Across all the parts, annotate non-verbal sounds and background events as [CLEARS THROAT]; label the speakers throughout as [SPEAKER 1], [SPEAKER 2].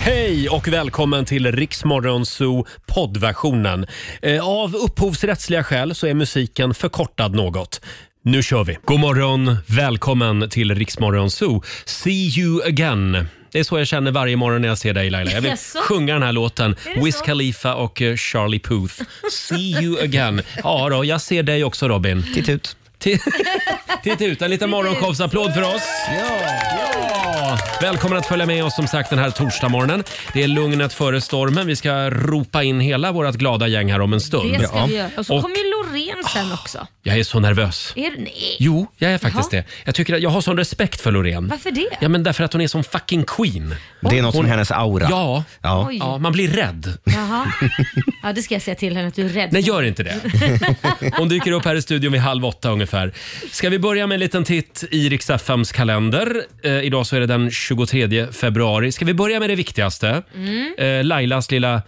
[SPEAKER 1] Hej och välkommen till Riksmorgonzoo poddversionen. Eh, Av upphovsrättsliga skäl så är musiken förkortad något. Nu kör vi! God morgon, välkommen till Riksmorgonzoo. See you again. Det är så jag känner varje morgon när jag ser dig Laila. Jag vill
[SPEAKER 2] Jaså?
[SPEAKER 1] sjunga den här låten.
[SPEAKER 2] det
[SPEAKER 1] Wiz
[SPEAKER 2] så?
[SPEAKER 1] Khalifa och eh, Charlie Puth. See you again. Ja då, jag ser dig också Robin. Titt ut. Titt ut, en liten morgonshowsapplåd för oss. Ja. Välkommen att följa med oss som sagt den här torsdagsmorgonen. Det är lugnet före stormen. Vi ska ropa in hela vårt glada gäng här om en stund.
[SPEAKER 2] Det ska vi göra. Och så
[SPEAKER 1] Och
[SPEAKER 2] kommer ju Loreen sen också.
[SPEAKER 1] jag är så nervös.
[SPEAKER 2] Är, nej.
[SPEAKER 1] Jo, jag är faktiskt
[SPEAKER 2] Jaha.
[SPEAKER 1] det. Jag, tycker att jag har sån respekt för Loreen.
[SPEAKER 2] Varför det?
[SPEAKER 1] Ja, men därför att hon är som fucking queen.
[SPEAKER 3] Det är något
[SPEAKER 1] Hon-
[SPEAKER 3] med hennes aura.
[SPEAKER 1] Ja.
[SPEAKER 3] Ja.
[SPEAKER 2] Oj.
[SPEAKER 1] ja, man blir rädd.
[SPEAKER 2] Jaha. Ja, det ska jag säga till henne att du är rädd.
[SPEAKER 1] Nej, gör inte
[SPEAKER 2] [LAUGHS]
[SPEAKER 1] det. [LAUGHS] Hon dyker upp här i studion vid halv åtta ungefär. Ska vi börja med en liten titt i Rix FMs kalender. Eh, idag så är det den 23 februari. Ska vi börja med det viktigaste?
[SPEAKER 2] Mm.
[SPEAKER 1] Eh, Lailas lilla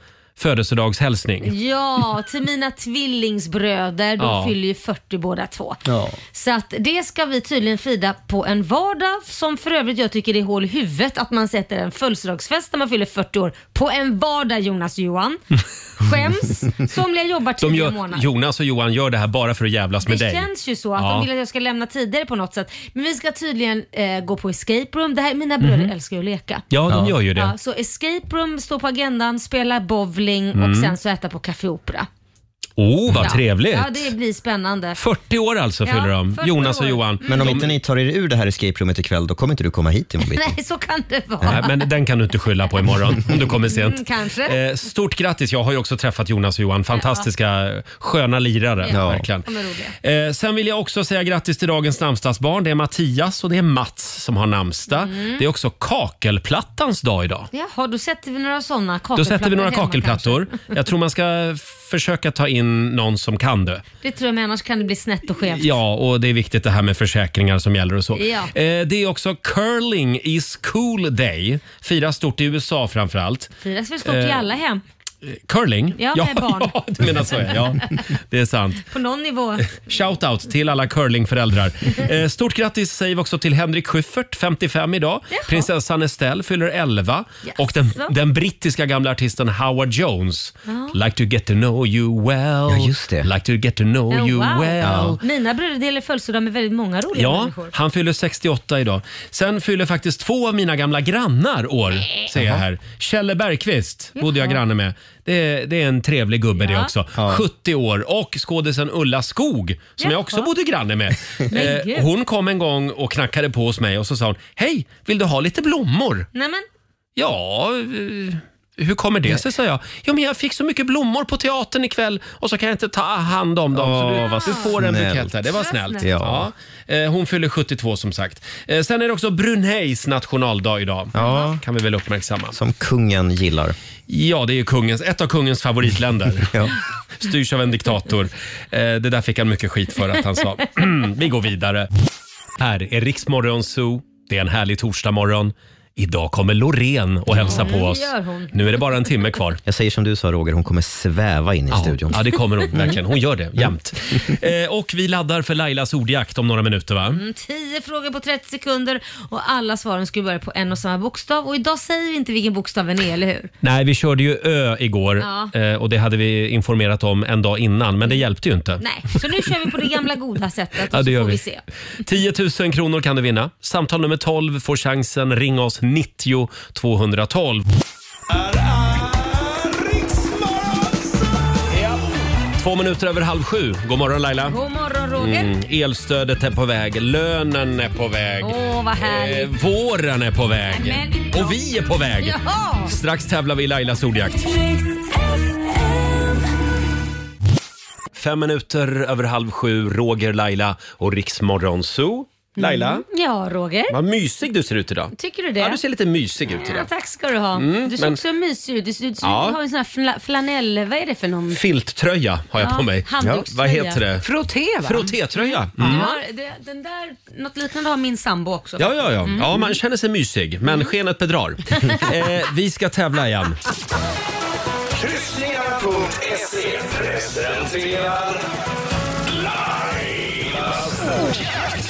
[SPEAKER 1] födelsedagshälsning.
[SPEAKER 2] Ja, till mina tvillingsbröder. De
[SPEAKER 1] Ja.
[SPEAKER 2] fyller ju 40 båda två.
[SPEAKER 3] Ja.
[SPEAKER 2] Så att det ska vi tydligen fira på en vardag som för övrigt jag tycker det är hål i huvudet att man sätter en födelsedagsfest när man fyller 40 år på en vardag Jonas
[SPEAKER 1] [LAUGHS]
[SPEAKER 2] och Johan. Skäms. Somliga jobbar
[SPEAKER 1] De
[SPEAKER 2] tidigare
[SPEAKER 1] gör,
[SPEAKER 2] månader.
[SPEAKER 1] Jonas och Johan gör det här bara för att jävlas med
[SPEAKER 2] det
[SPEAKER 1] dig.
[SPEAKER 2] känns ju så att
[SPEAKER 1] Ja.
[SPEAKER 2] de vill att jag ska lämna tidigare på något sätt. Men vi ska tydligen eh, gå på escape room. Det här, mina bröder älskar ju att leka.
[SPEAKER 1] Mhm. Ja, de gör ju det.
[SPEAKER 2] Ja, så escape room står på agendan, spela bowling och sen så äta på Café Opera.
[SPEAKER 1] Oh, Mm. vad trevligt!
[SPEAKER 2] Ja, det blir spännande.
[SPEAKER 1] 40 år alltså fyller
[SPEAKER 2] Ja,
[SPEAKER 1] de,
[SPEAKER 2] 40
[SPEAKER 1] Jonas och
[SPEAKER 2] år.
[SPEAKER 1] Johan.
[SPEAKER 3] Men om inte ni tar er ur det här escape roomet ikväll, då kommer inte du komma hit imorgon bitti.
[SPEAKER 2] [LAUGHS] Nej, så kan det vara.
[SPEAKER 1] [LAUGHS] Nej, men den kan du inte skylla på imorgon om du kommer sent.
[SPEAKER 2] Mm, kanske.
[SPEAKER 1] Eh, stort grattis. Jag har ju också träffat Jonas och Johan. Fantastiska, sköna lirare.
[SPEAKER 2] Ja.
[SPEAKER 1] Verkligen.
[SPEAKER 2] De är
[SPEAKER 1] Eh, sen vill jag också säga grattis till dagens namnsdagsbarn. Det är Mattias och det är Mats som har namnsdag.
[SPEAKER 2] Mm.
[SPEAKER 1] Det är också kakelplattans dag idag.
[SPEAKER 2] Jaha, då sätter vi några sådana
[SPEAKER 1] Då
[SPEAKER 2] kakelplattor
[SPEAKER 1] sätter vi några
[SPEAKER 2] hemma
[SPEAKER 1] kakelplattor. Jag tror man ska försöka ta in någon som kan det.
[SPEAKER 2] kanske. Det tror jag, men annars kan det bli snett och skevt.
[SPEAKER 1] Ja, och det är viktigt det här med försäkringar som gäller och så.
[SPEAKER 2] Ja.
[SPEAKER 1] Eh, det är också curling is cool day. Firas stort i USA framförallt.
[SPEAKER 2] Firas väl stort i
[SPEAKER 1] Eh.
[SPEAKER 2] alla hem?
[SPEAKER 1] Curling?
[SPEAKER 2] Ja, med barn.
[SPEAKER 1] Ja, [LAUGHS] du menar så ja.
[SPEAKER 2] [LAUGHS]
[SPEAKER 1] ja. Det är sant.
[SPEAKER 2] På någon nivå.
[SPEAKER 1] Shoutout till alla curlingföräldrar. Eh, Stort grattis säger vi också till Henrik Schyffert, 55 idag. Prinsessan Estelle fyller 11.
[SPEAKER 2] Jaså?
[SPEAKER 1] Och den, den brittiska gamla artisten Howard Jones. Like to get to know you well.
[SPEAKER 3] Ja, just det.
[SPEAKER 1] Like to get to know
[SPEAKER 2] Oh,
[SPEAKER 1] you
[SPEAKER 2] wow.
[SPEAKER 1] well.
[SPEAKER 2] Mina bröder delar födelsedag med väldigt många roliga
[SPEAKER 1] Ja,
[SPEAKER 2] människor.
[SPEAKER 1] han fyller 68 idag. Sen fyller faktiskt två av mina gamla grannar år, ser jag här. Kjelle Bergqvist bodde jag granne med. Det är, det är en trevlig gubbe det
[SPEAKER 2] Ja.
[SPEAKER 1] också. 70 år och skådisen Ulla Skog som jag
[SPEAKER 2] Jaha.
[SPEAKER 1] också bodde granne med.
[SPEAKER 2] [LAUGHS] Men
[SPEAKER 1] eh,
[SPEAKER 2] gud.
[SPEAKER 1] hon kom en gång och knackade på hos mig och så sa hon Hej, vill du ha lite blommor?
[SPEAKER 2] Nej men,
[SPEAKER 1] Ja, eh, hur kommer det sig? sa jag. Jo, men jag fick så mycket blommor på teatern ikväll och så kan jag inte ta hand om dem.
[SPEAKER 3] Åh,
[SPEAKER 1] så
[SPEAKER 3] vad
[SPEAKER 1] du, du får en
[SPEAKER 3] snällt.
[SPEAKER 1] bukett här. Det var snällt.
[SPEAKER 3] snällt.
[SPEAKER 1] Ja. Eh, Hon fyller 72 som sagt. Eh, Sen är det också Bruneis nationaldag idag.
[SPEAKER 3] Ja.
[SPEAKER 1] Kan vi väl uppmärksamma.
[SPEAKER 3] Som kungen gillar.
[SPEAKER 1] Ja, det är ju kungens, ett av kungens favoritländer.
[SPEAKER 3] [LAUGHS] Ja.
[SPEAKER 1] Styrs av en diktator. Eh, Det där fick han mycket skit för att han sa. [CLEARS THROAT] Vi går vidare. Här är Riksmorgon Zoo. Det är en härlig torsdagmorgon. Idag kommer Loreen och hälsa på oss.
[SPEAKER 2] gör hon.
[SPEAKER 1] Nu är det bara en timme kvar.
[SPEAKER 3] Jag säger som du sa Roger, hon kommer sväva in i studion.
[SPEAKER 1] Ja, det kommer
[SPEAKER 2] [LAUGHS]
[SPEAKER 1] hon verkligen. Hon gör det jämt. Eh, och vi laddar för Lailas ordjakt om några minuter va?
[SPEAKER 2] mm, 10 frågor på 30 sekunder och alla svaren skulle börja på en och samma bokstav. Och idag säger vi inte vilken bokstaven är, eller hur?
[SPEAKER 1] Nej, vi körde ju Ö igår
[SPEAKER 2] Ja. Mm.
[SPEAKER 1] eh, och det hade vi informerat om en dag innan, men det hjälpte ju [LAUGHS] inte.
[SPEAKER 2] Nej, så nu kör vi på det gamla goda sättet
[SPEAKER 1] Ja,
[SPEAKER 2] och
[SPEAKER 1] det
[SPEAKER 2] så
[SPEAKER 1] gör
[SPEAKER 2] får vi,
[SPEAKER 1] vi.
[SPEAKER 2] se.
[SPEAKER 1] 10 000 kronor kan du vinna. Samtal nummer 12 får chansen. Ring oss 90 212. Två minuter över halv sju. God morgon Laila.
[SPEAKER 2] God morgon Roger.
[SPEAKER 1] Mm, Elstödet är på väg, lönen är på väg,
[SPEAKER 2] Åh, vad härligt.
[SPEAKER 1] våren är på väg
[SPEAKER 2] Nämen.
[SPEAKER 1] och vi är på Eh, väg.
[SPEAKER 2] Jaha!
[SPEAKER 1] Strax tävlar vi i Lailas ordjakt. Fem minuter över halv sju, Roger, Laila och Riksmorgon Zoo. Laila,
[SPEAKER 2] Ja, Roger.
[SPEAKER 1] vad mysig du ser ut idag.
[SPEAKER 2] Mm. Tycker du det?
[SPEAKER 1] Ja, du ser lite mysig ut
[SPEAKER 2] Ja,
[SPEAKER 1] idag.
[SPEAKER 2] tack ska du ha. du ser
[SPEAKER 1] men-
[SPEAKER 2] också mysig ut. Du, ser- du, ser-
[SPEAKER 1] Ja.
[SPEAKER 2] du har en sån här fla, flanell... Vad är det för någon?
[SPEAKER 1] Filttröja har jag
[SPEAKER 2] Ja,
[SPEAKER 1] på mig.
[SPEAKER 2] handdukströja.
[SPEAKER 1] Vad heter det?
[SPEAKER 4] Frotté va? Mm.
[SPEAKER 1] Frottétröja.
[SPEAKER 2] Du har, det, den där, något liknande har min sambo också.
[SPEAKER 1] Mm.
[SPEAKER 2] Mm.
[SPEAKER 1] Ja, ja, ja. ja,
[SPEAKER 4] Mm.
[SPEAKER 1] man känner sig mysig, men skenet
[SPEAKER 4] [LAUGHS]
[SPEAKER 1] bedrar. eh, vi ska tävla igen.
[SPEAKER 5] Kryssningar.se presenterar Lailas ordjakt.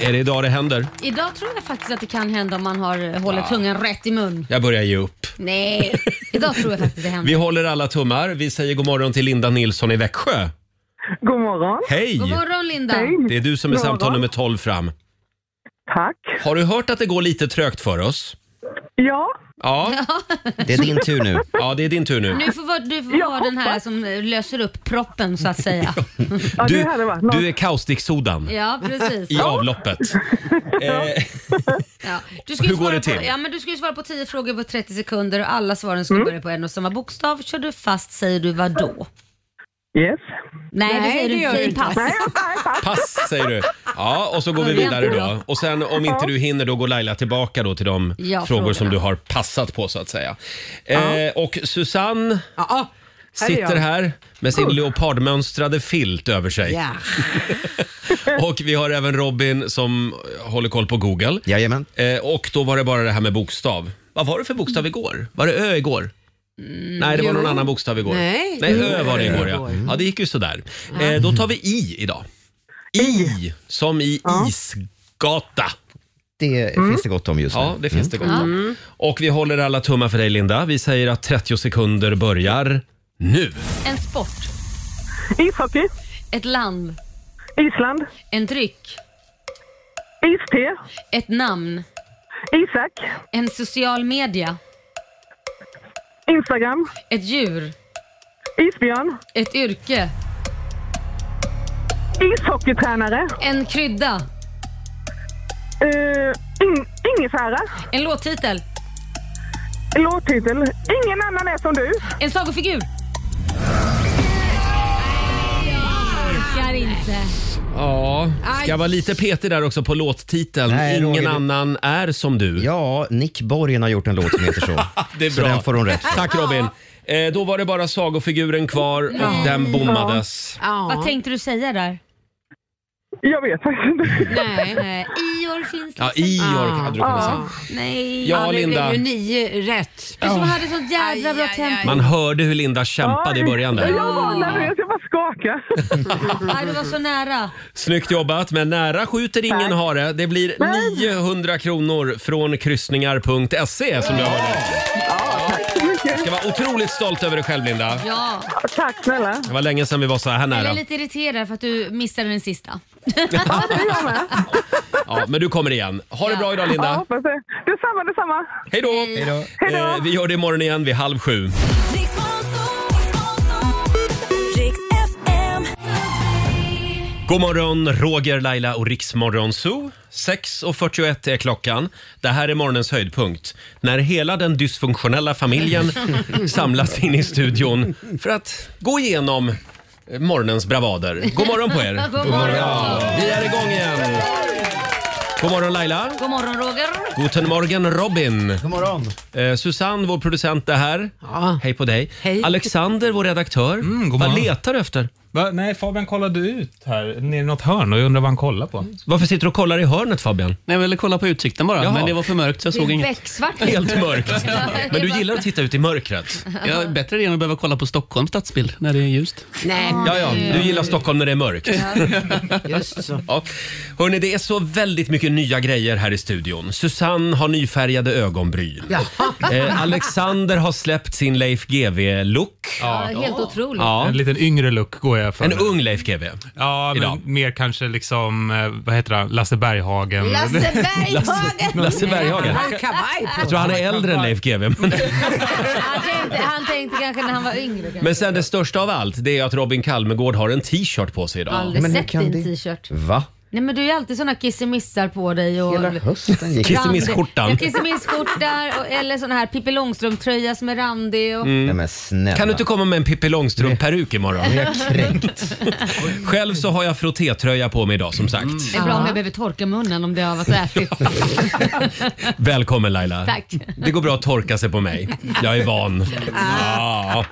[SPEAKER 1] Är det idag det händer?
[SPEAKER 2] Mm. Idag tror jag faktiskt att det kan hända om man har eh, håller tungan rätt i mun.
[SPEAKER 1] Jag börjar ge upp.
[SPEAKER 2] Nej, idag tror jag faktiskt det händer.
[SPEAKER 1] Vi håller alla tummar. Vi säger god morgon till Linda Nilsson i Växjö.
[SPEAKER 4] [LAUGHS] God morgon.
[SPEAKER 1] Hej!
[SPEAKER 2] God morgon Linda.
[SPEAKER 1] Det är du som är
[SPEAKER 4] God
[SPEAKER 1] samtal
[SPEAKER 4] morgon.
[SPEAKER 1] nummer 12 fram.
[SPEAKER 4] Tack.
[SPEAKER 1] Har du hört att det går lite trögt för oss?
[SPEAKER 4] Ja,
[SPEAKER 1] Ja,
[SPEAKER 3] Det är din tur nu.
[SPEAKER 1] ja det är din tur nu.
[SPEAKER 2] Nu får vara, du får
[SPEAKER 4] Jag
[SPEAKER 2] vara den här som eh, löser upp proppen så
[SPEAKER 1] [LAUGHS]
[SPEAKER 2] att säga.
[SPEAKER 4] ja
[SPEAKER 1] Du,
[SPEAKER 4] det hade varit något.
[SPEAKER 1] du är kaustiksodan
[SPEAKER 2] Ja, precis.
[SPEAKER 1] i avloppet. Eh,
[SPEAKER 2] Ja. Du ska ju
[SPEAKER 1] Hur går
[SPEAKER 2] svara
[SPEAKER 1] det till?
[SPEAKER 2] På, ja, men du ska ju svara på 10 frågor på 30 sekunder och alla svaren
[SPEAKER 4] Mm.
[SPEAKER 2] ska börja på en och samma bokstav. Kör du fast säger du vad då?
[SPEAKER 4] Yes.
[SPEAKER 2] Nej, det
[SPEAKER 6] Nej,
[SPEAKER 2] säger
[SPEAKER 6] det
[SPEAKER 2] du inte.
[SPEAKER 6] gör du
[SPEAKER 2] Säg
[SPEAKER 6] inte.
[SPEAKER 2] pass.
[SPEAKER 4] Nej, nej, tack.
[SPEAKER 1] pass säger du. Ja, och så går vi vidare då. Och sen om inte du hinner då går Laila tillbaka då till de
[SPEAKER 2] Ja,
[SPEAKER 1] frågor
[SPEAKER 2] frågorna.
[SPEAKER 1] som du har passat på så att säga. Eh, och Susanne
[SPEAKER 6] Ja, ah,
[SPEAKER 4] är jag.
[SPEAKER 1] sitter här med sin leopardmönstrade filt över sig.
[SPEAKER 6] ja.
[SPEAKER 1] [LAUGHS] Och vi har även Robin som håller koll på Google.
[SPEAKER 3] Jajamän.
[SPEAKER 1] Eh, och då var det bara det här med bokstav. Vad var det för bokstav igår? Var det ö igår? Nej, det var någon annan bokstav igår.
[SPEAKER 6] Nej,
[SPEAKER 1] Mm, Nej
[SPEAKER 6] jo.
[SPEAKER 1] ö var det igår ja.
[SPEAKER 6] Igår.
[SPEAKER 1] Ja, det gick ju sådär. Eh, då tar vi i idag. I, som i isgata.
[SPEAKER 3] Det finns det gott om just nu. Mm.
[SPEAKER 1] Ja, det finns det gott om. Och vi håller alla tummar för dig Linda. Vi säger att 30 sekunder börjar nu.
[SPEAKER 2] En sport,
[SPEAKER 4] Ishockey,
[SPEAKER 2] ett land,
[SPEAKER 4] Island,
[SPEAKER 2] en dryck,
[SPEAKER 4] iste,
[SPEAKER 2] ett namn,
[SPEAKER 4] Isak,
[SPEAKER 2] en social media,
[SPEAKER 4] Instagram,
[SPEAKER 2] ett djur,
[SPEAKER 4] isbjörn,
[SPEAKER 2] ett yrke,
[SPEAKER 4] ishockeytränare,
[SPEAKER 2] en krydda,
[SPEAKER 4] uh, in, ingefära,
[SPEAKER 2] en låttitel,
[SPEAKER 4] låttitel. Ingen annan är som du.
[SPEAKER 2] en sagofigur. Jag orkar inte.
[SPEAKER 1] Ja, ska
[SPEAKER 6] Aj.
[SPEAKER 1] vara lite petig där också på låttiteln.
[SPEAKER 3] Nej,
[SPEAKER 1] Ingen
[SPEAKER 3] Roger, det-
[SPEAKER 1] annan är som du.
[SPEAKER 3] Ja, Nick Borgen har gjort en låt som heter
[SPEAKER 1] [LAUGHS]
[SPEAKER 3] så.
[SPEAKER 1] Det är
[SPEAKER 3] Så
[SPEAKER 1] bra.
[SPEAKER 3] den får hon rätt för.
[SPEAKER 1] Tack Robin. Eh, då var det bara sagofiguren kvar och den bommades.
[SPEAKER 2] Vad
[SPEAKER 6] Ja.
[SPEAKER 2] tänkte du säga där?
[SPEAKER 4] Jag vet faktiskt inte.
[SPEAKER 6] Nej.
[SPEAKER 2] Eh, Ior finns
[SPEAKER 1] Ja,
[SPEAKER 2] liksom.
[SPEAKER 1] Ior
[SPEAKER 6] Ah.
[SPEAKER 1] hade du kunnat säga.
[SPEAKER 2] Nej.
[SPEAKER 1] Ja,
[SPEAKER 6] det
[SPEAKER 1] Linda.
[SPEAKER 6] blev ju nio rätt.
[SPEAKER 2] Du som hade sånt jädra
[SPEAKER 6] Aj,
[SPEAKER 2] bra
[SPEAKER 6] aj, aj.
[SPEAKER 2] tempo.
[SPEAKER 1] Man hörde hur Linda kämpade i början där.
[SPEAKER 4] Jag var nervös, jag bara skakade.
[SPEAKER 2] [LAUGHS] Aj, du var så nära.
[SPEAKER 1] Snyggt jobbat, men nära skjuter ingen hare. Det blir 900 kronor från kryssningar.se som du har vunnit.
[SPEAKER 4] Tack så mycket.
[SPEAKER 1] ska vara otroligt stolt över dig själv Linda.
[SPEAKER 2] Ja.
[SPEAKER 4] Tack snälla.
[SPEAKER 1] Det var länge sedan vi var så här
[SPEAKER 2] Jag är
[SPEAKER 1] nära.
[SPEAKER 2] lite irriterad för att du missade den sista.
[SPEAKER 1] Ja, men du kommer igen. Ha det bra idag
[SPEAKER 4] Ja,
[SPEAKER 1] Linda.
[SPEAKER 4] hoppas det. Detsamma, detsamma.
[SPEAKER 1] Hej då!
[SPEAKER 3] då.
[SPEAKER 4] Hej då.
[SPEAKER 1] Eh, vi gör det imorgon igen vid halv sju.
[SPEAKER 7] Riks Riks FM.
[SPEAKER 1] God morgon, Roger, Laila och Riksmorgon Zoo. 6.41 är klockan. Det här är morgonens höjdpunkt. När hela den dysfunktionella familjen samlas in i studion för att gå igenom eh, morgonens bravader. God morgon på er!
[SPEAKER 2] God morgon.
[SPEAKER 1] Vi är igång igen! God morgon Laila!
[SPEAKER 2] God morgon Roger.
[SPEAKER 1] Guten morgen Robin!
[SPEAKER 3] God morgon.
[SPEAKER 1] Eh, Susanne, vår producent är här.
[SPEAKER 6] Ja.
[SPEAKER 1] Hej på dig!
[SPEAKER 6] Hej.
[SPEAKER 1] Alexander, vår redaktör.
[SPEAKER 8] Mm,
[SPEAKER 9] god
[SPEAKER 1] Vad
[SPEAKER 9] morgon.
[SPEAKER 1] letar du efter?
[SPEAKER 9] Va? Nej, Fabian kollade ut här nere i något hörn och jag undrar vad han kollar på.
[SPEAKER 1] Varför sitter du och kollar i hörnet Fabian?
[SPEAKER 8] Nej, jag ville kolla på utsikten bara,
[SPEAKER 1] Jaha.
[SPEAKER 8] men det var för mörkt så jag
[SPEAKER 2] Det
[SPEAKER 8] såg
[SPEAKER 2] är
[SPEAKER 8] inget.
[SPEAKER 2] becksvart.
[SPEAKER 1] Helt
[SPEAKER 2] [LAUGHS]
[SPEAKER 6] [LAUGHS]
[SPEAKER 1] mörkt. Men du gillar att titta ut i mörkret?
[SPEAKER 8] Jag är bättre det än att behöva kolla på Stockholms stadsbild när det är ljust.
[SPEAKER 6] Nej,
[SPEAKER 1] Ja, ja. Du gillar Stockholm när det är mörkt.
[SPEAKER 8] [LAUGHS]
[SPEAKER 6] just så.
[SPEAKER 1] Ja. Hörni, det är så väldigt mycket nya grejer här i studion. Susanne har nyfärgade ögonbryn. Eh, Alexander har släppt sin Leif GW-look.
[SPEAKER 2] Ja, helt otroligt.
[SPEAKER 1] Ja.
[SPEAKER 9] En liten yngre look går jag för.
[SPEAKER 1] En ung Leif GW.
[SPEAKER 9] Ja, men
[SPEAKER 1] idag.
[SPEAKER 9] mer kanske liksom, eh, vad heter han, Lasse Berghagen. [LAUGHS]
[SPEAKER 6] Lasse Berghagen!
[SPEAKER 1] Lasse Berghagen.
[SPEAKER 6] Han har kavaj på
[SPEAKER 1] Jag tror han är äldre än Leif GW. Men,
[SPEAKER 2] Han, tänkte, han tänkte kanske när han var yngre. Kanske.
[SPEAKER 1] men sen det största av allt, det är att Robin Kalmegård har en t-shirt på sig
[SPEAKER 2] Jag har
[SPEAKER 1] idag.
[SPEAKER 2] aldrig
[SPEAKER 3] Men hur
[SPEAKER 2] sett
[SPEAKER 3] kan
[SPEAKER 2] din
[SPEAKER 3] det-
[SPEAKER 2] t-shirt.
[SPEAKER 3] Va?
[SPEAKER 2] Nej men du är ju alltid såna kissemissar på dig. Och...
[SPEAKER 3] Hela hösten gick.
[SPEAKER 1] Kiss- Kissemissskjortan.
[SPEAKER 2] Ja, Kissemissskjortor och- eller sån här Pippi Långstrump-tröja som är randig.
[SPEAKER 1] Mm.
[SPEAKER 2] Och...
[SPEAKER 3] Mm. Nej, men snälla.
[SPEAKER 1] Kan du inte komma med en Pippi Långstrump-peruk imorgon?
[SPEAKER 3] Jag är kränkt.
[SPEAKER 1] Själv så har jag frottétröja på mig idag som sagt.
[SPEAKER 2] Det är bra om jag behöver torka munnen om det har varit
[SPEAKER 1] [LAUGHS]
[SPEAKER 2] och ätit.
[SPEAKER 1] Välkommen Laila.
[SPEAKER 2] Tack.
[SPEAKER 1] Det går bra att torka sig på mig. Jag är van. Ja.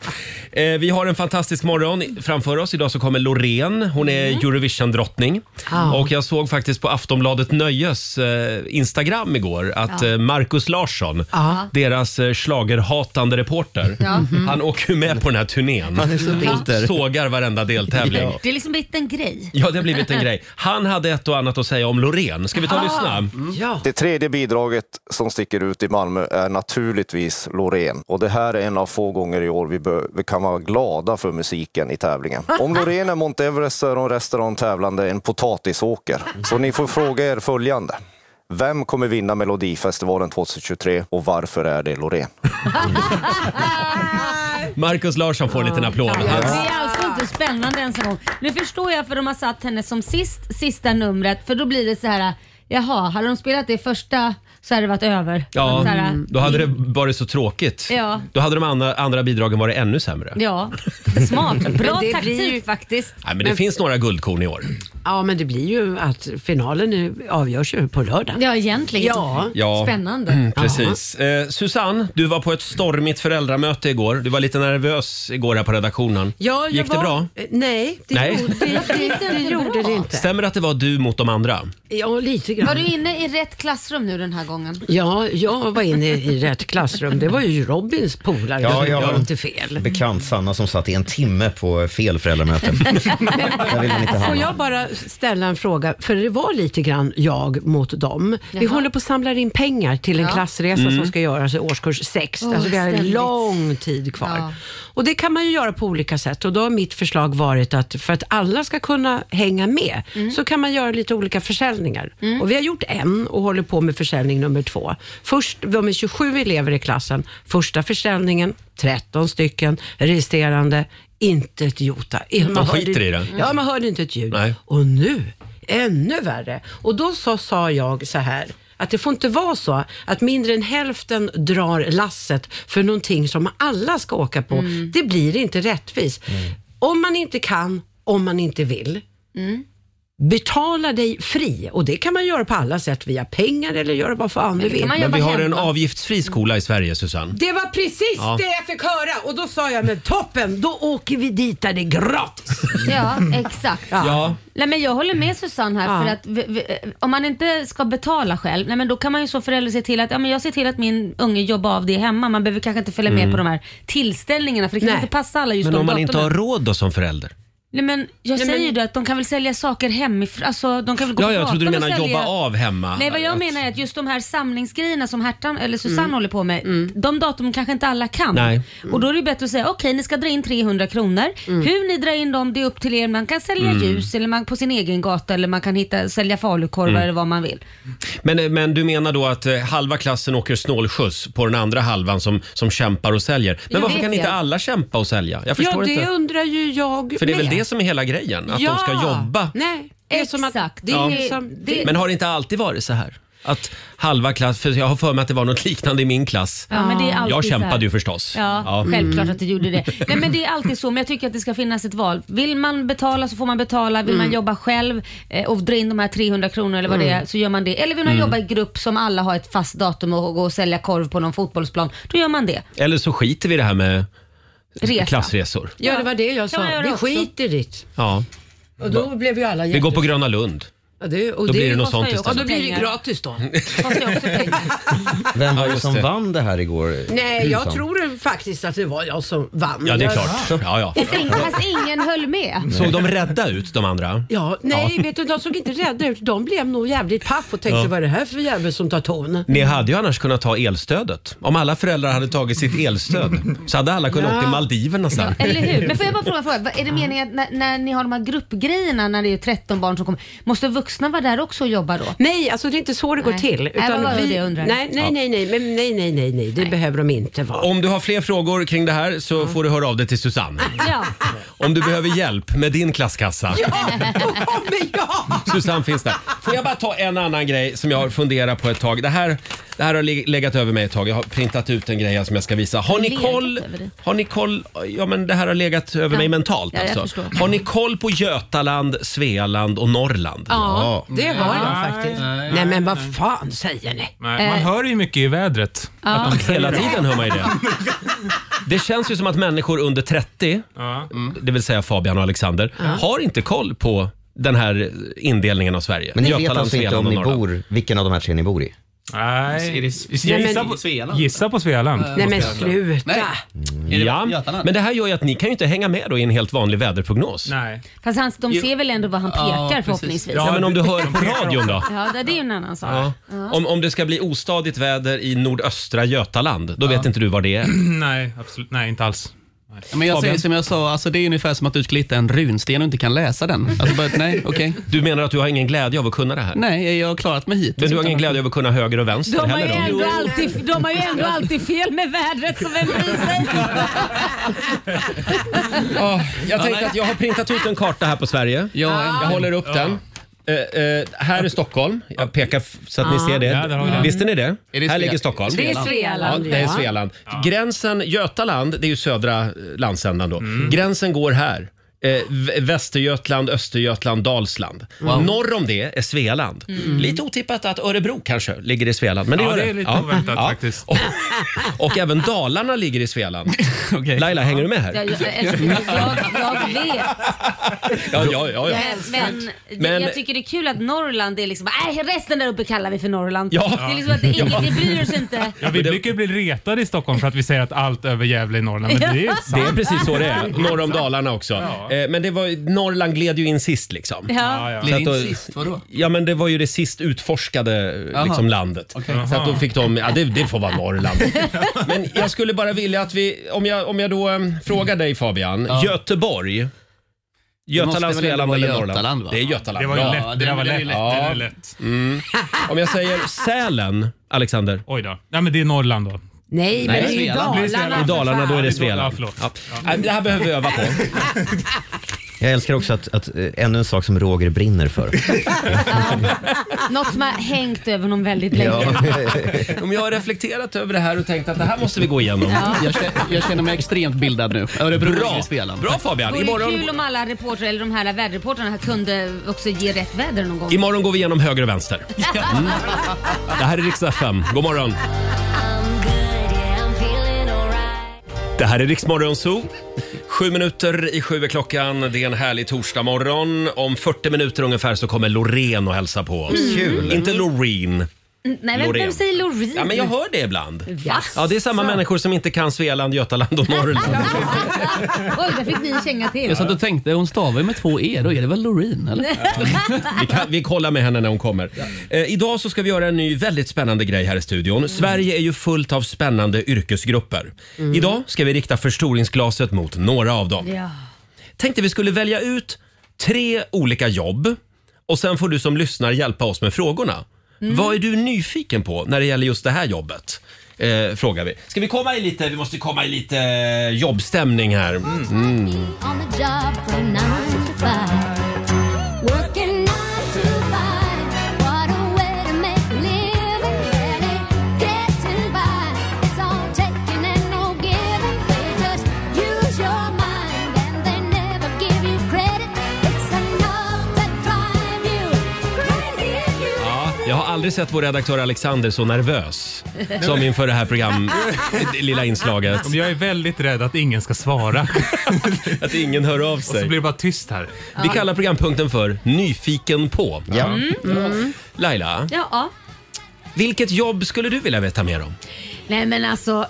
[SPEAKER 1] Eh, vi har en fantastisk morgon i- framför oss. Idag så kommer Loreen. Hon är Eurovision-drottning.
[SPEAKER 6] Ah.
[SPEAKER 1] Och jag såg faktiskt på Aftonbladet Nöjes eh, Instagram igår att
[SPEAKER 2] Ja.
[SPEAKER 1] eh, Markus Larsson,
[SPEAKER 6] Ah.
[SPEAKER 1] deras eh, schlagerhatande reporter,
[SPEAKER 2] Ja.
[SPEAKER 1] han åker ju med på den här turnén.
[SPEAKER 3] Han är så bitter.
[SPEAKER 1] Och sågar varenda deltävling.
[SPEAKER 3] Ja.
[SPEAKER 2] Det är liksom blivit en grej.
[SPEAKER 1] Ja, det har blivit en grej. Han hade ett och annat att säga om Loreen. Ska vi ta och
[SPEAKER 2] Ah.
[SPEAKER 1] lyssna?
[SPEAKER 6] Ja.
[SPEAKER 10] Mm. Det tredje bidraget som sticker ut i Malmö är naturligtvis Loreen. Och det här är en av få gånger i år vi, bör, vi kan vara glada för musiken i tävlingen. Om Loreen är Mount Everest så är hon resten av de tävlande en potatisåker. Så ni får fråga er följande. Vem kommer vinna Melodifestivalen 2023 och varför är det Loreen?
[SPEAKER 1] Markus Larsson får en liten applåd.
[SPEAKER 2] Ja,
[SPEAKER 1] Han-
[SPEAKER 2] Det är alltså inte spännande ens en gång. Nu förstår jag för de har satt henne som sist, sista numret för då blir det så här, jaha, hade de spelat det första så hade det varit över.
[SPEAKER 1] Ja,
[SPEAKER 2] så här,
[SPEAKER 3] Mm.
[SPEAKER 1] då hade det varit så tråkigt.
[SPEAKER 2] Ja.
[SPEAKER 1] Då hade de andra, andra bidragen varit ännu sämre.
[SPEAKER 2] Ja,
[SPEAKER 1] [LAUGHS]
[SPEAKER 2] smart. Bra
[SPEAKER 6] Men det
[SPEAKER 2] taktik
[SPEAKER 6] blir ju-
[SPEAKER 2] faktiskt.
[SPEAKER 1] Nej, men det finns några guldkorn i år.
[SPEAKER 6] Ja, men det blir ju att finalen är- avgörs ju på lördag.
[SPEAKER 2] Ja, egentligen.
[SPEAKER 6] Ja.
[SPEAKER 1] Ja. Mm,
[SPEAKER 2] Spännande.
[SPEAKER 1] Precis. Eh, Susanne, du var på ett stormigt föräldramöte igår. Du var lite nervös igår här på redaktionen.
[SPEAKER 6] Ja, jag
[SPEAKER 1] Gick det
[SPEAKER 6] var-
[SPEAKER 1] bra?
[SPEAKER 6] Eh, Nej, det,
[SPEAKER 1] Nej.
[SPEAKER 2] [LAUGHS]
[SPEAKER 6] Gjorde, det, det, det gjorde det inte.
[SPEAKER 1] Stämmer det att det var du mot de andra?
[SPEAKER 6] Ja, lite
[SPEAKER 2] Var
[SPEAKER 6] grann.
[SPEAKER 2] du inne i rätt klassrum nu den
[SPEAKER 1] [LAUGHS]
[SPEAKER 2] här gången?
[SPEAKER 6] Ja, jag var inne i rätt klassrum. Det var ju Robins polare.
[SPEAKER 3] Ja,
[SPEAKER 6] jag
[SPEAKER 3] jag
[SPEAKER 6] var
[SPEAKER 3] har-
[SPEAKER 6] inte fel.
[SPEAKER 3] Bekant Sanna som satt i en timme på fel
[SPEAKER 2] [LAUGHS]
[SPEAKER 3] föräldramöte. Där vill man inte
[SPEAKER 6] Får
[SPEAKER 3] hamna.
[SPEAKER 6] jag bara ställa en fråga? För det var lite grann jag mot dem. Vi
[SPEAKER 2] Jaha.
[SPEAKER 6] håller på att samla in pengar till en
[SPEAKER 2] Ja.
[SPEAKER 6] klassresa
[SPEAKER 3] Mm.
[SPEAKER 6] som ska göras i årskurs 6.
[SPEAKER 2] Åh,
[SPEAKER 6] alltså vi har
[SPEAKER 2] ständigt.
[SPEAKER 6] lång tid kvar.
[SPEAKER 2] Ja.
[SPEAKER 6] Och det kan man ju göra på olika sätt och då har mitt förslag varit att för att alla ska kunna hänga med
[SPEAKER 2] Mm.
[SPEAKER 6] så kan man göra lite olika försäljningar. Och vi har gjort en och håller på med försäljning nummer två. Först, de är 27 elever i klassen. Första försäljningen, 13 stycken, resterande inte ett jota. Man hörde-
[SPEAKER 1] skiter i det.
[SPEAKER 6] Ja, man hörde inte ett ljud.
[SPEAKER 1] Nej.
[SPEAKER 6] Och nu, ännu värre. Och då så, sa jag så här, att det får inte vara så att mindre än hälften drar lasset för någonting som alla ska åka på. Det blir inte rättvist. Om man inte kan, om man inte vill. Mm. Betala dig fri och det kan man göra på alla sätt via pengar eller göra vad fan du
[SPEAKER 2] Det kan
[SPEAKER 6] vill.
[SPEAKER 2] man
[SPEAKER 1] Men
[SPEAKER 2] jobba
[SPEAKER 1] vi har en
[SPEAKER 2] hemma.
[SPEAKER 1] avgiftsfri skola i Sverige, Susanne.
[SPEAKER 6] Det var precis
[SPEAKER 1] Ja.
[SPEAKER 6] det jag fick höra och då sa jag men toppen, då åker vi dit där det är gratis.
[SPEAKER 2] Ja, exakt.
[SPEAKER 1] Ja.
[SPEAKER 2] Nej, men jag håller med Susanne här.
[SPEAKER 6] Ja.
[SPEAKER 2] För att vi, vi, om man inte ska betala själv, nej, men då kan man ju så förälder se till att ja, men jag ser till att min unge jobbar av det hemma. Man behöver kanske inte följa med på de här tillställningarna för det kan
[SPEAKER 6] Nej.
[SPEAKER 2] inte passa alla just
[SPEAKER 1] Mm. Men
[SPEAKER 2] de
[SPEAKER 1] om man inte har
[SPEAKER 2] datumen.
[SPEAKER 1] råd då som förälder?
[SPEAKER 2] Nej, men jag
[SPEAKER 6] Nej,
[SPEAKER 2] säger ju
[SPEAKER 6] men-
[SPEAKER 2] då att de kan väl sälja saker hemifrån. Alltså, de kan väl gå
[SPEAKER 1] Ja,
[SPEAKER 2] på
[SPEAKER 1] jag trodde du
[SPEAKER 2] gatan och
[SPEAKER 1] menade
[SPEAKER 2] sälja-
[SPEAKER 1] jobba av hemma.
[SPEAKER 2] Nej, vad jag
[SPEAKER 1] Att-
[SPEAKER 2] menar är att just de här samlingsgrejerna som Hertan, eller Susanne håller på med, de datumen kanske inte alla kan.
[SPEAKER 1] Nej.
[SPEAKER 2] Och då är det bättre att säga, okej ni ska dra in 300 kronor. Hur ni drar in dem, det är upp till er. Man kan sälja ljus eller man, på sin egen gata eller man kan hitta, sälja falukorvar eller vad man vill.
[SPEAKER 1] Men, men du menar då att eh, halva klassen åker snålskjuts på den andra halvan som, som kämpar och säljer. Men
[SPEAKER 2] Jo,
[SPEAKER 1] varför
[SPEAKER 2] det
[SPEAKER 1] kan
[SPEAKER 2] är
[SPEAKER 1] inte
[SPEAKER 2] fel.
[SPEAKER 1] alla kämpa och sälja? Jag
[SPEAKER 6] Ja,
[SPEAKER 1] förstår
[SPEAKER 6] det
[SPEAKER 1] inte.
[SPEAKER 6] undrar ju jag
[SPEAKER 1] För det är väl
[SPEAKER 6] med.
[SPEAKER 1] det som är hela grejen? Att de ska jobba.
[SPEAKER 6] Nej, det är som att,
[SPEAKER 2] Exakt.
[SPEAKER 6] det är
[SPEAKER 2] Ja.
[SPEAKER 6] ju som,
[SPEAKER 2] Det-
[SPEAKER 6] det,
[SPEAKER 1] Men har det inte alltid varit så här? Att halva klass, för jag har för mig att det var något liknande i min klass.
[SPEAKER 2] Ja, men det är alltid
[SPEAKER 1] Jag
[SPEAKER 2] så här.
[SPEAKER 1] kämpade ju förstås.
[SPEAKER 2] Ja,
[SPEAKER 1] Mm.
[SPEAKER 2] självklart att du gjorde det. Nej, men det är alltid så, men jag tycker att det ska finnas ett val. Vill man betala så får man betala. Vill man jobba själv eh, och dra in de här 300 kronor eller vad det är så gör man det. Eller vill man jobba i grupp som alla har ett fast datum och gå och sälja korv på någon fotbollsplan, då gör man det.
[SPEAKER 1] Mm. Eller så skiter vi i det här med
[SPEAKER 2] Resa.
[SPEAKER 1] klassresor.
[SPEAKER 6] ja, det var det jag
[SPEAKER 2] man
[SPEAKER 6] sa.
[SPEAKER 2] göra
[SPEAKER 6] Vi
[SPEAKER 2] också.
[SPEAKER 6] skiter i det.
[SPEAKER 1] Ja.
[SPEAKER 6] Och då blev ju alla
[SPEAKER 1] Vi går på Gröna Lund.
[SPEAKER 6] Ja, det, och
[SPEAKER 1] Då blir det något
[SPEAKER 2] kostar
[SPEAKER 1] sånt
[SPEAKER 2] ju
[SPEAKER 6] Ja,
[SPEAKER 2] också
[SPEAKER 1] istället.
[SPEAKER 6] då blir det
[SPEAKER 2] pengar.
[SPEAKER 6] gratis
[SPEAKER 1] [LAUGHS]
[SPEAKER 6] då.
[SPEAKER 2] Kostar ju också pengar.
[SPEAKER 3] Vem var
[SPEAKER 1] Ja,
[SPEAKER 3] det
[SPEAKER 1] just
[SPEAKER 3] som
[SPEAKER 1] det.
[SPEAKER 3] vann det här igår?
[SPEAKER 6] Nej, jag
[SPEAKER 3] Susanne?
[SPEAKER 6] tror faktiskt att det var jag som vann.
[SPEAKER 1] Ja, det är
[SPEAKER 6] Jag-
[SPEAKER 1] klart. Ja, ja.
[SPEAKER 2] Fast ingen- Fast ingen höll med.
[SPEAKER 1] Såg de rädda ut de andra?
[SPEAKER 6] Ja, nej, vet du, de såg inte rädda ut. De blev nog jävligt paff och tänkte,
[SPEAKER 1] Ja.
[SPEAKER 6] vad är det här för jävel som tar ton?
[SPEAKER 1] Ni hade ju annars kunnat ta elstödet. Om alla föräldrar hade tagit sitt elstöd så hade alla kunnat åka till Maldiverna sen.
[SPEAKER 2] Eller hur? Men får jag bara
[SPEAKER 1] [LAUGHS]
[SPEAKER 2] fråga, en fråga Vad- är det meningen att när, när ni har de här gruppgrejerna när det är 13 barn som kommer, måste vuxna vara där också och jobba då?
[SPEAKER 6] Nej, alltså det är inte så det går
[SPEAKER 2] Nej.
[SPEAKER 6] till.
[SPEAKER 2] Nej, vad var det jag
[SPEAKER 6] nej,
[SPEAKER 2] undrade?
[SPEAKER 6] nej, nej, nej, men nej, nej, nej, nej, det behöver de inte vara.
[SPEAKER 1] Om du har fler frågor kring det här så får du höra av dig till Susanne.
[SPEAKER 2] Ja.
[SPEAKER 1] Om du behöver hjälp med din klasskassa.
[SPEAKER 6] Då kommer jag!
[SPEAKER 1] Susanne finns där. Får jag bara ta en annan grej som jag har funderat på ett tag. Det här, det här har le- legat över mig ett tag. Jag har printat ut en grej här som jag ska visa. Har ni
[SPEAKER 2] Legat
[SPEAKER 1] koll?
[SPEAKER 2] över dig?
[SPEAKER 1] Har ni koll? Ja, men det här har legat över mig mentalt
[SPEAKER 2] Ja, jag
[SPEAKER 1] alltså.
[SPEAKER 2] förstår.
[SPEAKER 1] Har ni koll på Götaland, Svealand och Norrland?
[SPEAKER 6] Ja, det har jag
[SPEAKER 9] Nej,
[SPEAKER 6] faktiskt.
[SPEAKER 9] nej,
[SPEAKER 6] Nej, men vad fan säger ni?
[SPEAKER 2] Eh.
[SPEAKER 6] Eh,
[SPEAKER 1] [LAUGHS]
[SPEAKER 9] Nej, Man hör ju mycket i vädret. [LAUGHS]
[SPEAKER 1] Hela tiden hör man ju det. Det känns ju som att människor under 30, det vill säga Fabian och Alexander, har inte koll på den här indelningen av Sverige.
[SPEAKER 3] Men ni vet
[SPEAKER 1] Götaland,
[SPEAKER 3] alltså inte
[SPEAKER 1] Svealand
[SPEAKER 3] om
[SPEAKER 1] och
[SPEAKER 3] ni
[SPEAKER 1] Norrland.
[SPEAKER 3] bor, vilken av de här tre ni bor i?
[SPEAKER 9] Nej.
[SPEAKER 8] Nej,
[SPEAKER 9] gissa,
[SPEAKER 8] men-
[SPEAKER 9] på, [CLEARS THROAT]
[SPEAKER 8] Svealand.
[SPEAKER 9] gissa på Svealand.
[SPEAKER 6] Nej men sluta.
[SPEAKER 8] Nej. Är det
[SPEAKER 1] Ja,
[SPEAKER 8] Götaland?
[SPEAKER 1] men det här gör ju att ni kan ju inte hänga med då i en helt vanlig väderprognos.
[SPEAKER 9] Nej.
[SPEAKER 2] Fast han, de ser väl ändå vad han
[SPEAKER 8] Ja,
[SPEAKER 2] pekar
[SPEAKER 8] precis.
[SPEAKER 2] förhoppningsvis.
[SPEAKER 1] Ja, men om du hör på radion då?
[SPEAKER 2] Ja, det det är ju en annan sak.
[SPEAKER 1] Ja. Om, om det ska bli ostadigt väder i nordöstra Götaland, då vet inte du var det är.
[SPEAKER 9] Nej, absolut. Nej, inte alls.
[SPEAKER 8] Ja, Men jag
[SPEAKER 1] Fabian?
[SPEAKER 8] säger som jag sa, alltså det är ungefär som att du skulle hitta en runsten och inte kan läsa den. Alltså bara, nej, okej.
[SPEAKER 1] Du menar att du har ingen glädje av att kunna det här?
[SPEAKER 8] Nej, jag har klarat mig hittills.
[SPEAKER 1] Men du har ingen glädje av att kunna höger och vänster
[SPEAKER 2] De har, ju
[SPEAKER 1] heller? då?
[SPEAKER 2] ändå alltid, de har ju ändå alltid fel med vädret så vem bryr sig?
[SPEAKER 1] Åh, jag
[SPEAKER 8] Ja,
[SPEAKER 1] tänkte
[SPEAKER 8] nej.
[SPEAKER 1] att jag har printat ut en karta här på Sverige.
[SPEAKER 8] Ja,
[SPEAKER 1] Jag
[SPEAKER 8] ändå.
[SPEAKER 1] håller upp den. Eh, eh, här är Stockholm. Jag pekar f- så att ni ser det.
[SPEAKER 9] Ja, där har vi den.
[SPEAKER 1] Visste ni det?
[SPEAKER 8] Är det
[SPEAKER 1] här
[SPEAKER 8] Sve-
[SPEAKER 1] ligger Stockholm.
[SPEAKER 8] Sve-
[SPEAKER 2] Det är
[SPEAKER 1] Ja,
[SPEAKER 2] Svealand.
[SPEAKER 1] det är Svealand. Gränsen Götaland, det är ju södra eh, landsändan då. Gränsen går här. Eh, Vä- Västergötland, Östergötland, Dalsland. Norr om det är Svealand. Lite otippat att Örebro kanske ligger i Svealand. Men Mm. det
[SPEAKER 9] Ja,
[SPEAKER 1] gör
[SPEAKER 9] det är lite oväntat faktiskt.
[SPEAKER 1] Och, och även Dalarna ligger i [LAUGHS] Svealand.
[SPEAKER 8] Okej.
[SPEAKER 1] Laila, hänger du med här?
[SPEAKER 2] Jag, jag, jag, jag vet.
[SPEAKER 1] Ja, ja, ja. ja.
[SPEAKER 2] Men, men,
[SPEAKER 1] Men-
[SPEAKER 2] jag tycker det är kul att Norrland är liksom, äh, resten där uppe kallar vi för Norrland.
[SPEAKER 1] Ja.
[SPEAKER 2] Det är liksom att det, ingen, det bryr sig inte.
[SPEAKER 9] Ja, vi brukar ju bli retade i Stockholm för att vi säger att allt över Gävle är Norrland, men det är ju
[SPEAKER 1] Det
[SPEAKER 9] sant.
[SPEAKER 1] är precis så det är, norr om Dalarna också. Eh, Men det var, Norrland gled ju in sist liksom.
[SPEAKER 2] Ja.
[SPEAKER 9] Ja, ja.
[SPEAKER 1] Så
[SPEAKER 8] Blir
[SPEAKER 1] att då-
[SPEAKER 8] in sist, vadå?
[SPEAKER 1] Ja, men det var ju det sist utforskade
[SPEAKER 8] Aha.
[SPEAKER 1] liksom, landet. Så att då fick de, ja det, det får
[SPEAKER 9] [LAUGHS]
[SPEAKER 1] vara Norrland. men jag skulle bara vilja att vi, om jag, om jag då eh, frågar dig Fabian, Göteborg.
[SPEAKER 8] måste väl
[SPEAKER 1] Götaland,
[SPEAKER 8] ändå
[SPEAKER 1] Svealand
[SPEAKER 8] vara
[SPEAKER 1] eller Norrland?
[SPEAKER 8] Götaland, va?
[SPEAKER 1] Det är Götaland.
[SPEAKER 9] Det var ju
[SPEAKER 1] Bra.
[SPEAKER 9] lätt. Det där var
[SPEAKER 8] det är ju
[SPEAKER 9] lätt.
[SPEAKER 8] lätt.
[SPEAKER 9] Det
[SPEAKER 1] Ja.
[SPEAKER 9] är lätt.
[SPEAKER 1] Om jag säger Sälen, Alexander.
[SPEAKER 9] Oj då. Nej, men det är Norrland då.
[SPEAKER 6] Nej, men det är ju
[SPEAKER 8] Svealand.
[SPEAKER 9] Det är
[SPEAKER 6] Dalarna.
[SPEAKER 9] Svealand.
[SPEAKER 1] I Dalarna då är det
[SPEAKER 9] Ja,
[SPEAKER 1] Svealand.
[SPEAKER 9] förlåt.
[SPEAKER 1] Ja. Nej, Det här behöver vi öva på.
[SPEAKER 3] Jag älskar också att, att eh, ännu en sak som Roger brinner [LAUGHS] för.
[SPEAKER 2] Något som har hängt över någon väldigt länge.
[SPEAKER 3] Ja.
[SPEAKER 1] [LAUGHS] Om jag har reflekterat över det här och tänkt att det här måste vi gå igenom.
[SPEAKER 8] Jag känner, jag känner mig extremt bildad nu. Örebro ligger
[SPEAKER 1] Bra.
[SPEAKER 8] i Svealand.
[SPEAKER 1] Bra Fabian!
[SPEAKER 2] Det vore
[SPEAKER 1] Imorgon,
[SPEAKER 2] kul om alla reportrar eller de här väderreportrarna kunde också ge rätt väder någon gång.
[SPEAKER 1] imorgon går vi igenom höger
[SPEAKER 8] [LAUGHS]
[SPEAKER 1] och vänster. Mm. Det här är riksdag 5. God morgon!
[SPEAKER 7] I'm good, yeah, I'm feeling alright.
[SPEAKER 1] Det här är Riksmorgon Zoo. Sju minuter i sju är klockan. Det är en härlig torsdagmorgon. Om 40 minuter ungefär så kommer Loreen och hälsa på oss. Kul. Inte Loreen.
[SPEAKER 2] Nej, vem, vem
[SPEAKER 1] Loreen.
[SPEAKER 2] säger Loreen?
[SPEAKER 1] Ja, men jag hör det ibland.
[SPEAKER 2] Va?
[SPEAKER 1] Ja, det är samma människor som inte kan Svealand, Götaland och Norrland.
[SPEAKER 2] [LAUGHS] Oj, där fick ni en känga till.
[SPEAKER 8] Jag satt och tänkte, hon stavar ju med två e, då är det väl Loreen? Eller?
[SPEAKER 1] Vi, kan, vi kollar med henne när hon kommer. Eh, idag så ska vi göra en ny väldigt spännande grej här i studion.
[SPEAKER 8] Mm.
[SPEAKER 1] Sverige är ju fullt av spännande yrkesgrupper.
[SPEAKER 8] Mm.
[SPEAKER 1] Idag ska vi rikta förstoringsglaset mot några av dem.
[SPEAKER 2] Ja.
[SPEAKER 1] tänkte vi skulle välja ut tre olika jobb och sen får du som lyssnar hjälpa oss med frågorna. Vad är du nyfiken på när det gäller just det här jobbet? Eh, frågar vi. Ska vi komma i lite, vi måste komma i lite eh, jobbstämning här. Mm.
[SPEAKER 7] On the job from nine to five. Working nine to five. What a way to make a living, barely getting by. It's all taking and no giving. They just use your mind and they never give you credit. It's enough to drive you crazy if you
[SPEAKER 1] Ja, jag har aldrig sett vår redaktör Alexander så nervös som inför det här program, det lilla inslaget.
[SPEAKER 9] Men Jag är väldigt rädd att ingen ska svara.
[SPEAKER 1] [LAUGHS] Att ingen hör av
[SPEAKER 9] Och så
[SPEAKER 1] sig.
[SPEAKER 9] blir det bara tyst här.
[SPEAKER 1] Vi kallar programpunkten för Nyfiken på.
[SPEAKER 3] Ja.
[SPEAKER 1] Laila,
[SPEAKER 2] [LAUGHS] Ja.
[SPEAKER 1] vilket jobb skulle du vilja veta mer om?
[SPEAKER 2] Nej men alltså,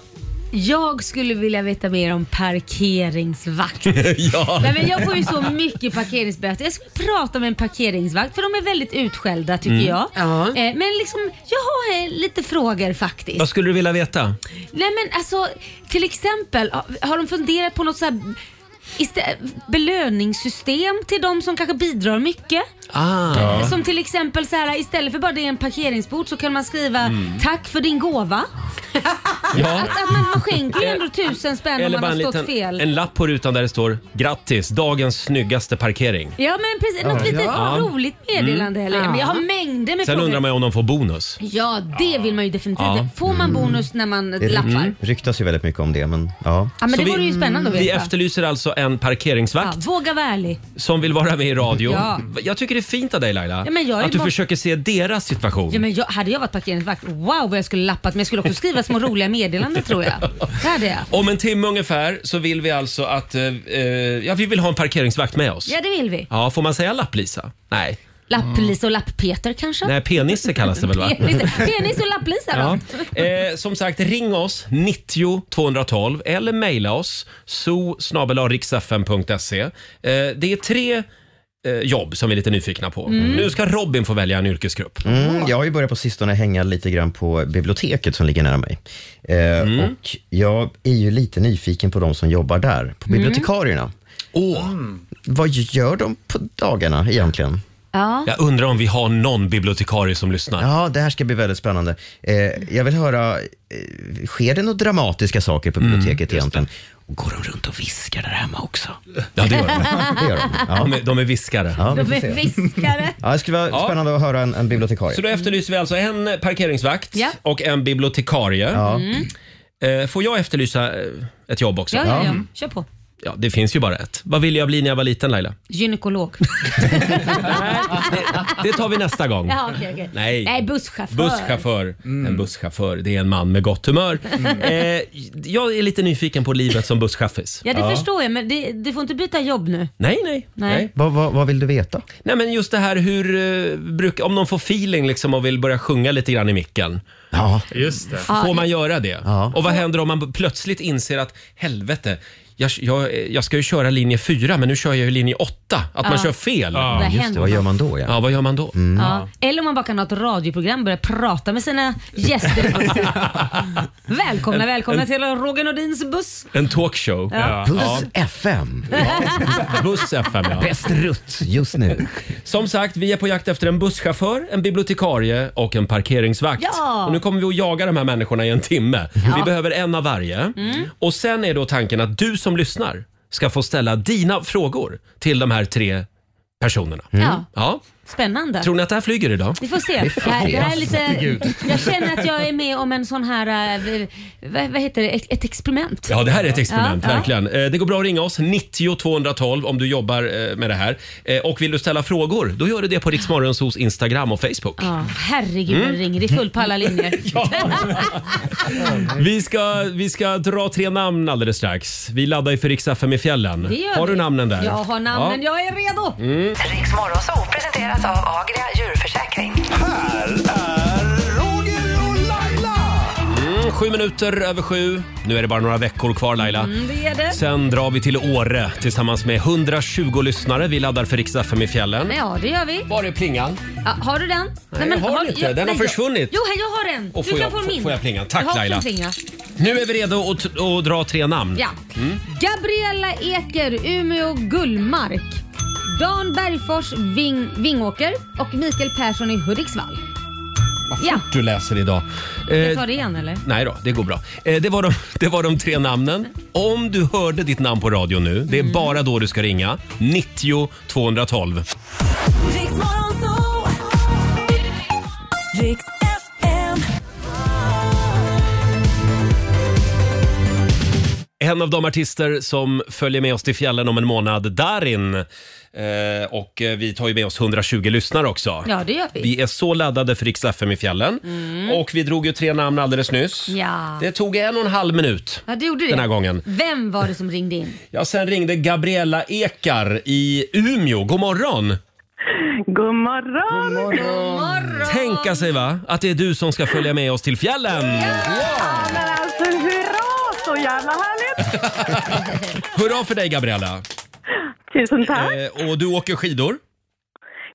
[SPEAKER 2] jag skulle vilja veta mer om parkeringsvakt.
[SPEAKER 1] [LAUGHS] ja.
[SPEAKER 2] Nej, men jag får ju så mycket parkeringsböter. Jag skulle prata med en parkeringsvakt för de är väldigt utskällda
[SPEAKER 1] Mm.
[SPEAKER 2] tycker jag.
[SPEAKER 6] Ja.
[SPEAKER 2] Eh, Men liksom, jag har eh, lite frågor faktiskt.
[SPEAKER 1] Vad skulle du vilja veta?
[SPEAKER 2] Nej men alltså, till exempel, har- har de funderat på något så här istä- belöningssystem till de som kanske bidrar mycket? Eh,
[SPEAKER 1] Ah.
[SPEAKER 2] Som till exempel så här, istället för bara det är en parkeringsbot så kan man skriva tack för din gåva.
[SPEAKER 1] Mm. Ja.
[SPEAKER 2] Att, att man, man skänker ju ändå tusen spänn om man har stått fel.
[SPEAKER 1] en lapp på rutan där det står “Grattis, dagens snyggaste parkering”.
[SPEAKER 2] Ja men precis, något litet roligt meddelande eller? Men jag har mängder med
[SPEAKER 1] Mm. Sen
[SPEAKER 2] frågor.
[SPEAKER 1] undrar man ju om de får bonus.
[SPEAKER 2] Ja det vill man ju definitivt. Får
[SPEAKER 1] Mm.
[SPEAKER 2] man bonus när man
[SPEAKER 3] Det
[SPEAKER 2] lappar?
[SPEAKER 3] ryktas ju väldigt mycket om det, men ja.
[SPEAKER 2] Ja men
[SPEAKER 1] Så
[SPEAKER 2] det vore ju spännande att
[SPEAKER 1] Vi
[SPEAKER 2] veta.
[SPEAKER 1] efterlyser alltså en
[SPEAKER 2] Ja,
[SPEAKER 1] parkeringsvakt
[SPEAKER 2] våga vara ärlig.
[SPEAKER 1] som vill vara med i radio.
[SPEAKER 2] Ja.
[SPEAKER 1] Jag tycker det det är fint av dig Laila.
[SPEAKER 2] Ja, men jag är
[SPEAKER 1] att du
[SPEAKER 2] bara-
[SPEAKER 1] försöker se deras situation.
[SPEAKER 2] Ja, men jag, hade jag varit parkeringsvakt, wow vad jag skulle lappat. Men jag skulle också skriva små roliga meddelanden tror jag. Det hade jag.
[SPEAKER 1] Om en timme ungefär så vill vi alltså att... Eh, eh, ja, vi vill ha en parkeringsvakt med oss.
[SPEAKER 2] Ja, det vill vi.
[SPEAKER 1] Ja, får man säga lapplisa? Nej.
[SPEAKER 2] Lapp-Lisa och Lapp-Peter kanske?
[SPEAKER 1] Nej, penisse kallas det väl va? [LAUGHS]
[SPEAKER 2] Penis, penis och Lapp-Lisa då?
[SPEAKER 1] Ja. Eh, som sagt, ring oss 90 212 eller mejla oss so eh, Det är tre eh, jobb som vi är lite nyfikna på.
[SPEAKER 3] Mm.
[SPEAKER 1] Nu ska Robin få välja en yrkesgrupp.
[SPEAKER 3] Mm, jag har ju börjat på sistone hänga lite grann på biblioteket som ligger nära mig. Eh,
[SPEAKER 1] Mm.
[SPEAKER 3] Och jag är ju lite nyfiken på de som jobbar där, på
[SPEAKER 2] Mm.
[SPEAKER 3] bibliotekarierna. Mm.
[SPEAKER 1] Åh.
[SPEAKER 3] Vad gör de på dagarna egentligen?
[SPEAKER 2] Ja.
[SPEAKER 1] Jag undrar om vi har någon bibliotekarie som lyssnar.
[SPEAKER 3] Ja, det här ska bli väldigt spännande. Eh, jag vill höra, eh, sker det några dramatiska saker
[SPEAKER 1] Mm,
[SPEAKER 3] på biblioteket egentligen? Och går de runt och viskar där hemma också?
[SPEAKER 1] Ja, det gör de.
[SPEAKER 3] [LAUGHS] det gör de.
[SPEAKER 6] [LAUGHS]
[SPEAKER 3] Ja.
[SPEAKER 1] De, är, de är viskare.
[SPEAKER 3] Ja, vi
[SPEAKER 2] De
[SPEAKER 3] får
[SPEAKER 2] är
[SPEAKER 3] se.
[SPEAKER 2] fiskare.
[SPEAKER 3] Ja, det skulle vara spännande att höra en, en bibliotekarie.
[SPEAKER 1] Så då efterlyser vi alltså en parkeringsvakt
[SPEAKER 2] Ja.
[SPEAKER 1] och en bibliotekarie.
[SPEAKER 2] Mm.
[SPEAKER 1] Eh, Får jag efterlysa eh, ett jobb också? Mm.
[SPEAKER 2] Ja, ja, ja. Kör på.
[SPEAKER 1] Ja, det finns ju bara ett. Vad ville jag bli när jag var liten Laila?
[SPEAKER 2] Gynekolog.
[SPEAKER 1] Det tar vi nästa
[SPEAKER 2] [LAUGHS]
[SPEAKER 1] gång.
[SPEAKER 2] Jaha, okej, okej.
[SPEAKER 1] Nej.
[SPEAKER 2] Nej, busschaufför.
[SPEAKER 1] Busschaufför.
[SPEAKER 3] Mm.
[SPEAKER 1] En busschaufför, det är en man med gott humör. Eh, jag är lite nyfiken på livet som busschaffis.
[SPEAKER 2] Ja, det förstår jag, men det, du får inte byta jobb nu.
[SPEAKER 1] Nej, nej.
[SPEAKER 2] Nej.
[SPEAKER 1] nej.
[SPEAKER 3] Vad, vad, vad vill du veta?
[SPEAKER 1] Nej, men just det här hur, eh, bruk, om de får feeling liksom och vill börja sjunga lite grann i micken.
[SPEAKER 2] [LAUGHS]
[SPEAKER 3] Ja.
[SPEAKER 9] Just det.
[SPEAKER 1] Får man göra det? Och vad händer om man plötsligt inser att helvete, jag, jag, jag ska ju köra linje 4 men nu kör jag ju linje 8. Att man
[SPEAKER 2] Ja.
[SPEAKER 1] kör fel.
[SPEAKER 2] Vad
[SPEAKER 1] Ja.
[SPEAKER 3] Just det,
[SPEAKER 2] händer?
[SPEAKER 3] vad gör man då? Ja. Mm.
[SPEAKER 1] ja, vad gör man då?
[SPEAKER 2] Ja. Eller om man bara kan ha ett radioprogram och börja prata med sina
[SPEAKER 1] [LAUGHS]
[SPEAKER 2] gäster i bussen. Välkomna, välkomna till Roger Nordins buss.
[SPEAKER 1] En talkshow.
[SPEAKER 2] Ja.
[SPEAKER 3] Puss FM,
[SPEAKER 1] Buss FM ja.
[SPEAKER 3] bäst rutt just nu.
[SPEAKER 1] Som sagt, vi är på jakt efter en busschaufför, en bibliotekarie och en parkeringsvakt.
[SPEAKER 2] Ja.
[SPEAKER 1] Och nu kommer vi att jaga de här människorna i en timme. Vi behöver en av varje.
[SPEAKER 2] Mm.
[SPEAKER 1] Och sen är då tanken att du som lyssnar ska få ställa dina frågor till de här tre personerna.
[SPEAKER 2] Ja,
[SPEAKER 1] Ja.
[SPEAKER 2] spännande.
[SPEAKER 1] Tror ni att det här flyger idag?
[SPEAKER 2] Mm. Vi får se. Det här, det här är lite, jag känner att jag är med om en sån här, eh, vad, vad heter det, ett, ett experiment.
[SPEAKER 1] Ja, det här är ett experiment,
[SPEAKER 2] Ja, ja.
[SPEAKER 1] verkligen. Eh, Det går bra att ringa oss, 90 212 om du jobbar eh, med det här. Eh, Och vill du ställa frågor, då gör du det på Riksmorgonsos Instagram och Facebook.
[SPEAKER 2] Ja, herregud
[SPEAKER 1] Mm.
[SPEAKER 2] vad det ringer. Det är fullt på
[SPEAKER 1] [LAUGHS]
[SPEAKER 2] alla linjer. Mm.
[SPEAKER 1] Vi ska, vi ska dra tre namn alldeles strax. Vi laddar ju för Rix FM i fjällen.
[SPEAKER 2] Det gör
[SPEAKER 1] Har du
[SPEAKER 2] vi.
[SPEAKER 1] namnen där? Mm.
[SPEAKER 2] Jag har namnen, jag är redo.
[SPEAKER 11] Riks Morgonzoo presenteras av Agria djurförsäkring.
[SPEAKER 5] Här är Roger och Laila!
[SPEAKER 1] Mm, sju minuter över sju. Nu är det bara några veckor kvar Laila.
[SPEAKER 2] Mm, det är det.
[SPEAKER 1] Sen drar vi till Åre tillsammans med 120 lyssnare. Vi laddar för Rix FM i fjällen.
[SPEAKER 2] [LAUGHS] Ja, det gör vi.
[SPEAKER 1] Var är plingan?
[SPEAKER 2] Ja, har du den? Nej,
[SPEAKER 1] jag har inte. Den har försvunnit.
[SPEAKER 2] Jo, här, jag har den.
[SPEAKER 1] Och
[SPEAKER 2] du
[SPEAKER 1] får
[SPEAKER 2] kan
[SPEAKER 1] jag-
[SPEAKER 2] få
[SPEAKER 1] får-
[SPEAKER 2] min.
[SPEAKER 1] får jag plingan? Tack,
[SPEAKER 2] jag har
[SPEAKER 1] Laila. Mm.
[SPEAKER 2] fått plingan.
[SPEAKER 1] Nu är vi redo att, t- att dra tre namn.
[SPEAKER 2] Ja. Gabriella Eker, Umeå Gullmark. Dan Bergfors, Ving, Vingåker och Mikael Persson i Hudiksvall.
[SPEAKER 1] Vad
[SPEAKER 2] Ja.
[SPEAKER 1] fort du läser idag.
[SPEAKER 2] Jag
[SPEAKER 1] Eh,
[SPEAKER 2] tar det igen eller?
[SPEAKER 1] Nej då, det går bra. Eh, det, var de, [LAUGHS] det var de tre namnen. Om du hörde ditt namn på radio nu, det är
[SPEAKER 2] Mm.
[SPEAKER 1] bara då du ska ringa. 90 212. En av de artister som följer med oss till fjällen om en månad, Darin. Eh, och eh, vi tar ju med oss 120 lyssnare också.
[SPEAKER 2] Ja, det gör vi.
[SPEAKER 1] Vi är så laddade för Rix FM i fjällen. Och vi drog ju tre namn alldeles nyss.
[SPEAKER 2] Ja.
[SPEAKER 1] Det tog en och en halv minut
[SPEAKER 2] ja, du gjorde det.
[SPEAKER 1] den här gången.
[SPEAKER 2] Vem var det som ringde in?
[SPEAKER 1] Ja, sen ringde Gabriella Ekar i Umeå. God morgon!
[SPEAKER 4] God morgon!
[SPEAKER 2] Morgon.
[SPEAKER 1] Tänka sig va, att det är du som ska följa med oss till fjällen.
[SPEAKER 4] Men alltså hurra! Så jävla härligt!
[SPEAKER 1] Hurra för dig Gabriella!
[SPEAKER 4] Tusen tack!
[SPEAKER 1] Eh, och du åker skidor?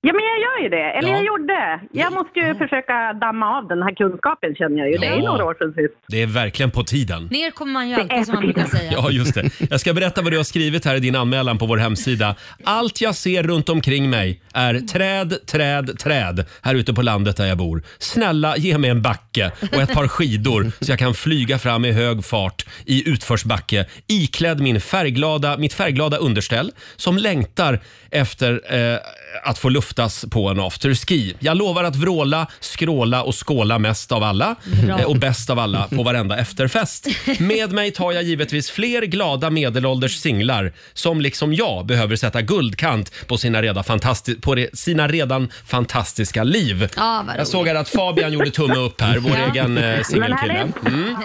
[SPEAKER 4] Ja, men jag gör ju det. Eller
[SPEAKER 1] Ja.
[SPEAKER 4] jag gjorde. Jag måste ju försöka damma av den här kunskapen känner jag ju. Det är ju
[SPEAKER 1] Ja.
[SPEAKER 4] några år sedan sist.
[SPEAKER 1] Det är verkligen på tiden.
[SPEAKER 2] Ner kommer man ju alltid som man brukar säga.
[SPEAKER 1] Ja, just det. Jag ska berätta vad du har skrivit här i din anmälan på vår hemsida. Allt jag ser runt omkring mig är träd, träd, träd här ute på landet där jag bor. Snälla ge mig en backe och ett par skidor så jag kan flyga fram i hög fart i utförsbacke iklädd min färgglada, mitt färgglada underställ som längtar efter eh, att få luft oftast på en afterski. Jag lovar att vråla, skråla och skåla mest av alla
[SPEAKER 12] Bra.
[SPEAKER 1] eh, och bäst av alla på varenda efterfest. Med mig tar jag givetvis fler glada medelålders singlar som liksom jag behöver sätta guldkant på sina redan, fantasti- på re- sina redan fantastiska liv.
[SPEAKER 2] Ja, Ah, vad
[SPEAKER 1] jag
[SPEAKER 2] roligt.
[SPEAKER 1] såg här att Fabian gjorde tumme upp här, vår
[SPEAKER 2] Ja.
[SPEAKER 1] egen eh, singelkille.
[SPEAKER 2] härligt.
[SPEAKER 1] Mm.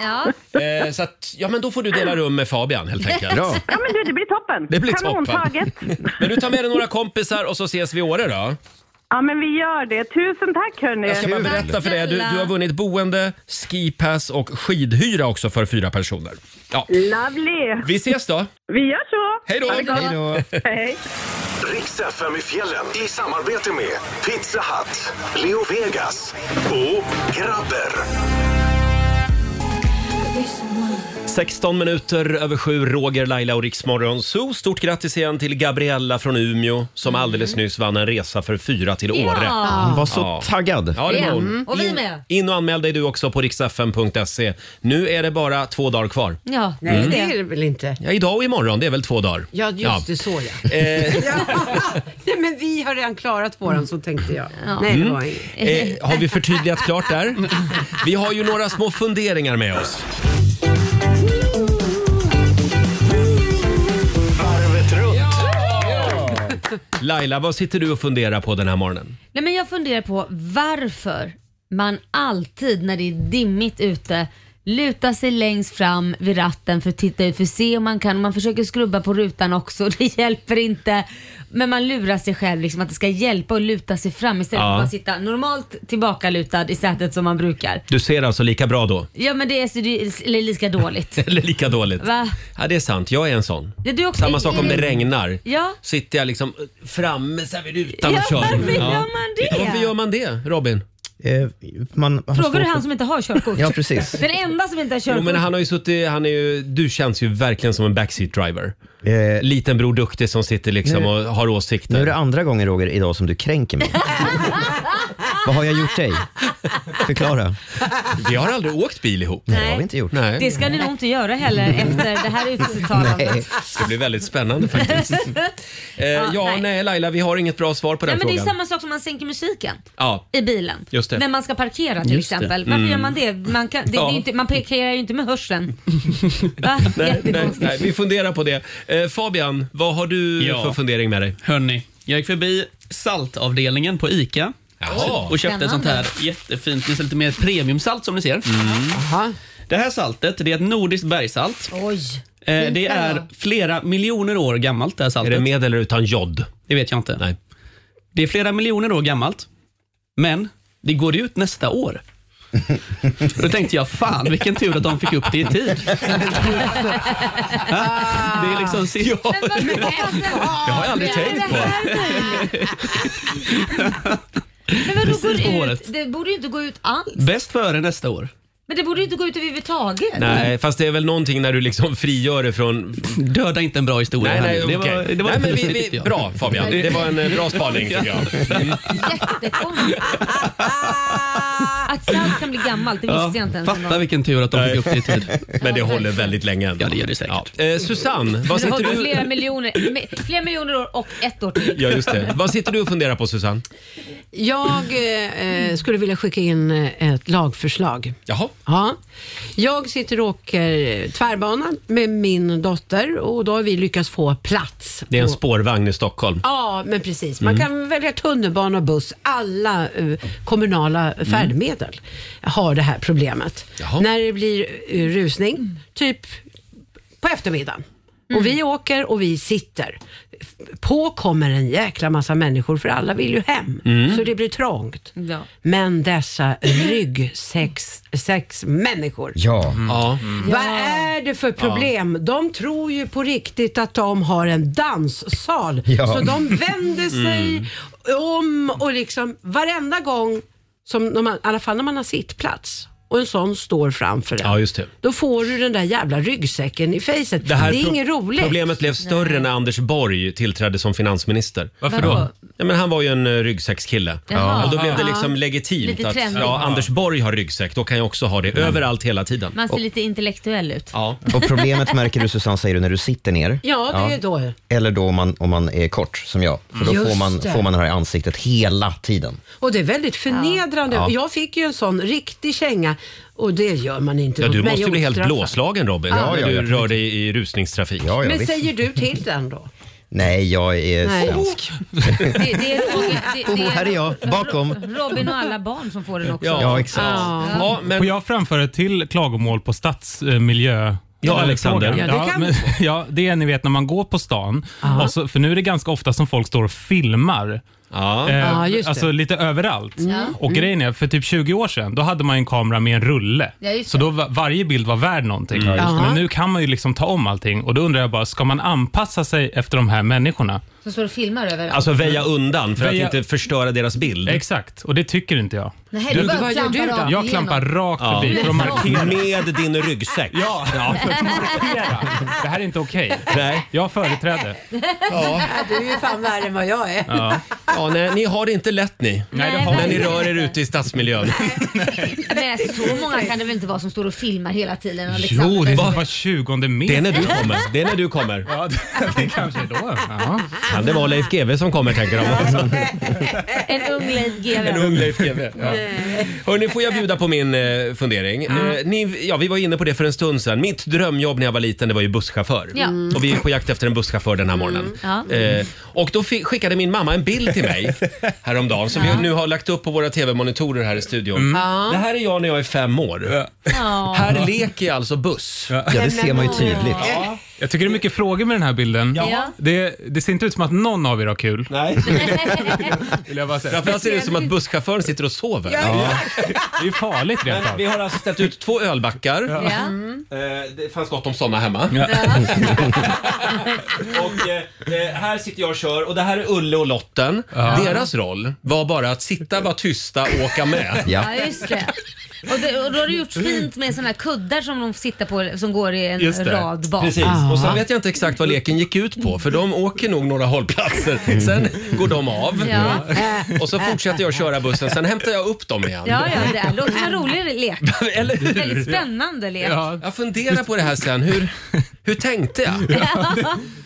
[SPEAKER 2] Ja.
[SPEAKER 1] Eh, så att, ja men då får du dela rum med Fabian helt enkelt.
[SPEAKER 4] Ja, men du, det blir toppen.
[SPEAKER 1] Det blir
[SPEAKER 4] Kanontaget.
[SPEAKER 1] toppen. Men du tar med dig några kompisar och så ses vi i Åre då.
[SPEAKER 4] Ja, men vi gör det. Tusen tack hörni.
[SPEAKER 1] Jag ska bara berätta för dig, du, du har vunnit boende, skipass och skidhyra också för fyra personer. Ja.
[SPEAKER 4] Lovely.
[SPEAKER 1] Vi ses då!
[SPEAKER 4] Vi gör så.
[SPEAKER 1] Hej då.
[SPEAKER 4] Ha det gott.
[SPEAKER 1] Hej då.
[SPEAKER 4] Hej.
[SPEAKER 5] Riks FM i fjällen i samarbete med Pizza Hut, Leo Vegas och Grabber.
[SPEAKER 1] 16 minuter över sju, Roger, Laila och Riksmorgon Zoo. Stort grattis igen till Gabriella från Umeå som alldeles nyss vann en resa för fyra till
[SPEAKER 2] Ja.
[SPEAKER 1] Åre.
[SPEAKER 2] Hon var så
[SPEAKER 1] taggad. Ja, det var hon.
[SPEAKER 2] Mm. Och vi med.
[SPEAKER 1] In och anmäl dig du också på riksfm.se. Nu är det bara två dagar kvar.
[SPEAKER 2] Ja,
[SPEAKER 1] Nej,
[SPEAKER 6] Nej,
[SPEAKER 1] Mm.
[SPEAKER 6] det är det väl inte.
[SPEAKER 1] Ja, idag och imorgon, det är väl två dagar? Eh,
[SPEAKER 6] Ja, just det. Så [LAUGHS] ja. ja. Nej, men vi har redan klarat våran, så tänkte jag. Nej, det
[SPEAKER 1] Mm.
[SPEAKER 6] var inget.
[SPEAKER 1] Eh, har vi förtydligat klart där? Vi har ju några små funderingar med oss.
[SPEAKER 5] Varvet runt.
[SPEAKER 1] Laila, vad sitter du och funderar på den här morgonen?
[SPEAKER 2] Nej, men jag funderar på varför man alltid när det är dimmigt ute lutar sig längst fram vid ratten för att titta ut för att se om man kan. Man försöker skrubba på rutan också, [LAUGHS] det hjälper inte. Men man lurar sig själv liksom att det ska hjälpa att luta sig fram istället för
[SPEAKER 1] Ja.
[SPEAKER 2] att bara sitta normalt tillbakalutad i sätet som man brukar.
[SPEAKER 1] Du ser alltså lika bra då? [LAUGHS]
[SPEAKER 2] Ja men det är, så, det är eller lika dåligt.
[SPEAKER 1] Eller lika dåligt?
[SPEAKER 2] Va?
[SPEAKER 1] Ja, det är sant. Jag är en sån.
[SPEAKER 2] Ja, du är också-
[SPEAKER 1] Samma sak om det
[SPEAKER 2] Mm.
[SPEAKER 1] regnar.
[SPEAKER 2] Ja.
[SPEAKER 1] Sitter jag liksom framme så här vid rutan
[SPEAKER 2] Ja,
[SPEAKER 1] och kör.
[SPEAKER 2] varför gör man det?
[SPEAKER 1] Ja, varför gör man det, Robin?
[SPEAKER 3] Eh, man
[SPEAKER 2] Frågar du han som inte har körkort?
[SPEAKER 1] Ja, precis.
[SPEAKER 2] Den enda som inte har körkort.
[SPEAKER 1] Jo, men han har ju suttit, han är ju, du känns ju verkligen som en backseat driver. Liten Bror Duktig som sitter liksom
[SPEAKER 3] Eh. Nu-
[SPEAKER 1] och har åsikter.
[SPEAKER 3] Nu är det andra gången Roger idag som du kränker
[SPEAKER 6] [LAUGHS]
[SPEAKER 3] mig. Vad har jag gjort dig? Förklara.
[SPEAKER 1] Vi har aldrig åkt bil ihop.
[SPEAKER 3] Nej, det har vi inte gjort.
[SPEAKER 1] Nej.
[SPEAKER 2] Det ska ni nog inte
[SPEAKER 1] [LAUGHS]
[SPEAKER 2] göra heller efter det här [LAUGHS] uttalandet.
[SPEAKER 1] Det blir väldigt spännande
[SPEAKER 2] [LAUGHS]
[SPEAKER 1] faktiskt. Eh, ja, nej. Laila, vi har inget bra svar på
[SPEAKER 2] Nej,
[SPEAKER 1] den
[SPEAKER 2] men det är
[SPEAKER 1] frågan.
[SPEAKER 2] samma sak som man sänker musiken
[SPEAKER 1] Ja.
[SPEAKER 2] i bilen.
[SPEAKER 1] Just det.
[SPEAKER 2] När man ska parkera till
[SPEAKER 1] Just det.
[SPEAKER 2] exempel. Varför
[SPEAKER 1] Mm.
[SPEAKER 2] gör man det? Man, kan, det, det
[SPEAKER 1] Ja.
[SPEAKER 2] är ju inte, man parkerar ju inte
[SPEAKER 1] [LAUGHS]
[SPEAKER 2] med hörseln. Va?
[SPEAKER 1] Nej, nej,
[SPEAKER 2] Jättekonstigt.
[SPEAKER 1] nej, vi funderar på det. Eh, Fabian, vad har du
[SPEAKER 8] Ja.
[SPEAKER 1] för fundering med dig?
[SPEAKER 8] Hörni, jag gick förbi saltavdelningen på ICA
[SPEAKER 1] Jaha.
[SPEAKER 8] och köpte ett sånt
[SPEAKER 1] Spännande.
[SPEAKER 8] här jättefint, nästan lite mer premiumsalt som ni
[SPEAKER 1] Mm.
[SPEAKER 8] ser. Det här saltet det är ett nordiskt bergsalt.
[SPEAKER 2] Oj.
[SPEAKER 8] Eh,
[SPEAKER 2] Fint
[SPEAKER 8] det är
[SPEAKER 2] bergsalt.
[SPEAKER 8] flera miljoner år gammalt det här saltet.
[SPEAKER 1] Är det med eller utan jod?
[SPEAKER 8] Det vet jag inte.
[SPEAKER 1] Nej.
[SPEAKER 8] Det är flera miljoner år gammalt, men det går ut nästa
[SPEAKER 1] [LAUGHS]
[SPEAKER 8] år. Då tänkte jag, fan vilken tur att de fick upp det i tid. Det är liksom sista...
[SPEAKER 1] Det har jag aldrig tänkt på.
[SPEAKER 2] Men vadå
[SPEAKER 8] Precis på
[SPEAKER 2] går ut?
[SPEAKER 8] håret.
[SPEAKER 2] Det borde ju inte gå ut alls.
[SPEAKER 8] Bäst före nästa år.
[SPEAKER 2] Men det borde ju inte gå ut överhuvudtaget.
[SPEAKER 1] Nej, fast det är väl någonting när du liksom [LAUGHS] frigör det från...
[SPEAKER 8] Döda inte en bra historia.
[SPEAKER 1] Nej,
[SPEAKER 8] här
[SPEAKER 1] nej,
[SPEAKER 8] nu. det
[SPEAKER 1] okej.
[SPEAKER 8] var, det var
[SPEAKER 1] nej, men vi,
[SPEAKER 8] lustigt, tyckte
[SPEAKER 1] vi,
[SPEAKER 8] jag.
[SPEAKER 1] Bra Fabian, det var en eh, bra spaning tycker jag. Mm.
[SPEAKER 2] Att salt kan bli gammalt, det visste jag inte ens. en
[SPEAKER 8] [LAUGHS]
[SPEAKER 2] gång.
[SPEAKER 8] fatta vilken tur att de fick upp det i tid.
[SPEAKER 1] [LAUGHS] Men det håller väldigt länge ändå. Ja, det
[SPEAKER 8] gör det säkert.
[SPEAKER 1] Eh, Susanne, vad
[SPEAKER 2] Men det
[SPEAKER 1] sitter
[SPEAKER 2] har gått flera
[SPEAKER 1] du...
[SPEAKER 2] miljoner, med- flera miljoner år och ett år till.
[SPEAKER 1] Ja, just det. Vad sitter du och funderar på Susanne?
[SPEAKER 6] Jag eh, eh, skulle vilja skicka in eh, ett lagförslag.
[SPEAKER 1] Jaha.
[SPEAKER 6] Ja. Jag sitter och åker tvärbana med min dotter och då har vi lyckats få plats.
[SPEAKER 1] Det är en
[SPEAKER 6] på-
[SPEAKER 1] spårvagn i Stockholm.
[SPEAKER 6] Ja, men precis. Man
[SPEAKER 1] Mm.
[SPEAKER 6] kan välja tunnelbana och buss. Alla eh, kommunala färdmedel har det här problemet. När det blir eh, rusning, typ på eftermiddagen. Och vi åker och vi sitter. På kommer en jäkla massa människor för alla vill ju hem.
[SPEAKER 7] Mm.
[SPEAKER 6] Så det blir trångt.
[SPEAKER 2] [LAUGHS] Ja.
[SPEAKER 6] Men dessa ryggsex sex människor.
[SPEAKER 3] Ja.
[SPEAKER 1] Mm. ja.
[SPEAKER 6] Vad är det för problem? De tror ju på riktigt att de har en danssal.
[SPEAKER 7] Ja.
[SPEAKER 6] Så
[SPEAKER 1] [LAUGHS]
[SPEAKER 6] de vänder sig
[SPEAKER 7] Mm.
[SPEAKER 6] om och liksom varenda gång, som de, i alla fall när man har sittplats, och en sån står framför en.
[SPEAKER 1] Ja, just det.
[SPEAKER 6] Då får du den där jävla ryggsäcken i facet. Det, är
[SPEAKER 1] pro-
[SPEAKER 6] inget roligt.
[SPEAKER 1] Problemet blev större när Anders Borg tillträdde som finansminister.
[SPEAKER 6] Varför då?
[SPEAKER 1] Ja, men han var ju en eh, ryggsäckskille.
[SPEAKER 2] Jaha.
[SPEAKER 1] Och då blev det
[SPEAKER 2] Ja.
[SPEAKER 1] liksom legitimt
[SPEAKER 2] Lite
[SPEAKER 1] att
[SPEAKER 2] trendigt.
[SPEAKER 1] ja, Anders Borg har ryggsäck, då kan jag också ha det överallt hela tiden.
[SPEAKER 2] Man ser lite intellektuell ut.
[SPEAKER 1] Ja.
[SPEAKER 3] Och problemet märker du Susanne, säger du, när du sitter ner.
[SPEAKER 6] Ja, det är då. Mm.
[SPEAKER 3] Eller då om man, om man är kort, som jag. För då
[SPEAKER 6] Just
[SPEAKER 3] får man,
[SPEAKER 6] det.
[SPEAKER 3] får man det här i ansiktet hela tiden.
[SPEAKER 6] Och det är väldigt förnedrande.
[SPEAKER 3] Ja.
[SPEAKER 6] Och Jag fick ju en sån riktig känga och det gör man inte.
[SPEAKER 1] Ja,
[SPEAKER 6] mot
[SPEAKER 1] du
[SPEAKER 6] mig
[SPEAKER 1] måste ju bli helt
[SPEAKER 6] ostraffat.
[SPEAKER 1] blåslagen Robin,
[SPEAKER 6] Ja,
[SPEAKER 1] när
[SPEAKER 6] ja, ja.
[SPEAKER 1] du rör dig i rusningstrafik.
[SPEAKER 6] Men säger du till den då?
[SPEAKER 3] Nej, jag
[SPEAKER 1] Eh,
[SPEAKER 3] är
[SPEAKER 6] Nej. [LAUGHS]
[SPEAKER 3] svensk.
[SPEAKER 2] Det, det är Roger,
[SPEAKER 3] [LAUGHS]
[SPEAKER 2] det, det är
[SPEAKER 3] Här är jag, bakom.
[SPEAKER 2] Robin och alla barn som får den också.
[SPEAKER 9] Ja.
[SPEAKER 3] Ja, exakt.
[SPEAKER 9] Ja, men... Får jag framföra ett till klagomål på stadsmiljö? Eh,
[SPEAKER 1] Ja, Alexander.
[SPEAKER 9] Ja,
[SPEAKER 1] Ja, det
[SPEAKER 9] det,
[SPEAKER 1] kan
[SPEAKER 9] men, [LAUGHS] ja, det är ni vet när man går på stan, och så, för nu är det ganska ofta som folk står och filmar.
[SPEAKER 6] Ja, just det.
[SPEAKER 9] alltså lite överallt.
[SPEAKER 6] Ja.
[SPEAKER 9] Och
[SPEAKER 2] Mm.
[SPEAKER 9] grejen är, för typ 20 år sedan, då hade man ju en kamera med en rulle.
[SPEAKER 6] Ja, just
[SPEAKER 9] så då var, varje bild var värd någonting.
[SPEAKER 1] Mm.
[SPEAKER 6] Ja, just det.
[SPEAKER 9] Men nu kan man ju liksom ta om allting och då undrar jag bara, ska man anpassa sig efter de här människorna?
[SPEAKER 2] Som står och filmar överallt.
[SPEAKER 1] Alltså väja undan för
[SPEAKER 9] Väja-
[SPEAKER 1] att inte förstöra deras bild.
[SPEAKER 9] Exakt, och det tycker inte jag.
[SPEAKER 2] Nej, du bara klampar rakt
[SPEAKER 9] Jag klampar
[SPEAKER 2] igenom.
[SPEAKER 9] rakt förbi för att markera.
[SPEAKER 1] Med din ryggsäck.
[SPEAKER 9] Ja, för att markera. Det här är inte okej.
[SPEAKER 1] Nej.
[SPEAKER 9] Jag företräder.
[SPEAKER 6] Du är ju fan värre än vad jag är.
[SPEAKER 9] Ja.
[SPEAKER 1] Ja, nej, ni har det inte lätt ni.
[SPEAKER 2] Nej, det har
[SPEAKER 1] när
[SPEAKER 2] vi
[SPEAKER 1] ni
[SPEAKER 2] inte.
[SPEAKER 1] rör er ute i stadsmiljön.
[SPEAKER 2] Men så många kan det väl inte vara som står och liksom- filmar hela tiden? Alexander?
[SPEAKER 9] Jo, det är var 20 meter.
[SPEAKER 1] Det är när du kommer. Det är när du kommer.
[SPEAKER 9] Ja, det, [LAUGHS] det kanske är då. Ja.
[SPEAKER 1] Kan det vara Leif GW som kommer tänker de också.
[SPEAKER 2] [LAUGHS] En ung Leif
[SPEAKER 1] En
[SPEAKER 2] GW.
[SPEAKER 1] ung Leif GW. Ja. Hörni, får jag bjuda på min eh, fundering? Eh, ni, ja, vi var inne på det för en stund sedan. Mitt drömjobb när jag var liten det var ju busschaufför.
[SPEAKER 2] Ja. Mm.
[SPEAKER 1] Och vi är på jakt efter en busschaufför den här morgonen.
[SPEAKER 2] Ja.
[SPEAKER 1] Eh, och då fi- skickade min mamma en bild till
[SPEAKER 2] [LAUGHS]
[SPEAKER 9] [LAUGHS]
[SPEAKER 1] mig häromdagen som vi nu har lagt upp på våra tv-monitorer här i studion.
[SPEAKER 9] Mm.
[SPEAKER 2] Mm. Ja.
[SPEAKER 1] Det här är jag när jag är fem år.
[SPEAKER 2] Ja.
[SPEAKER 1] Här leker jag alltså buss.
[SPEAKER 3] Ja, det ser man ju tydligt.
[SPEAKER 9] Jag tycker det är mycket frågor med den här bilden.
[SPEAKER 2] Ja.
[SPEAKER 9] Det, det ser inte ut som att någon av er har kul.
[SPEAKER 1] Nej.
[SPEAKER 9] [LAUGHS] Vill jag bara säga.
[SPEAKER 1] Framförallt ser det ut som att busschauffören sitter och
[SPEAKER 9] [LAUGHS]
[SPEAKER 1] sover.
[SPEAKER 9] Det är ju farligt rent
[SPEAKER 1] Men
[SPEAKER 9] av.
[SPEAKER 1] vi har alltså ställt ut två ölbackar.
[SPEAKER 2] Ja.
[SPEAKER 1] Eh, det fanns gott om såna hemma.
[SPEAKER 9] Ja.
[SPEAKER 1] [LAUGHS] och eh, eh, här sitter jag och kör och det här är Ulle och Lotten. Deras roll var bara att sitta, vara tysta och åka med.
[SPEAKER 2] Ja, just det. Och, det, och då har du gjort fint med såna här kuddar som de sitter på som går i en
[SPEAKER 9] Just det.
[SPEAKER 2] rad bak.
[SPEAKER 1] Precis,
[SPEAKER 9] Ah.
[SPEAKER 1] och sen vet jag inte exakt vad leken gick ut på för de åker nog några
[SPEAKER 9] Mm.
[SPEAKER 1] hållplatser. Sen går de av
[SPEAKER 2] Ja.
[SPEAKER 1] [LAUGHS] och så fortsätter jag köra bussen. Sen hämtar jag upp dem igen.
[SPEAKER 2] Ja, ja, det låter som en rolig lek.
[SPEAKER 1] [LAUGHS] Eller hur?
[SPEAKER 2] Väldigt spännande lek.
[SPEAKER 9] Ja,
[SPEAKER 1] Jag funderar på det här sen. Hur, hur
[SPEAKER 9] [LAUGHS]
[SPEAKER 1] tänkte jag?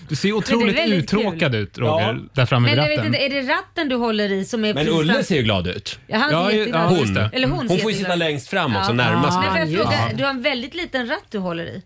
[SPEAKER 9] du ser
[SPEAKER 2] Men
[SPEAKER 9] otroligt
[SPEAKER 2] det är väldigt
[SPEAKER 9] uttråkad ut Roger, där framme
[SPEAKER 2] Men
[SPEAKER 9] vid
[SPEAKER 2] jag vet
[SPEAKER 9] ratten.
[SPEAKER 2] inte, är det ratten du håller i som är
[SPEAKER 1] Men
[SPEAKER 2] precis
[SPEAKER 1] Ulle
[SPEAKER 2] fram-
[SPEAKER 1] ser ju glad ut.
[SPEAKER 2] Ja, han
[SPEAKER 9] Ja,
[SPEAKER 2] ser
[SPEAKER 9] ja,
[SPEAKER 2] jätteglad ut.
[SPEAKER 1] Hon,
[SPEAKER 2] Eller hon,
[SPEAKER 1] hon
[SPEAKER 2] ser
[SPEAKER 1] får ju sitta
[SPEAKER 2] jätteglad ut.
[SPEAKER 1] längst fram också,
[SPEAKER 2] Ja.
[SPEAKER 1] närmast
[SPEAKER 2] Men
[SPEAKER 1] mig.
[SPEAKER 2] får jag
[SPEAKER 6] Ja.
[SPEAKER 2] fråga, du har en väldigt liten ratt du
[SPEAKER 1] [LAUGHS]
[SPEAKER 2] håller i.